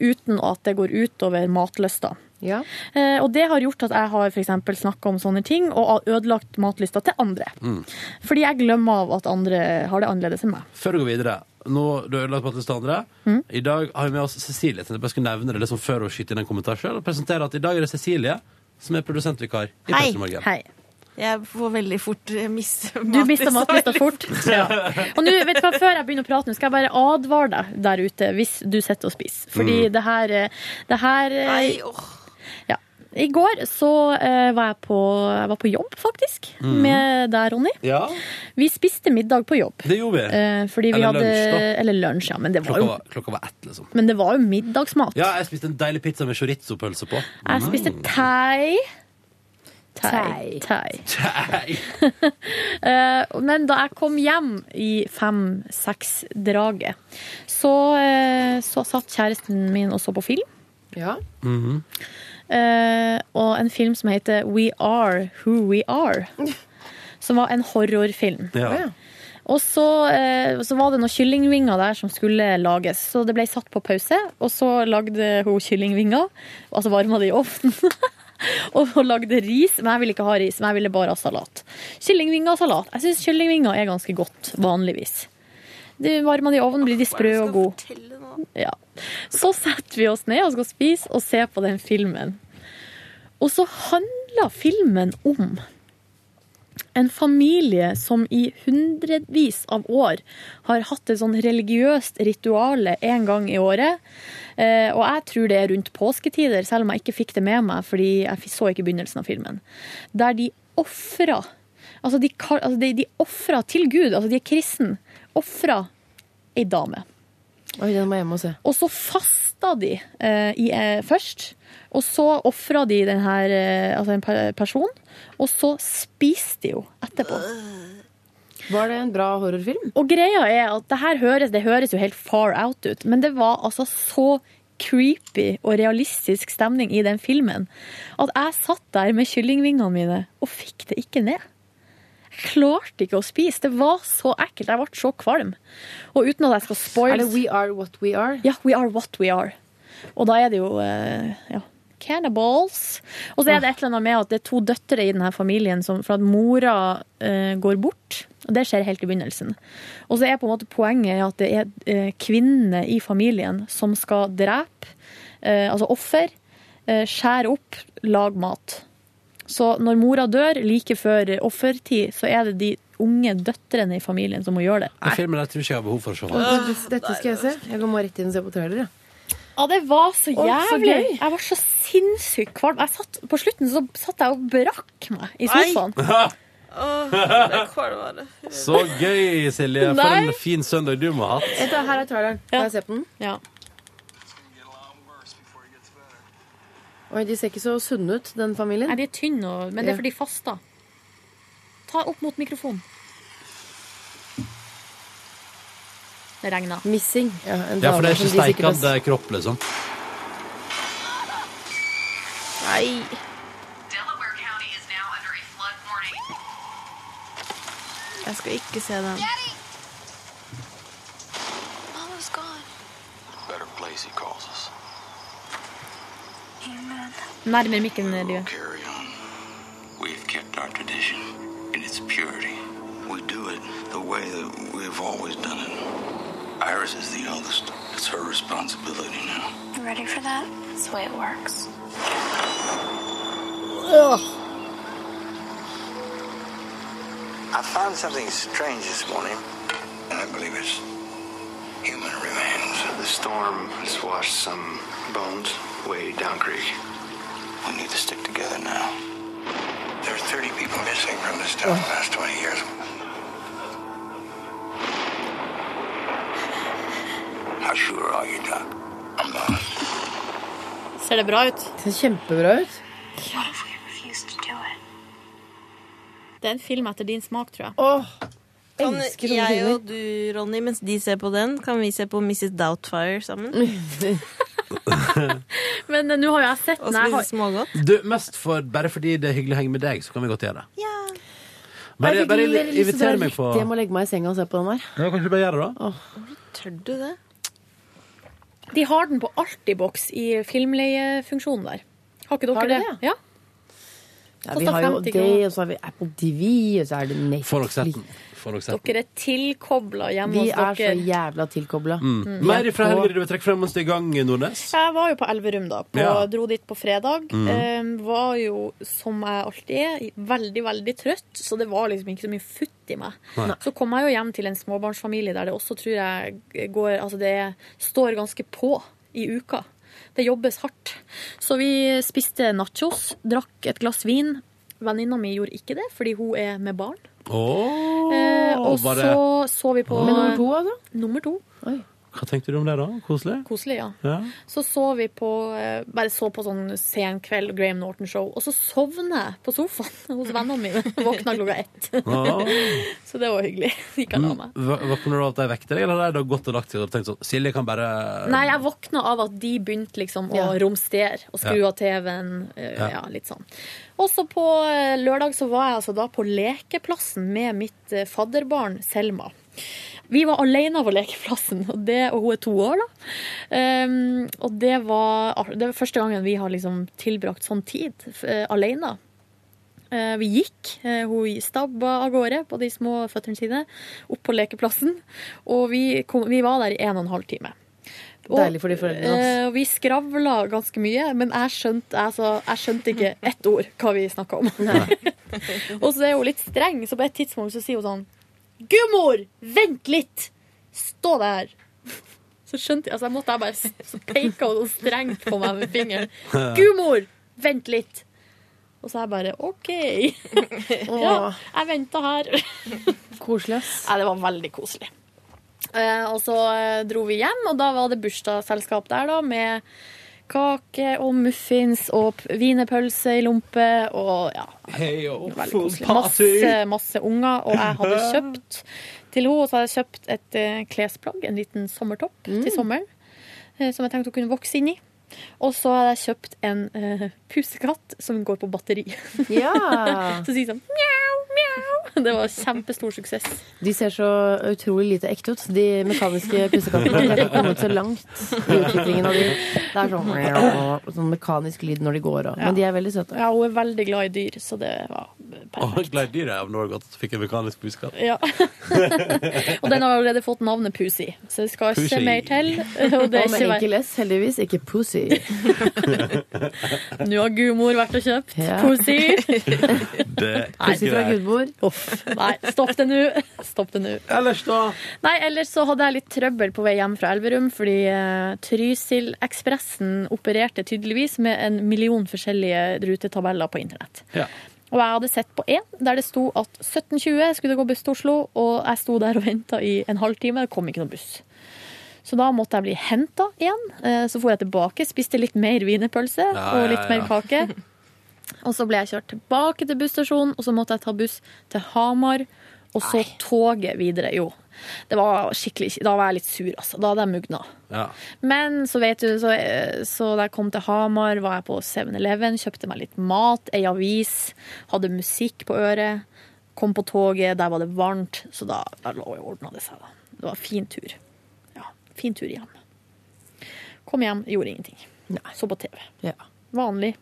I: uten at det går utover matlysta.
H: Ja.
I: Eh, og det har gjort at jeg har for eksempel snakka om sånne ting og ødelagt matlysta til andre. Fordi jeg glemmer av at andre har det annerledes enn meg.
B: Før du går videre, nå du har ødelagt matlisten til andre.
I: Mm.
B: I dag har vi med oss Cecilie. Jeg tenkte bare jeg skulle nevne det liksom før hun skyter inn en kommentar selv, og presentere at i dag er det Cecilie som er produsentvikar i
N: Hei.
B: P3 Morgen.
I: Hei.
N: Jeg får veldig fort eh, miste
I: Du mister matlista
N: veldig
I: fort. Ja. Og nå, vet du hva, Før jeg begynner å prate, nå skal jeg bare advare deg der ute hvis du sitter og spiser. Fordi
B: Mm.
I: det her, eh, det her eh,
N: Nei, åh.
I: I går så eh, var jeg på, jeg var på jobb, faktisk,
B: Mm.
I: med deg, Ronny.
B: Ja,
I: Vi spiste middag på jobb.
B: det gjorde vi.
I: eh, Fordi vi
B: Eller
I: hadde,
B: lunsj, da.
I: Eller lunsj, ja. Men det var
B: Klokka
I: jo,
B: var, klokka var ett, liksom.
I: men det var jo middagsmat.
B: Ja, Mm. jeg spiste en deilig pizza med chorizo-pølse på.
I: Jeg spiste thai. Thai.
H: Thai.
I: thai.
B: Nei.
I: Eh, Men da jeg kom hjem i fem-seks-draget, så, eh, så satt kjæresten min og så på film.
H: Ja.
I: Eh, og en film som heter We Are Who We Are. Som var en horrorfilm.
B: Ja.
H: Å, ja.
I: Og så, eh, så var det noen kyllingvinger der som skulle lages. Så det ble satt på pause, og så lagde hun kyllingvinger. Altså varma det i ovnen. Og hun lagde ris, men jeg ville ikke ha ris, men jeg ville bare ha salat. Kyllingvinger og salat. Jeg syns kyllingvinger er ganske godt, vanligvis. Du varmer det i ovnen, blir de sprø og gode. Ja. Så setter vi oss ned og skal spise og se på den filmen. Og så handler filmen om en familie som i hundrevis av år har hatt et sånn religiøst rituale en gang i året. Eh, og jeg tror det er rundt påsketider, selv om jeg ikke fikk det med meg, fordi jeg f- så ikke begynnelsen av filmen. Der de ofra Altså, de, kal- altså de, de ofra til Gud, altså de er kristne. Ofra ei dame.
H: Oi, den må jeg hjem og se.
I: Og så fasta de eh, i, eh, først, og så ofra de den her, eh, altså en per- person, og så spiste de jo etterpå.
C: Var det en bra horrorfilm?
I: Og greia er at det her høres, det høres jo helt far out ut, men det var altså så creepy og realistisk stemning i den filmen at jeg satt der med kyllingvingene mine og fikk det ikke ned. Jeg klarte ikke å spise. Det var så ekkelt. Jeg ble så kvalm. Og uten at jeg skal spoile
C: Er det We Are What We Are?
I: Ja, We Are What We Are. Og da er det jo eh, ja, cannibals. Og så er det et eller annet med at det er to døtre i denne familien som, for at mora eh, går bort. Og det skjer helt i begynnelsen. Og så er på en måte poenget at det er eh, kvinnene i familien som skal drepe, eh, altså offer, eh, skjære opp, lage mat. Så når mora dør like før offertid, så er det de unge døtrene i familien som må gjøre det.
B: Den filmen der tror jeg ikke jeg har behov for å se.
C: Å, dette- dette skal jeg se. Jeg går bare rett inn og ser på trailer. jeg.
I: Ja, det var så
C: Å, så
I: jævlig.
C: gøy.
I: jeg var så sinnssykt kvalm. Jeg satt, på slutten så satt jeg og brakk meg i sofaen.
H: Åh, det er kvalmere.
B: Så gøy, Silje. For
C: Nei.
B: en fin søndag du må ha hatt.
C: Vent da, Her er traileren. Kan jeg se på den? Oi, De ser ikke så sunne ut, den familien.
I: Nei, De er tynne, men det er fordi de faster. Ta opp mot mikrofonen. Det regna.
C: Missing. Ja, en
B: Ja, for det
C: dame
B: er ikke
C: som de sikkert har
B: steikende kropp, liksom.
H: Nei. Jeg skal ikke se den.
O: Mama's gone. Better place he calls us.
I: Nærmere mikken, Live.
O: We've kept our tradition in its purity. We do it the way that we've always done it. Iris is the eldest. It's her responsibility now.
E: You ready for that? That's the way it works.
O: I found something strange this morning, and I believe it's human remains. The storm has washed some bones way down creek. We need to stick together now. There are 30 people missing from this town in the last 20 years. How sure are you, Doc? I'm not.
I: Ser det bra ut?
C: Det ser kjempebra ut.
E: What if we refuse to do it?
I: Det er en film etter din smak, tror jeg.
H: Kan
I: Elsker sånne
H: jeg
I: filmer.
H: og du, Ronny, mens de ser på den, kan vi se på Mrs. Doubtfire sammen?
I: Men eh, nå har jo jeg sett
H: Og
I: den. Jeg
H: spise
I: har-
H: smågodt.
B: Du, mest for, bare fordi det er hyggelig å henge med deg, så kan vi godt gjøre det.
C: Jeg
B: Bare,
C: fikk
B: bare
C: litt lyst til å dra
B: inviter meg på
C: riktig hjem og legge meg i senga og se på den der.
B: Ja, Kanskje vi bare gjør det, da?
H: Tør du det?
I: De har den på Altibox i filmleiefunksjonen der. Har ikke dere
C: Har de
I: det? Ja.
C: Ja, vi
I: Koster
C: har jo
I: 50
C: det,
I: kroner.
C: og så har vi Apple TV, og så er det
B: Får dere
C: Netflix.
B: sett den? Får dere sett den?
I: Dere er tilkobla hjemme
C: Vi er
I: hos
C: så
I: dere.
C: jævla tilkobla.
B: Mm. Mer ifra helga du vil trekke frem mens det er i gang, Nordnes?
I: Jeg var jo på Elverum, da. På,
B: Ja.
I: Dro dit på fredag.
B: Mhm.
I: Eh, var jo, som jeg alltid er, veldig, veldig trøtt, så det var liksom ikke så mye futt i meg.
E: Nei.
I: Så kom jeg jo hjem til en småbarnsfamilie der det også tror jeg går Altså det står ganske på i uka. Det jobbes hardt. Så vi spiste nachos, drakk et glass vin. Venninna mi gjorde ikke det, fordi hun er med barn.
B: Åh,
I: Eh, og
B: var det...
I: så så vi på
B: Med nummer to,
I: altså? Nummer to.
B: Hva tenkte du om det, da? Koselig?
I: Koselig, ja.
B: Ja.
I: Så så vi på eh, Bare så på sånn sen kveld Graham Norton-show, og så sovner jeg på sofaen hos vennene mine. Våkna klokka ett.
B: Ah.
I: så det var hyggelig. Gikk jeg og la meg.
B: Mm. Våkner du av at de vekter deg, eller har de da gått og lagt seg og tenkt sånn Silje kan bare
I: Nei, jeg våkna av at de begynte liksom å romstere og skru
B: Ja.
I: av TV-en. eh,
B: Ja.
I: Ja, litt sånn. Og så på eh, lørdag så var jeg altså da på lekeplassen med mitt eh, fadderbarn Selma. Vi var alene på lekeplassen, og, det, og hun er to år, da. Ehm, og det var, ah, det var første gangen vi har liksom tilbrakt sånn tid eh, alene. Eh, Vi gikk. eh, Hun stabba av gårde på de små føttene sine opp på lekeplassen. Og vi, kom, vi var der i en og en halv time.
C: Deilig for de foreldrene, ass.
I: eh, og vi skravla ganske mye, men jeg skjønte, altså, jeg skjønte ikke ett ord hva vi snakka om. og så er hun litt streng, så på et tidspunkt så sier hun sånn Gudmor, vent litt! Stå der! Så skjønte jeg, altså jeg måtte jeg bare s- Så peka hun sånn strengt på meg med fingeren. Gudmor, vent litt! Og så er jeg bare OK. ja, jeg venta her.
C: koselig, ass.
I: Nei, det var veldig koselig. Eh, og så eh, dro vi hjem, og da var det bursdagsselskap der, da, med pepperkake og muffins og p- wienerpølse i lompe og ja.
P: Hei, og
I: Veldig
P: full
I: koselig. Masse,
P: party!
I: masse unger, og jeg hadde kjøpt til henne og så hadde jeg kjøpt et eh, klesplagg, en liten sommertopp til sommeren, eh, som jeg tenkte hun kunne vokse inn i. Og så hadde jeg kjøpt en eh, pusekatt som går på batteri.
C: Ja.
I: så sier de sånn mjau, mjau. Det var kjempestor suksess.
C: De ser så utrolig lite ekte ut, de mekaniske pusekattene. De har ikke kommet så langt i utviklingen av de. Det er sånn, sånn mekanisk lyd når de går og Men de er veldig søte.
I: Ja, hun er veldig glad i dyr, så det var
B: Oh, Gleddyret av Norge at fikk en mekanisk buskatt.
I: Ja. og den har allerede fått navnet Pusi, så det skal ikke
B: Pusi.
I: mer til. Og
C: Og
I: det er
C: med
I: ikke
C: enkel
I: verre.
C: S, heldigvis. Ikke pussy.
I: Nå har gudmor vært og kjøpt
C: Ja.
I: Pusi.
B: Det
I: Pussy fra
C: gudmor.
I: Nei, stopp det nå. Stopp det nå.
P: Ellers, da?
I: Nei, ellers så hadde jeg litt trøbbel på vei hjem fra Elverum, fordi uh, Trysilekspressen opererte tydeligvis med en million forskjellige rutetabeller på internett.
P: Ja.
I: Og jeg hadde sett på én der det sto at 17.20 skulle det gå buss til Oslo, og jeg sto der og venta i en halvtime, det kom ikke noen buss. Så da måtte jeg bli henta igjen. Eh, Så for jeg tilbake, spiste litt mer wienerpølse
Q: Ja,
I: og
Q: ja,
I: litt mer
Q: ja.
I: kake. Og så ble jeg kjørt tilbake til busstasjonen, og så måtte jeg ta buss til Hamar, og så toget videre. Jo. Det var skikkelig Da var jeg litt sur, altså. Da hadde jeg mugna.
B: Ja.
I: Men så vet du, så, så da jeg kom til Hamar, var jeg på 7-Eleven, kjøpte meg litt mat, ei avis, hadde musikk på øret. Kom på toget, der var det varmt, så da, da lå jeg og ordna det seg. da. Det var fin tur. Ja, fin tur hjem. Kom hjem, gjorde ingenting. Så på TV. Vanlig.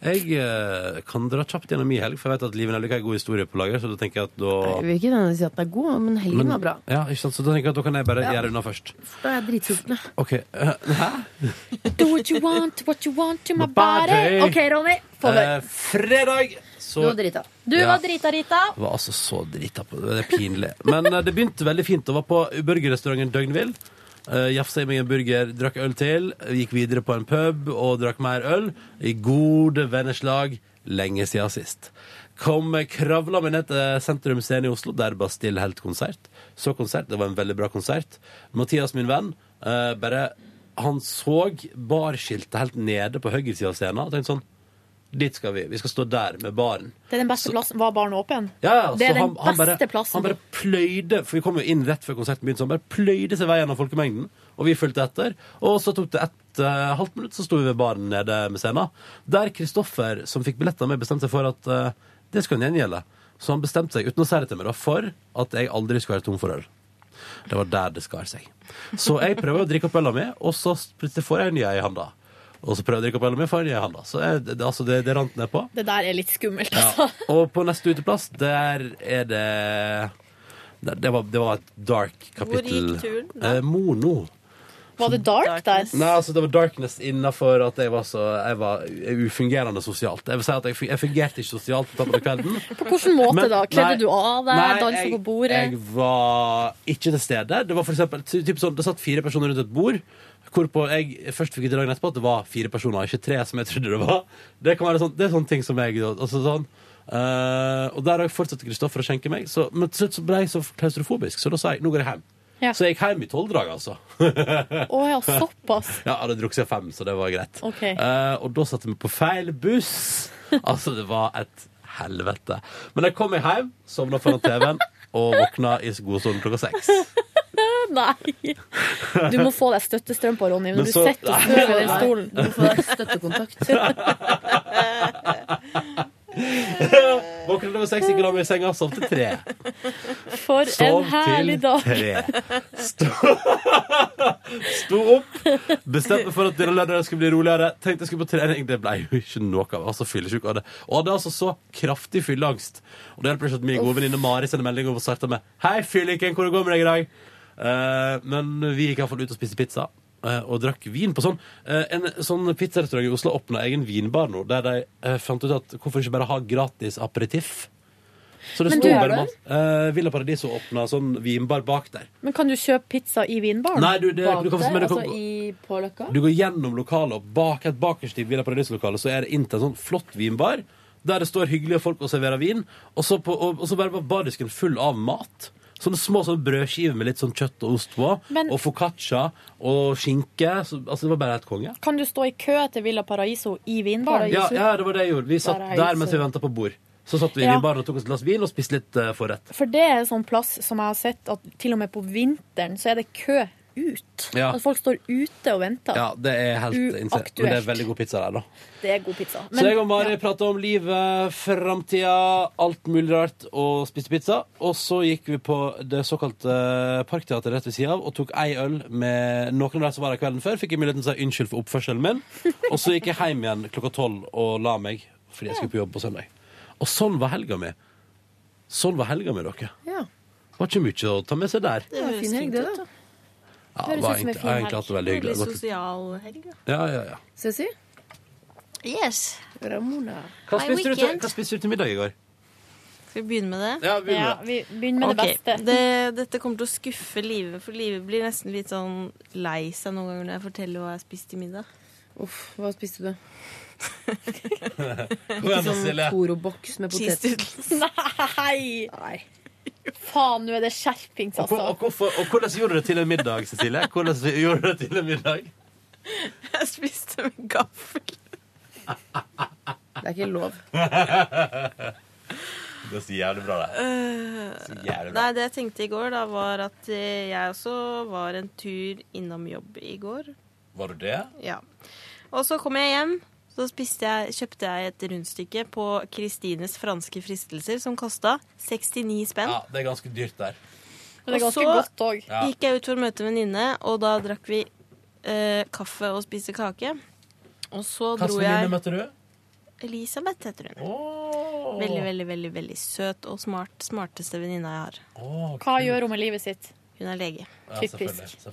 B: Jeg eh, kan dra kjapt gjennom min helg, for jeg vet at Liv Nelvik har en god historie på lager. Så da tenker jeg at da
C: Jeg vil ikke nødvendigvis si at den er god, men helgen
B: Men-
C: var bra.
B: Ja, ikke sant? Så da tenker jeg at da kan jeg bare gjøre unna først.
C: Da er jeg dritsulten, jeg.
B: Ok, eh, hæ?
I: Do what you want, what you want to my
B: body.
I: body. OK, Ronny. Få høre.
B: Eh, fredag så
I: Du
B: Eh, Ja.
I: var drita, Rita.
B: Jeg var altså så drita på det. Det er pinlig. Men eh, det begynte veldig fint. Jeg var på burgerrestauranten Døgnvill. Uh, Jafsa i meg en burger, drakk øl til. Gikk videre på en pub og drakk mer øl. I gode venners lag. Lenge siden sist. Kom eh, kravla meg ned til Sentrum Scene i Oslo, der Bastille holdt konsert. Så konsert. Det var en veldig bra konsert. Mathias, min venn, eh, bare Han så barskiltet helt nede på høyresida av scenen og tenkte sånn Dit skal vi. Vi skal stå der med baren.
I: Det er den beste plassen. Var baren åpen?
B: Ja, ja,
I: det
B: så
I: er den
B: han, han
I: beste
B: bare,
I: plassen.
B: Han bare pløyde, for vi kom jo inn rett før konserten begynte, så han bare pløyde seg vei gjennom folkemengden, og vi fulgte etter. Og så tok det et eh, halvt minutt, så sto vi ved baren nede med scenen, der Kristoffer, som fikk billetter med, bestemte seg for at eh, det skulle han gjengjelde. Så han bestemte seg, uten å si det til meg, da, for at jeg aldri skulle være tom for øl. Det var der det skar seg. Så jeg prøver å drikke opp øla mi, og så plutselig får jeg en ny ei i handa. Og så prøver jeg å drikke opp øla mi, får jeg en ny ei i handa. Så jeg, det, altså, det, det rant nedpå.
I: Det der er litt skummelt,
B: Ja.
I: altså.
B: Og på neste uteplass, der er det der- Det var, det var et dark kapittel.
I: gikk turen
B: Eh, mono.
I: Var det dark der?
B: Nei, altså det var darkness innafor at jeg var så Jeg var ufungerende sosialt. Jeg vil si at jeg, fu- jeg fungerte ikke sosialt på toppen av kvelden.
I: På hvilken måte
B: Men-
I: da? Kledde
B: nei,
I: du av deg?
B: nei,
I: Dansa
B: jeg-
I: på bordet?
B: Jeg var ikke til stede. Det var for eksempel ty- typ sånn, Det satt fire personer rundt et bord. Hvorpå jeg først fikk vite dagen etterpå at det var fire personer, ikke tre som jeg trodde det var. Det, kan være sånn, det er sånne ting som jeg altså sånn, eh, Og der har jeg fortsatt Kristoffer å skjenke meg. Så, men til slutt så ble jeg så klaustrofobisk, så da sa jeg nå går jeg hjem.
I: Ja.
B: Så jeg gikk hjem i tolv drag, altså.
I: Å ja, såpass.
B: Ja, jeg hadde drukket seg fem, så det var greit.
I: Ok.
B: Eh, og da satte vi på feil buss. Altså, det var et helvete. Men jeg kom meg hjem, sovna foran TV-en og våkna i godstolen klokka seks.
I: Nei. Du må få deg støttestrømper, Ronny.
B: Men
I: Når du
B: så-
I: sitter og snør i den stolen.
C: Du må få deg støttekontakt.
B: Våkna klokka seks, gikk og la meg i senga, sov til tre.
I: For
B: Sov
I: en herlig
B: til
I: dag.
B: tre. Sto opp, bestemte for at denne lørdagen skulle bli roligere. Tenkte jeg skulle på trening. Det ble jo ikke noe av. Altså, fyllesyk av det. Og hadde altså så kraftig fylleangst. Og det hjelper ikke at min gode venninne Mari sender melding og starter med 'Hei, fylliken, hvordan går det med deg i dag?' Eh, men vi gikk iallfall ut og spiste pizza. eh, Og drakk vin på sånn. Eh, En sånn pizzarestaurant i Oslo åpna egen vinbar nå, der de eh, fant ut at hvorfor ikke bare ha gratis aperitiff? Så det
I: Men
B: sto
I: du-
B: bare masse eh, Villa Paradiso åpna sånn vinbar bak der.
I: Men kan du kjøpe pizza i vinbaren?
B: Nei, du, det- Bak du kan- der, men du kan- altså
I: på Løkka?
B: Du går gjennom lokalet, og bak et bakerst i Villa Paradiso-lokalet så er det inntil en sånn flott vinbar, der det står hyggelige folk og serverer vin, og så, på, og, og så bare var bardisken full av mat. Sånne små sånne brødskiver med litt sånn kjøtt og ost på.
I: Men-
B: og foccaccia og skinke. Så, altså, det var bare helt konge.
I: Kan du stå i kø til Villa Paraiso i vinbaren?
B: Ja, ja, det var det jeg gjorde. Vi satt
I: Paraiso.
B: der mens vi venta på bord. Så satt vi i
I: Ja.
B: vinbaren og tok oss et glass vin og spiste litt eh, forrett.
I: For det er en sånn plass som jeg har sett at til og med på vinteren så er det kø ut.
B: Ja.
I: At folk står ute og venter.
B: Ja, det er helt insane.
I: Uaktuelt.
B: Men det er veldig god pizza der, da.
I: Det er god pizza.
B: så jeg og Mari prata om livet, framtida, alt mulig rart, og spiste pizza. Og så gikk vi på det såkalte Parkteatret rett ved sida av og tok ei øl med noen av de som var her kvelden før. Fikk jeg muligheten til å si unnskyld for oppførselen min. Og så gikk jeg hjem igjen klokka tolv og la meg fordi jeg skulle på jobb på søndag. Og sånn var helga mi. Sånn var helga mi, dere.
C: Ja.
B: Var ikke mye å ta med seg der.
C: Det var fin helg, det, da.
B: Ja, det var egentlig, jeg har egentlig hatt det veldig hyggelig. Det var-
H: sosial helg, da.
B: Ja, ja, ja.
C: Ceci?
H: Yes.
C: Ramona.
B: Hva spiste, du til, hva spiste du til middag i går?
H: Skal vi begynne med det?
B: Ja, begynn med Ja, det.
I: vi begynner med det beste.
H: Det, dette kommer til å skuffe livet, for livet blir nesten litt sånn lei seg noen ganger når jeg forteller hva jeg spiste i middag.
C: Uff, hva spiste du?
B: Kom
C: Ikke
B: igjen, da,
C: sånn
B: Silje.
C: Toro-boks med
H: Cheese
C: potet.
I: Nei! Faen, nå er det skjerpings,
B: Og, hvor-
I: altså.
B: og, hvorfor, og hvordan gjorde du det til en middag, Cecilie? Hvordan gjorde du det til en middag?
H: Jeg spiste med gaffel.
C: Det er ikke lov.
B: Det er så jævlig bra, det.
H: Øh,
B: Så jævlig bra.
H: nei, det jeg tenkte i går, da, var at eh, jeg også var en tur innom jobb i går.
B: Var du det?
H: Ja. Og så kom jeg hjem. Så spiste jeg, kjøpte jeg et rundstykke på Kristines franske fristelser som kosta 69 spenn.
B: Ja, det er ganske dyrt der.
I: Men det er ganske
H: og så
I: godt òg.
B: Ja.
H: gikk jeg ut for å møte en venninne, og da drakk vi eh, kaffe og spiste kake. Og så
B: Hvilken
H: dro
B: venninne
H: jeg
B: møtte du?
H: Elisabeth heter hun. Veldig, veldig, veldig veldig søt og smart. Smarteste venninna jeg har.
I: Hva gjør hun med livet sitt?
H: Hun er lege.
I: Ja, Typisk. selvfølgelig, Jeg har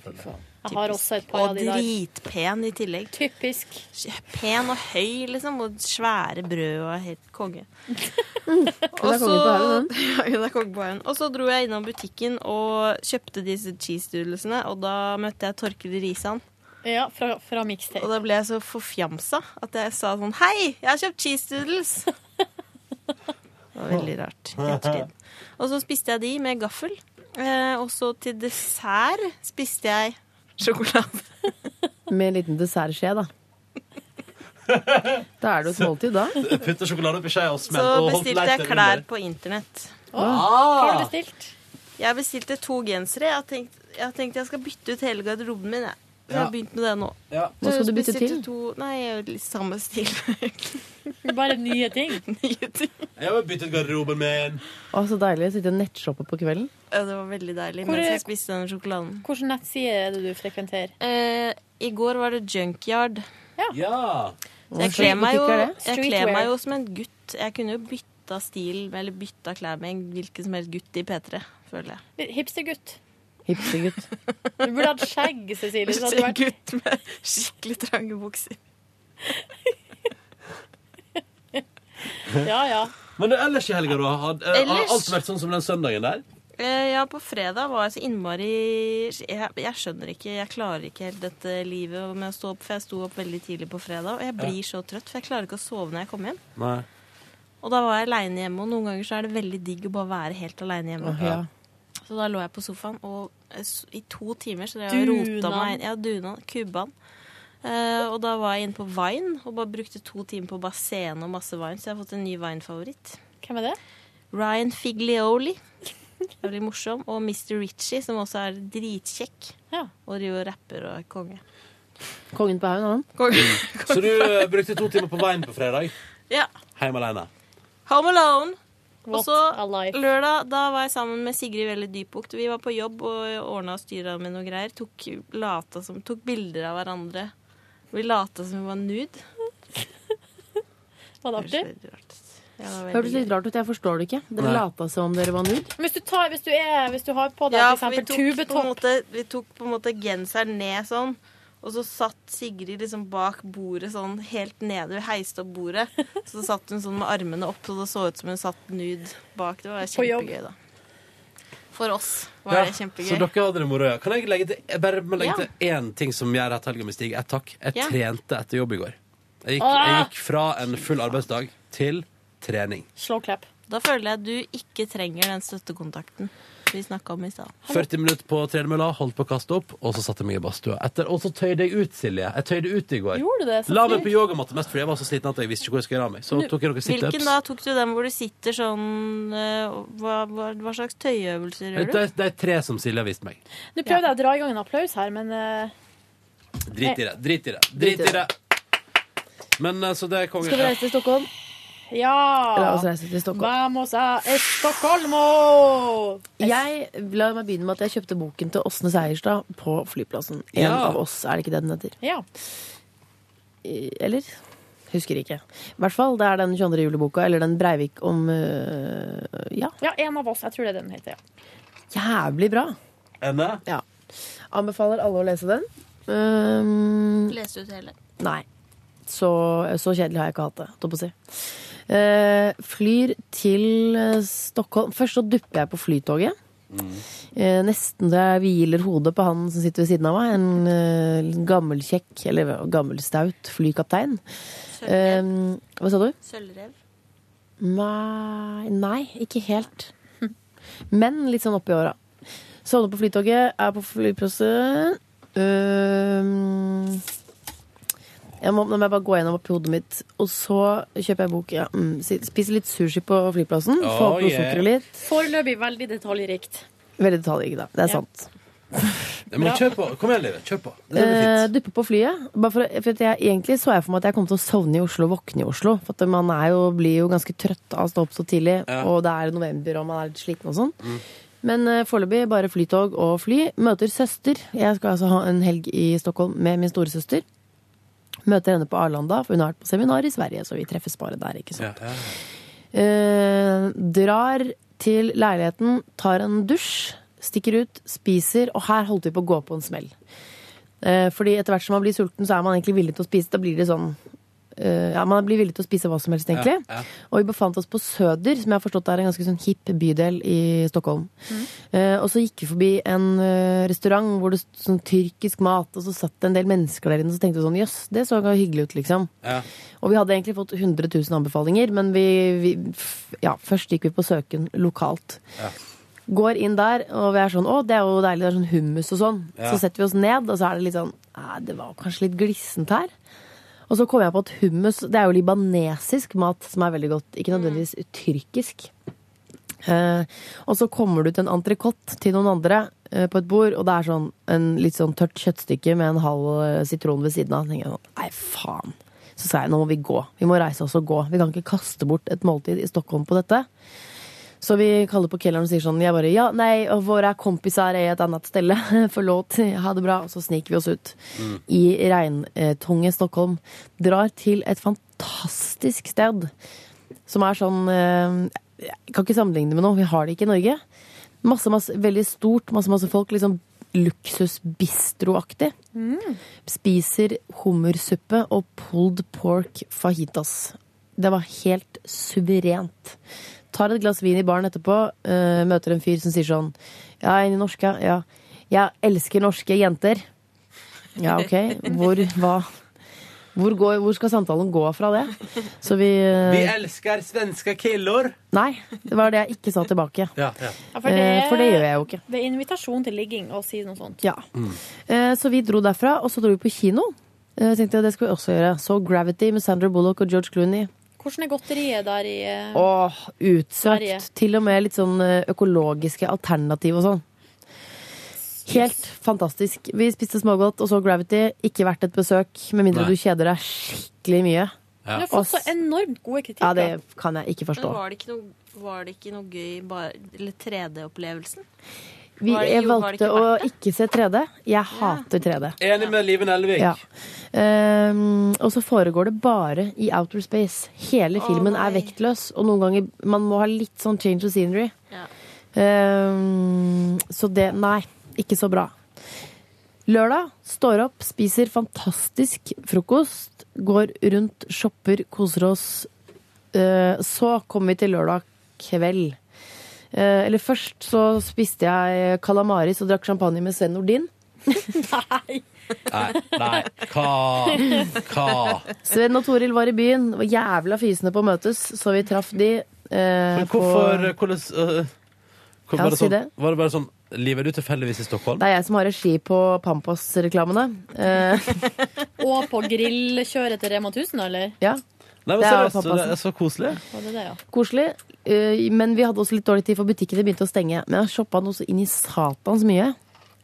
H: Typisk.
I: også et par av de der.
H: Og dritpen i tillegg.
I: Typisk.
H: Pen og høy, liksom. Og svære brød og helt konge.
C: Hun er konge på haugen,
H: ja, hun er konge på haugen. Og så dro jeg innom butikken og kjøpte disse cheese doodlesene, og da møtte jeg Torkil Risan.
I: Ja, fra, fra mixtape.
H: Og da ble jeg så forfjamsa at jeg sa sånn Hei, jeg har kjøpt cheese doodles! det var veldig rart. i ettertid. Og så spiste jeg de med gaffel. Eh, og så til dessert spiste jeg sjokolade.
C: Med en liten dessertskje, da. Da er det jo et måltid, da.
B: Putta sjokolade oppi skjea og
H: Så
B: smelt og holdt
H: bestilte jeg
B: leiteren
H: klær
B: under. Ah!
H: på internett.
B: Åh, hva har du
I: bestilt?
H: Jeg bestilte to gensere. Jeg har tenkt jeg, har tenkt jeg skal bytte ut hele garderoben min. Jeg. Så jeg
I: Ja.
H: har begynt med det nå.
I: Hva skal du bytte
H: Bestilte
I: til?
H: To, nei, jeg gjør litt samme stil.
I: Bare nye ting.
B: Jeg har byttet garderoben min.
C: Å, så deilig å sitte og nettshoppe på kvelden.
H: Ja, det var veldig deilig
I: Hvor
H: mens
I: er-
H: jeg spiste den sjokoladen.
I: Hvilken nettside er det du frekventerer?
H: Eh, I går var det Junkyard.
B: Ja.
H: Så jeg
I: Hva slags
H: kler meg, jo,
I: butikk er det?
H: jeg kler meg
I: Streetwear.
H: jo som en gutt. Jeg kunne jo bytta stil, eller bytta klær med en hvilken som helst gutt i P3, føler jeg.
I: Hipstergutt.
C: Hipstergutt.
I: Du burde hatt skjegg, Cecilie. Så hadde du vært
H: Gutt med skikkelig trange bukser.
I: Ja, ja.
B: Men det, ellers i helga, da? Har, eh,
H: Ellers-
B: har alt vært sånn som den søndagen der?
H: Eh, Ja, på fredag var jeg så innmari jeg, jeg skjønner ikke, jeg klarer ikke helt dette livet med å stå opp, for jeg sto opp veldig tidlig på fredag, og jeg blir så trøtt, for jeg klarer ikke å sove når jeg kommer hjem.
B: Nei.
H: Og da var jeg aleine hjemme, og noen ganger så er det veldig digg å bare være helt aleine hjemme.
C: Åh, ja.
H: Så da lå jeg på sofaen, og eh, s- i to timer så drev jeg og rota
I: Dunan.
H: meg inn. Ja, dunan. Kubban. Eh, og da var jeg inne på Vine, og bare brukte to timer på bassenet og masse Vine, så jeg har fått en ny Vine-favoritt.
I: Hvem er det?
H: Ryan Figlioli. Jævlig morsom. Og Mr. Ritchie, som også er dritkjekk. Og driver og rapper og er konge.
C: Kongen på haugen, han.
B: Så du eh, brukte to timer på veien på fredag?
H: Ja.
B: Hjemme alene?
H: Home Alone. Og så lørdag, da var jeg sammen med Sigrid Velle Dybukt. Vi var på jobb og ordna og styra med noe greier. Tok, lata som, tok bilder av hverandre. Vi lata som vi var nude.
I: Var det artig?
H: Ja, det var
C: Hørtes
H: veldig
C: litt rart ut. Jeg forstår det ikke. Dere
H: Nei.
C: lata som om dere var nude.
I: Men Hvis du, tar, hvis, du er, hvis du har på deg
H: Ja,
I: for
H: for vi
I: eksempel
H: tok, på en
I: tubetopp
H: måte, vi tok på en måte genseren ned sånn. Og så satt Sigrid liksom bak bordet sånn helt nede. Hun heiste opp bordet. Så satt hun sånn med armene opp, så det så ut som hun satt nude bak. Det var
I: På jobb.
H: kjempegøy, da. For oss var det kjempegøy.
B: Så dere hadde det moro, ja. Kan jeg legge til, jeg bare må legge
H: Ja.
B: til én ting som gjør at helga mi stiger? Ett takk. Jeg
H: Ja.
B: trente etter jobb i går. Jeg gikk, jeg
H: Ah!
B: gikk fra en full arbeidsdag til trening.
I: Slå klapp.
H: Da føler jeg at du ikke trenger den støttekontakten.
L: vi snakka om i stad.
B: 40 minutter på tredemølla, holdt på å kaste opp, og så satte jeg meg i badstua etter. Og så tøyde jeg ut, Silje. Jeg tøyde ut i går.
L: Gjorde du det? Så
B: La
L: kult.
B: meg på yogamatte mest fordi jeg var så sliten at jeg visste ikke hvor jeg skulle gjøre av meg. Så tok jeg noen situps.
L: Hvilken da? Tok du den hvor du sitter sånn eh, Hva, hva, hva slags tøyøvelser gjør
B: Det
L: du?
B: er, det er tre som Silje har vist meg.
E: Nå prøvde jeg å dra i gang en applaus her, men eh,
B: Drit i det. Drit i det. Drit i det. Men eh, så det er konge.
E: Skal vi reise til Stockholm? Ja!
C: La oss reise til Stockholm.
E: Vamos a Estocolmo!
C: Jeg, la meg begynne med at jeg kjøpte boken til Åsne Seierstad på flyplassen. En
E: Ja.
C: av oss, er det ikke det den heter?
E: Ja.
C: Eller? Husker ikke. I hvert fall, det er den 22. juli-boka, eller den Breivik om øh, Ja,
E: Ja, en av oss. Jeg tror det er det den heter. Ja.
C: jævlig bra.
B: Enne?
C: Ja. Anbefaler alle å lese den. Um,
L: Leste du det hele?
C: Nei. Så, så kjedelig har jeg ikke hatt det. holdt jeg På å si. Eh, flyr til eh, Stockholm. Først så dupper jeg på flytoget. Eh, nesten så jeg hviler hodet på han som sitter ved siden av meg. En eh, liten gammel kjekk, eller gammelstaut flykaptein. Eh, hva sa du?
L: Sølvrev.
C: Nei, nei, ikke helt. Men litt sånn oppi åra. Sovner på flytoget, er på flyplassen. Øhm, jeg må, nå må jeg bare gå gjennom oppi hodet mitt. Og så kjøper jeg bok. Ja, mm, si- spiser litt sushi på flyplassen.
E: Oh,
C: Får opp noe
E: yeah.
C: sukker og litt.
E: Foreløpig veldig detaljrikt.
C: Veldig detaljrik, da. Det er
E: Ja.
C: sant.
B: Men kjør på. Kom igjen, Livet. Kjør på. Det blir fint.
C: Eh, duppe på flyet. Bare for, å- for at jeg, egentlig så jeg for meg at jeg kom til å sovne i Oslo og våkne i Oslo. For at man er jo, blir jo ganske trøtt av å stå opp så tidlig,
H: Ja.
C: og det er november, og man er litt sliten og sånn.
H: Mm.
C: Men eh, foreløpig bare flytog og fly. Møter søster. Jeg skal altså ha en helg i Stockholm med min storesøster. Møter henne på Arlanda, for hun har vært på seminar i Sverige, så vi treffes bare der, ikke sant. Eh, drar til leiligheten, tar en dusj, stikker ut, spiser, og her holdt vi på å gå på en smell. Eh, fordi etter hvert som man blir sulten, så er man egentlig villig til å spise. Da blir det sånn eh, Ja, man blir villig til å spise hva som helst, egentlig.
H: Ja, ja.
C: Og vi befant oss på Søder, som jeg har forstått er en ganske sånn hipp bydel i Stockholm.
H: Mm.
C: Eh, og så gikk vi forbi en eh, restaurant hvor det sto sånn tyrkisk mat, og så satt det en del mennesker der inne, og så tenkte vi sånn jøss, det så hyggelig ut, liksom.
B: Ja.
C: Og vi hadde egentlig fått 100 000 anbefalinger, men vi, vi f- Ja, først gikk vi på søken lokalt.
B: Ja.
C: Går inn der, og vi er sånn Å, det er jo deilig, det er sånn hummus og sånn.
H: Ja.
C: Så setter vi oss ned, og så er det litt sånn «Nei, Det var kanskje litt glissent her. Og så kom jeg på at hummus Det er jo libanesisk mat som er veldig godt. Ikke nødvendigvis tyrkisk. Eh, og så kommer du til en entrecôte til noen andre eh, på et bord, og det er sånn en litt sånn tørt kjøttstykke med en halv eh, sitron ved siden av. Så tenker jeg sånn, Nei, faen. Så sa jeg nå må vi gå. Vi må reise oss og gå. Vi kan ikke kaste bort et måltid i Stockholm på dette. Så vi kaller på kelleren og sier sånn Jeg bare ja, nei, og våre kompiser er et annet sted. Forlåt. Ha det bra. Og så sniker vi oss ut
H: Mm.
C: i regntunge Stockholm. Drar til et fantastisk sted som er sånn eh, Jeg kan ikke sammenligne det med noe. Vi har det ikke i Norge. Masse, masse, veldig stort. Masse, masse folk. Liksom luksusbistroaktig. Spiser hummersuppe og pulled pork fajitas. Det var helt suverent. Tar et glass vin i baren etterpå, eh, møter en fyr som sier sånn Ja, en i norske, ja. Jeg elsker norske jenter. Ja, ok. Hvor, hva? Hvor, går, hvor skal samtalen gå fra det? Så vi eh,
B: Vi elsker svenske killor.
C: Nei, det var det jeg ikke sa tilbake.
B: Ja, ja.
E: Ja, for, det,
C: Eh, for det gjør jeg jo ikke.
E: Det er invitasjon til ligging å si noe sånt.
C: Ja. Eh, Så vi dro derfra, og så dro vi på kino. Eh, tenkte jeg, Det skal vi også gjøre. Så Gravity med Sandra Bullock og George Clooney.
E: Hvordan er godteriet der i eh,
C: Åh,
E: Sverige?
C: utsøkt. Til og med litt sånn eh, økologiske alternativ og sånn. Helt fantastisk. Vi spiste smågodt og så Gravity. Ikke verdt et besøk, med mindre
E: Nei.
C: du kjeder deg skikkelig mye.
E: Du har
C: Og
E: fått så enormt gode
C: Ja,
E: kritikker.
C: det kan jeg ikke forstå.
L: Men var det ikke noe, var det ikke noe gøy bare, Eller 3D-opplevelsen?
C: Vi,
L: Var det-
C: jeg
L: jo, var det
C: valgte
L: ikke
C: å ikke se 3D. Jeg hater 3D.
B: Enig med Liven Elvik.
C: Ja. Ehm, og så foregår det bare i outer space. Hele
H: Å,
C: filmen
H: nei.
C: er vektløs, og noen ganger man må ha litt sånn change of scenery.
L: Ja.
C: Ehm, så det Nei, ikke så bra. Lørdag står opp, spiser fantastisk frokost, går rundt, shopper, koser oss. Eh, så kommer vi til lørdag kveld. Eh, eller først så spiste jeg kalamaris og drakk champagne med Sven Nordin.
B: Nei, nei. Hva? Hva?
C: Sven og Toril var i byen, var jævla fysende på å møtes, så vi traff de. eh,
B: Men hvorfor
C: på
B: hvordan, øh, Hvor
C: Ja,
B: var, det
C: si
B: sånn,
C: det.
B: var det bare sånn Liv, er du tilfeldigvis i Stockholm?
C: Det er jeg som har regi på Pampos-reklamene. Eh,
E: Og på grillkjøret til Rema 1000, eller?
C: ja.
B: Nei, men
C: Det er
B: seriøst,
C: pappa
B: det er så koselig.
E: Var det det, ja?
C: Koselig. eh, Men vi hadde også litt dårlig tid, for butikkene begynte å stenge. Men jeg har shoppa noe så inn i satans mye.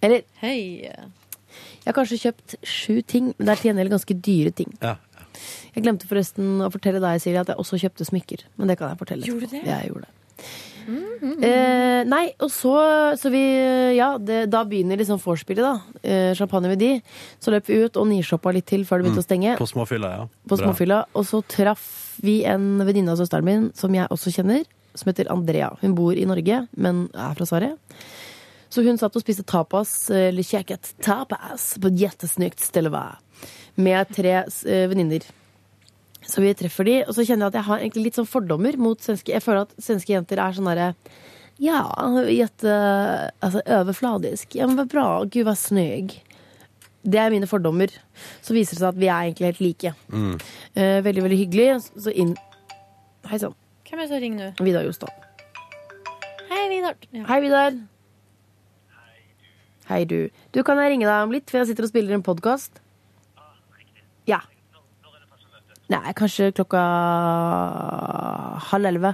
C: Eller
E: Hei.
C: jeg har kanskje kjøpt sju ting, men det er til gjengjeld ganske dyre ting.
B: Ja.
C: Jeg glemte forresten å fortelle deg, Silje, at jeg også kjøpte smykker. Men det kan jeg fortelle.
E: Gjorde
C: etterpå.
E: du det? Mm,
C: Ja, jeg gjorde det. Eh, nei, og så, så vi Ja, det, da begynner liksom vorspielet, da. Eh, champagne med de. Så løp vi ut og nishoppa litt til før det begynte å stenge.
B: På småfylla, ja. Bra.
C: på småfylla. Og så traff vi en venninne av søsteren min, som jeg også kjenner, som heter Andrea. Hun bor i Norge, men er fra Sverige. Så hun satt og spiste tapas, eh, eller kjekket tapas, på et jettesnykt sted med tre eh, venninner. Så vi treffer de, og så kjenner jeg at jeg har egentlig litt sånn fordommer mot svenske Jeg føler at svenske jenter er sånn derre ja, jette, altså overfladisk. Ja, men hva bra. Gud, hva snøg. Det er mine fordommer. Så viser det seg at vi er egentlig helt like.
B: Mm.
C: Eh, veldig, veldig hyggelig. Så inn Hei sann.
E: Hvem er det som ringer nå?
C: Vidar Jostad.
E: Hei, Vidar. Ja.
C: Hei, Vidar. Hei, du. Du, kan jeg ringe deg om litt? For jeg sitter og spiller en podkast. Ja. Nei, kanskje klokka halv elleve.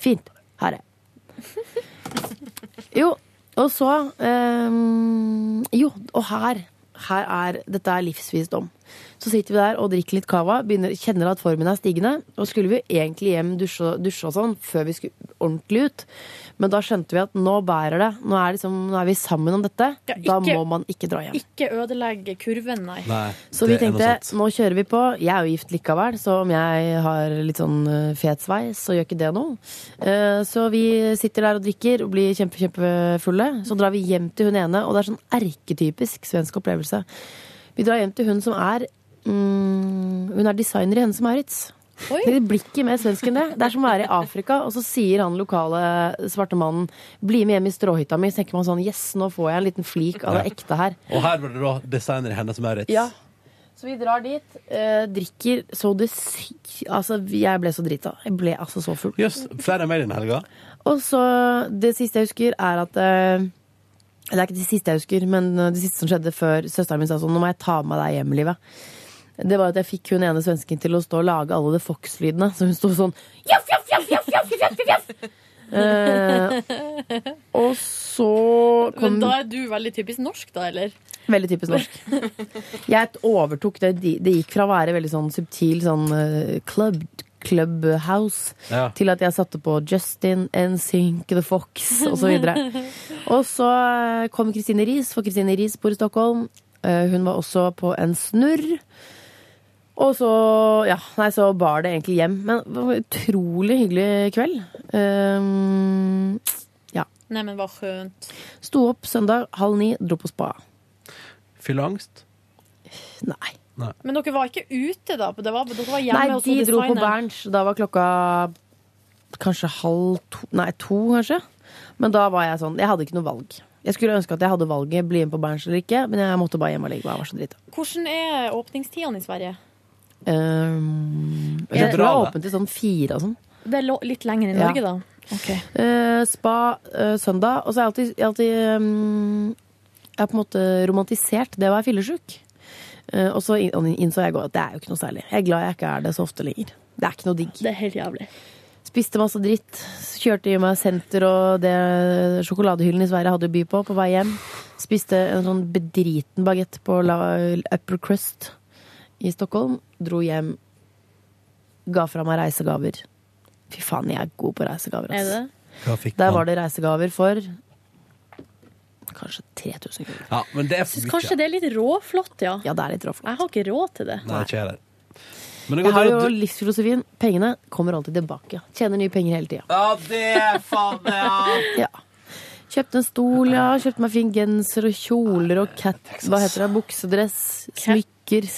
C: Fint. Ha det. Jo, og så ehm, Jo, og her. Her er, Dette er livsvisdom. Så sitter vi der og drikker litt cava, begynner, kjenner at formen er stigende. Og skulle vi jo egentlig hjem, dusje, dusje og sånn, før vi skulle ordentlig ut. Men da skjønte vi at nå bærer det. Nå er, liksom, nå er vi sammen om dette.
E: Ja,
C: da
E: ikke-
C: må man ikke dra hjem.
E: Ikke ødelegg kurven, nei.
C: Så vi tenkte nå kjører vi på. Jeg er jo gift likevel, så om jeg har litt sånn eh, fet sveis, så gjør ikke det noe. Eh, Så vi sitter der og drikker og blir kjempe, kjempefulle. Så drar vi hjem til hun ene, og det er sånn erketypisk svensk opplevelse. Vi drar hjem til hun som er mm, Hun er designer i Hennes og Maurits. Det blikket med svensken, det. Det er som å være i Afrika, og så sier han lokale svarte mannen 'bli med hjem i stråhytta mi', så tenker man sånn 'yes, nå får jeg en liten flik av det
B: Ja.
C: ekte her'.
B: Og her var det da designer Hennes Maurits.
C: Ja. Så vi drar dit, eh, drikker så det sy... Altså, jeg ble så drita. Jeg ble altså så full.
B: Jøss, flere enn meg denne helga.
C: Og så Det siste jeg husker, er at eh, Det er ikke det siste jeg husker, men eh, det siste som skjedde før søsteren min sa sånn Nå må jeg ta med deg hjem, livet. Det var at jeg fikk hun ene svensken til å stå og lage alle de Fox-lydene. Så hun sto sånn Jaff, jaff, jaff, jaff, jaff, jaff, jaff, jaff. Eh, og så kom
E: Men da er du veldig typisk norsk, da, eller?
C: Veldig typisk norsk. Jeg overtok det. Det gikk fra å være veldig sånn subtil sånn eh, club, clubhouse
R: Ja.
C: til at jeg satte på Justin, NSYNC, The Fox osv. Og så eh, kom Kristine Riis, for Kristine Riis bor i Stockholm. Eh, Hun var også på en snurr. Og så, ja, nei, så bar det egentlig hjem. Men det var en utrolig hyggelig kveld. Eh, Ehm, ja.
E: Nei, men hva skjønt.
C: Sto opp søndag halv ni, dro på spa.
B: Fylleangst? Nei.
E: Men dere var ikke ute, da? Det var, dere var hjemme
C: Nei,
E: hos
C: de dro på
E: designeren.
C: Berns. Da var klokka kanskje halv to Nei, to, kanskje. Men da var jeg sånn Jeg hadde ikke noe valg. Jeg skulle ønske at jeg hadde valget bli med på Berns eller ikke, men jeg måtte bare hjem og ligge. og Jeg var så drita.
E: Hvordan er åpningstidene i Sverige?
C: Ehm,
E: Er det
C: jeg tror det
E: bra,
C: var
E: det?
C: åpent til sånn fire og sånn.
E: Det er lo- litt lenger enn
C: Ja.
E: Norge, da.
C: Eh, spa eh, søndag. Og så har jeg alltid, jeg har alltid ehm, Jeg har på en måte romantisert det å være fyllesyk. Eh, og så in- innså jeg i går at det er jo ikke noe særlig. Jeg er glad jeg ikke er det så ofte lenger. Det er ikke noe digg.
E: Det er helt jævlig.
C: Spiste masse dritt. Kjørte i meg senter og det sjokoladehyllen i Sverige hadde å by på på vei hjem. Spiste en sånn bedriten bagett på la, Upper Crust i Stockholm. Dro hjem. Ga fra meg reisegaver. Fy faen, jeg er god på reisegaver. ass.
E: Er det?
C: Der var det reisegaver for kanskje 3000 kroner.
B: Ja, men det er for
E: Kanskje
B: mye.
E: det er litt råflott, ja.
C: Ja, det er litt råflott.
E: Jeg har ikke råd til det.
B: Nei, ikke jeg der. Men det
C: Jeg
B: går
C: har
B: til
C: jo
B: at du-
C: livsfilosofien. Pengene kommer alltid tilbake. Tjener nye penger hele tida.
B: Ja, det faen meg, ja.
C: Ja. Kjøpte en stol, ja. Kjøpte meg fin genser og kjoler og cat... Hva heter det? Buksedress, smykker.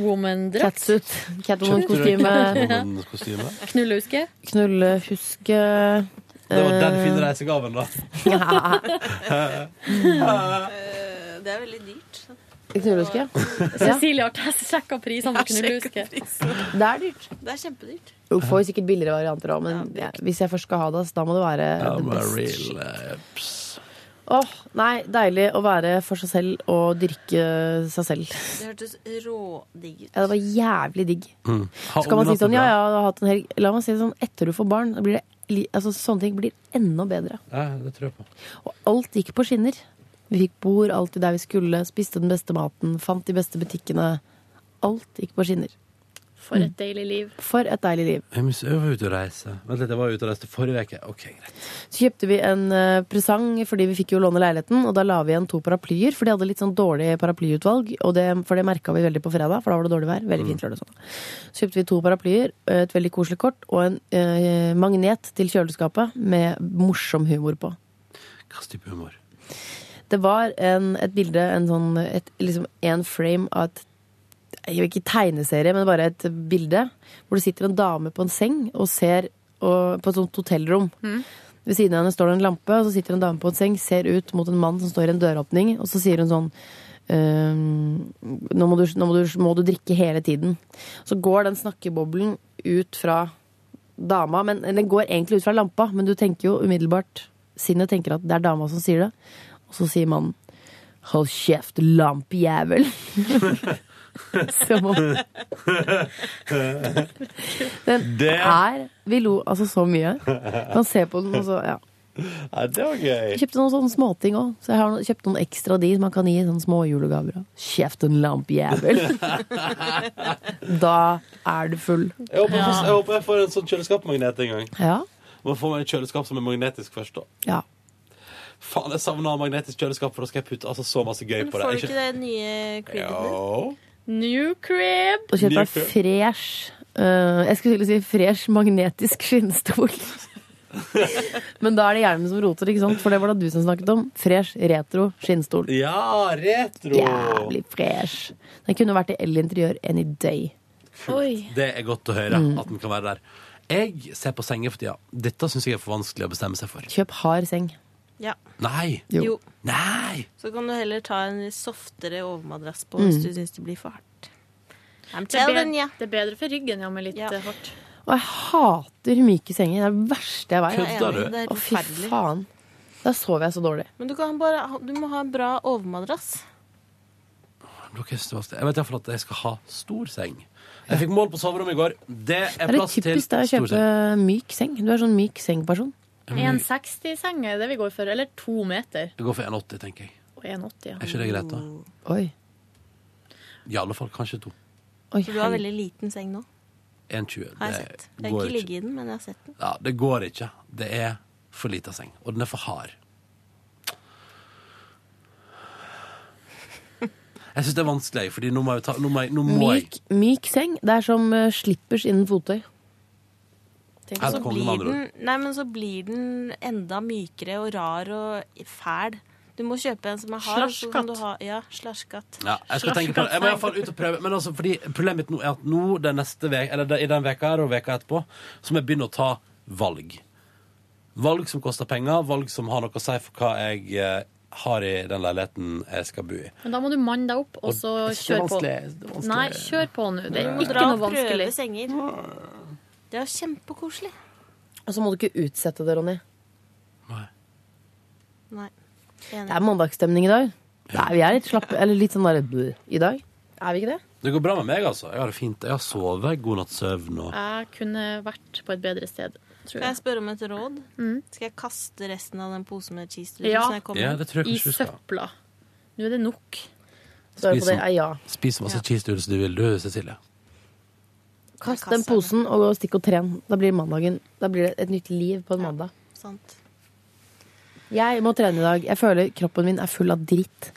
E: Woman-drakt.
C: Catsuit. Catwoman-kostyme.
B: Kostyme.
E: Knullhuske.
C: Knullehuske.
B: Det var den
C: Eh,
B: fine reisegaven, da.
C: Ja.
L: Det er veldig dyrt.
C: Knullehuske?
I: Cecilie har test- sjekka prisene på knullehuske.
C: Det er dyrt.
H: Det er kjempedyrt.
C: Du får jo sikkert billigere varianter òg, men hvis jeg først skal ha det, så da må det være det beste.
B: eh,
C: Åh, nei, deilig å være for seg selv og dyrke seg selv.
H: Det hørtes rådigg ut.
C: Ja, det var jævlig digg.
B: Mm.
C: Så kan man si sånn, ja ja, du har hatt en helg. La meg si det sånn, etter du får barn, da blir det, li- altså, sånne ting blir enda bedre.
B: Ja, det tror jeg på.
C: Og alt gikk på skinner. Vi fikk bord alltid der vi skulle, spiste den beste maten, fant de beste butikkene. Alt gikk på skinner.
I: For et deilig liv.
C: For et deilig liv.
B: Jeg, mis, jeg var ute og reise. Vent litt, jeg var ute og reiste forrige uke. Ok, greit.
C: Så kjøpte vi en eh, presang fordi vi fikk jo låne leiligheten, og da la vi igjen to paraplyer, for de hadde litt sånn dårlig paraplyutvalg, og det, for det merka vi veldig på fredag, for da var det dårlig vær. Veldig fint lørdag og sånn. Så kjøpte vi to paraplyer, eh, et veldig koselig kort og en eh, magnet til kjøleskapet med morsom humor på.
B: Hva slags type humor?
C: Det var en, et bilde, en sånn et, liksom en frame av et jeg vil ikke tegneserie, men bare et bilde hvor det sitter en dame på en seng og ser og, på et sånt hotellrom. Ved siden av henne står det en lampe, og så sitter en dame på en seng, ser ut mot en mann som står i en døråpning, og så sier hun sånn «Ehm, nå, må du, nå må, du, må du drikke hele tiden. Så går den snakkeboblen ut fra dama, men den går egentlig ut fra lampa, men du tenker jo umiddelbart Sinnet tenker at det er dama som sier det, og så sier mannen Hold kjeft, lampejævel! Som om Den
B: Det-
C: er Vi lo altså så mye. Man ser på den, og så Ja.
B: Nei, det var gøy.
C: Jeg kjøpte noen sånne småting òg. Så jeg har no- kjøpt noen ekstra de som man kan gi i sånne små julegaver. av. Kjeft en lampejævel! da er du full.
B: Jeg håper, jeg, får, jeg håper jeg får en sånn kjøleskapmagnet en gang.
C: Ja.
B: Må få meg et kjøleskap som er magnetisk først, da.
C: Ja.
B: Faen, jeg savner å ha magnetisk kjøleskap, for da skal jeg putte altså, så masse gøy
H: Men
B: på det.
H: får du
B: Jeg
H: ikke det nye creepet ditt?
B: Jo.
H: New crib!
C: Og kjøpte
B: Mye
C: meg
B: før.
C: fresh eh, Jeg skulle til å si fresh magnetisk skinnstol. Men da er det hjelmen som roter, ikke sant? For det var det du som snakket om. Fresh retro skinnstol.
B: Ja, retro!
C: Jævlig fresh. Den kunne vært i L Interiør any day.
B: Det er godt å høre
C: Mm.
B: at den kan være der. Jeg ser på senger for tida. Dette syns jeg er for vanskelig å bestemme seg for.
C: Kjøp hard seng.
H: Ja.
B: Nei!
H: Jo. Jo.
B: Nei!
H: Så kan du heller ta en litt softere overmadrass på
C: Mm.
H: hvis du syns det blir for hardt. I'm
S: Det er,
H: telling
S: bedre,
H: ya.
S: det er bedre for ryggen, ja, med litt eh, hardt.
C: Og jeg hater myke senger. Det er det verste jeg vet.
H: Kødder du? Det er
C: Å, fy
H: forferdelig.
C: faen. Da sover jeg så dårlig.
H: Men du, kan bare, ha- du må ha en bra overmadrass.
B: Nå kan jeg stå stille. Jeg vet iallfall at jeg skal ha stor seng. Jeg fikk mål på soverommet i går. Det
C: Det
B: er
C: er
B: plass
C: litt
B: til
C: typisk deg å
B: stor
C: kjøpe
B: seng.
C: myk seng. Du er sånn myk seng-person.
I: 1,60-seng er det vi går for. Eller to meter.
B: Jeg går for 1,80, tenker jeg.
I: Og 1,80.
B: Er ikke det greit, da?
H: Mm.
C: Oi.
B: I alle fall kanskje to.
H: For du har veldig liten seng nå.
B: 1,20.
H: Har
B: Det
H: jeg sett. Jeg har
B: går
H: ikke
B: ikke.
H: ligget i den, men jeg har sett den.
B: Ja, det går ikke. Det er for lita seng. Og den er for hard. Jeg syns det er vanskelig, fordi nå må jeg ta Nå må jeg, nå må jeg.
C: Myk, myk seng. Det er som eh, slippers innen fottøy.
H: Tenk,
B: Her
H: så
B: kom det
H: blir
B: med andre
H: den, nei, men så blir den enda mykere og rar og fæl. Du må kjøpe en som er hard. og så kan
S: Slaskkatt.
H: du ha- Ja, slaskkatt.
B: Ja, jeg skal tenke på det. Jeg må i hvert fall ut og prøve. Men altså, fordi problemet mitt nå er at nå den neste vek, eller i den veka her og veka etterpå, så må jeg begynne å ta valg. Valg som koster penger, valg som har noe å si for hva jeg eh, har i den leiligheten jeg skal bo i.
I: Men da må du manne deg opp, og så
B: Og-
I: kjør på.
B: Det er vanskelig, det er vanskelig.
I: Nei, kjør på nå. Det er
H: Du må
I: ikke
H: dra
I: noe
H: og
I: vanskelig.
H: prøve senger. Det er jo kjempekoselig.
C: Og så må du ikke utsette det, Ronny.
H: Nei.
C: Det er mandagsstemning i dag. Nei, vi er litt slappe, eller litt sånn der bøh i dag. Er vi ikke det?
B: Det går bra med meg, altså. Jeg har det fint. Jeg har sovet, god natts søvn og
I: Jeg kunne vært på et bedre sted, tror
H: Kan jeg
I: jeg.
H: spørre om et råd? Skal jeg kaste resten av den posen med cheese doodles
I: Mm. Ja,
H: når jeg kommer?
B: Ja, det tror jeg
I: i
B: kanskje du skal.
I: søpla. Nå er det nok.
B: Spis så- Spis så masse
I: Ja.
B: cheese doodles du vil, du, Cecilie.
C: Kast den posen og gå og stikk og tren. Da blir mandagen Da blir det et nytt liv på en mandag.
H: Sant.
C: Jeg må trene i dag. Jeg føler kroppen min er full av dritt.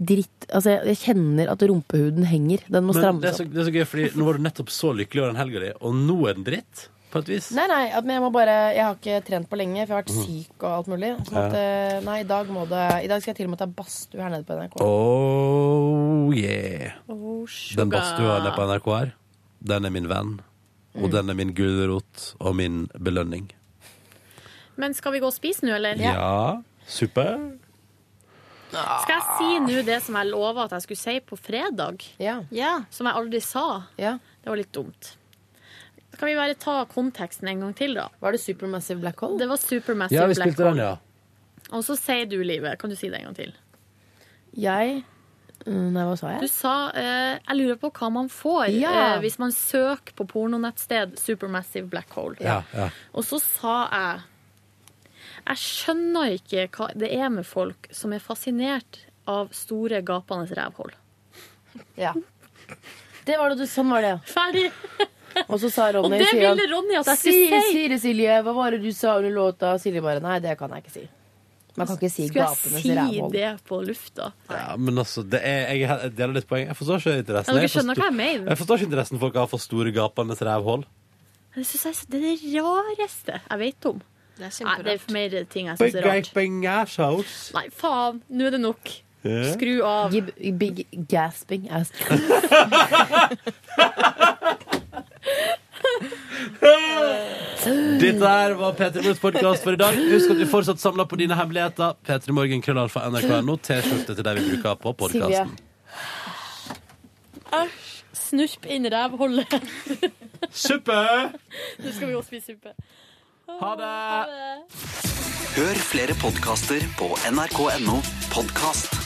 C: Dritt. Altså, jeg, jeg kjenner at rumpehuden henger. Den må
B: Men det er,
C: strammes
B: så,
C: opp.
B: det er så gøy, fordi nå var du nettopp så lykkelig over den helga di, og nå er den dritt, på et vis.
C: Nei, nei, at, men jeg må bare Jeg har ikke trent på lenge, for jeg har vært syk og alt mulig. Sånn at,
B: Ja.
C: eh, nei, i dag må det I dag skal jeg til og med ta badstue her nede på NRK.
B: Oh yeah.
C: Oh,
B: Den badstua nede på NRK her, den er min venn. Og
I: Mm.
B: den er min gulrot og min belønning.
I: Men skal vi gå og spise nå, eller?
B: Ja, super.
I: Skal jeg si nå det som jeg lova at jeg skulle si på fredag? Som jeg aldri sa? Det var litt dumt. Kan vi bare ta konteksten en gang til, da?
C: Var det Supermassive Black Hole?
I: Det var Supermassive
B: Ja, vi
I: Black
B: spilte den,
I: Hole.
B: ja.
I: Og så sier du, Livet, kan du si det en gang til?
C: Jeg Mm, Nei, hva sa
I: Du
C: jeg?
I: sa eh, jeg lurer på hva man får
C: Ja.
I: eh, hvis man søker på pornonettsted Supermassive Black Hole.
B: Ja, ja.
I: Og så sa jeg jeg skjønner ikke hva det er med folk som er fascinert av store, gapende rævhold.
C: Ja. Det var det du, sånn var det, ja.
I: Ferdig!
C: Og så sa Ronny
I: Og det
C: sier han,
I: ville Ronny at jeg skulle si.
C: Siri Silje, hva var det du sa under låta? Silje bare Nei, det kan jeg ikke si. Man kan ikke si
I: Skulle
C: gapenes
I: jeg si
C: rævhold.
I: det på lufta?
B: Ja, men altså, det er, jeg, er- jeg deler litt poeng. Jeg forstår ikke interessen.
I: Ja, dere
B: Jeg forstår,
I: skjønner hva jeg mener.
B: jeg forstår ikke interessen folk har for store gapende rævhull.
I: Det synes jeg er det rareste jeg vet om. Det er, Nei, det er mer ting jeg syns
B: Big
I: er rart.
B: gaping assholes.
I: Nei, faen. Nå er det nok.
B: Ja.
I: Skru av.
C: Big gasping ass.
B: Dette her var P3 Morgens podkast for i dag. Husk at vi fortsatt samler på dine hemmeligheter. P3 Morgen, krøllalfa, nrk.no. T-skjorte til deg vi bruker på
I: Silje.
B: podkasten.
I: Æsj. Snurp inn rævholdet.
B: Suppe!
I: Nå skal vi også spise suppe.
B: Ha det!
A: Hør flere podkaster på nrk.no podkast.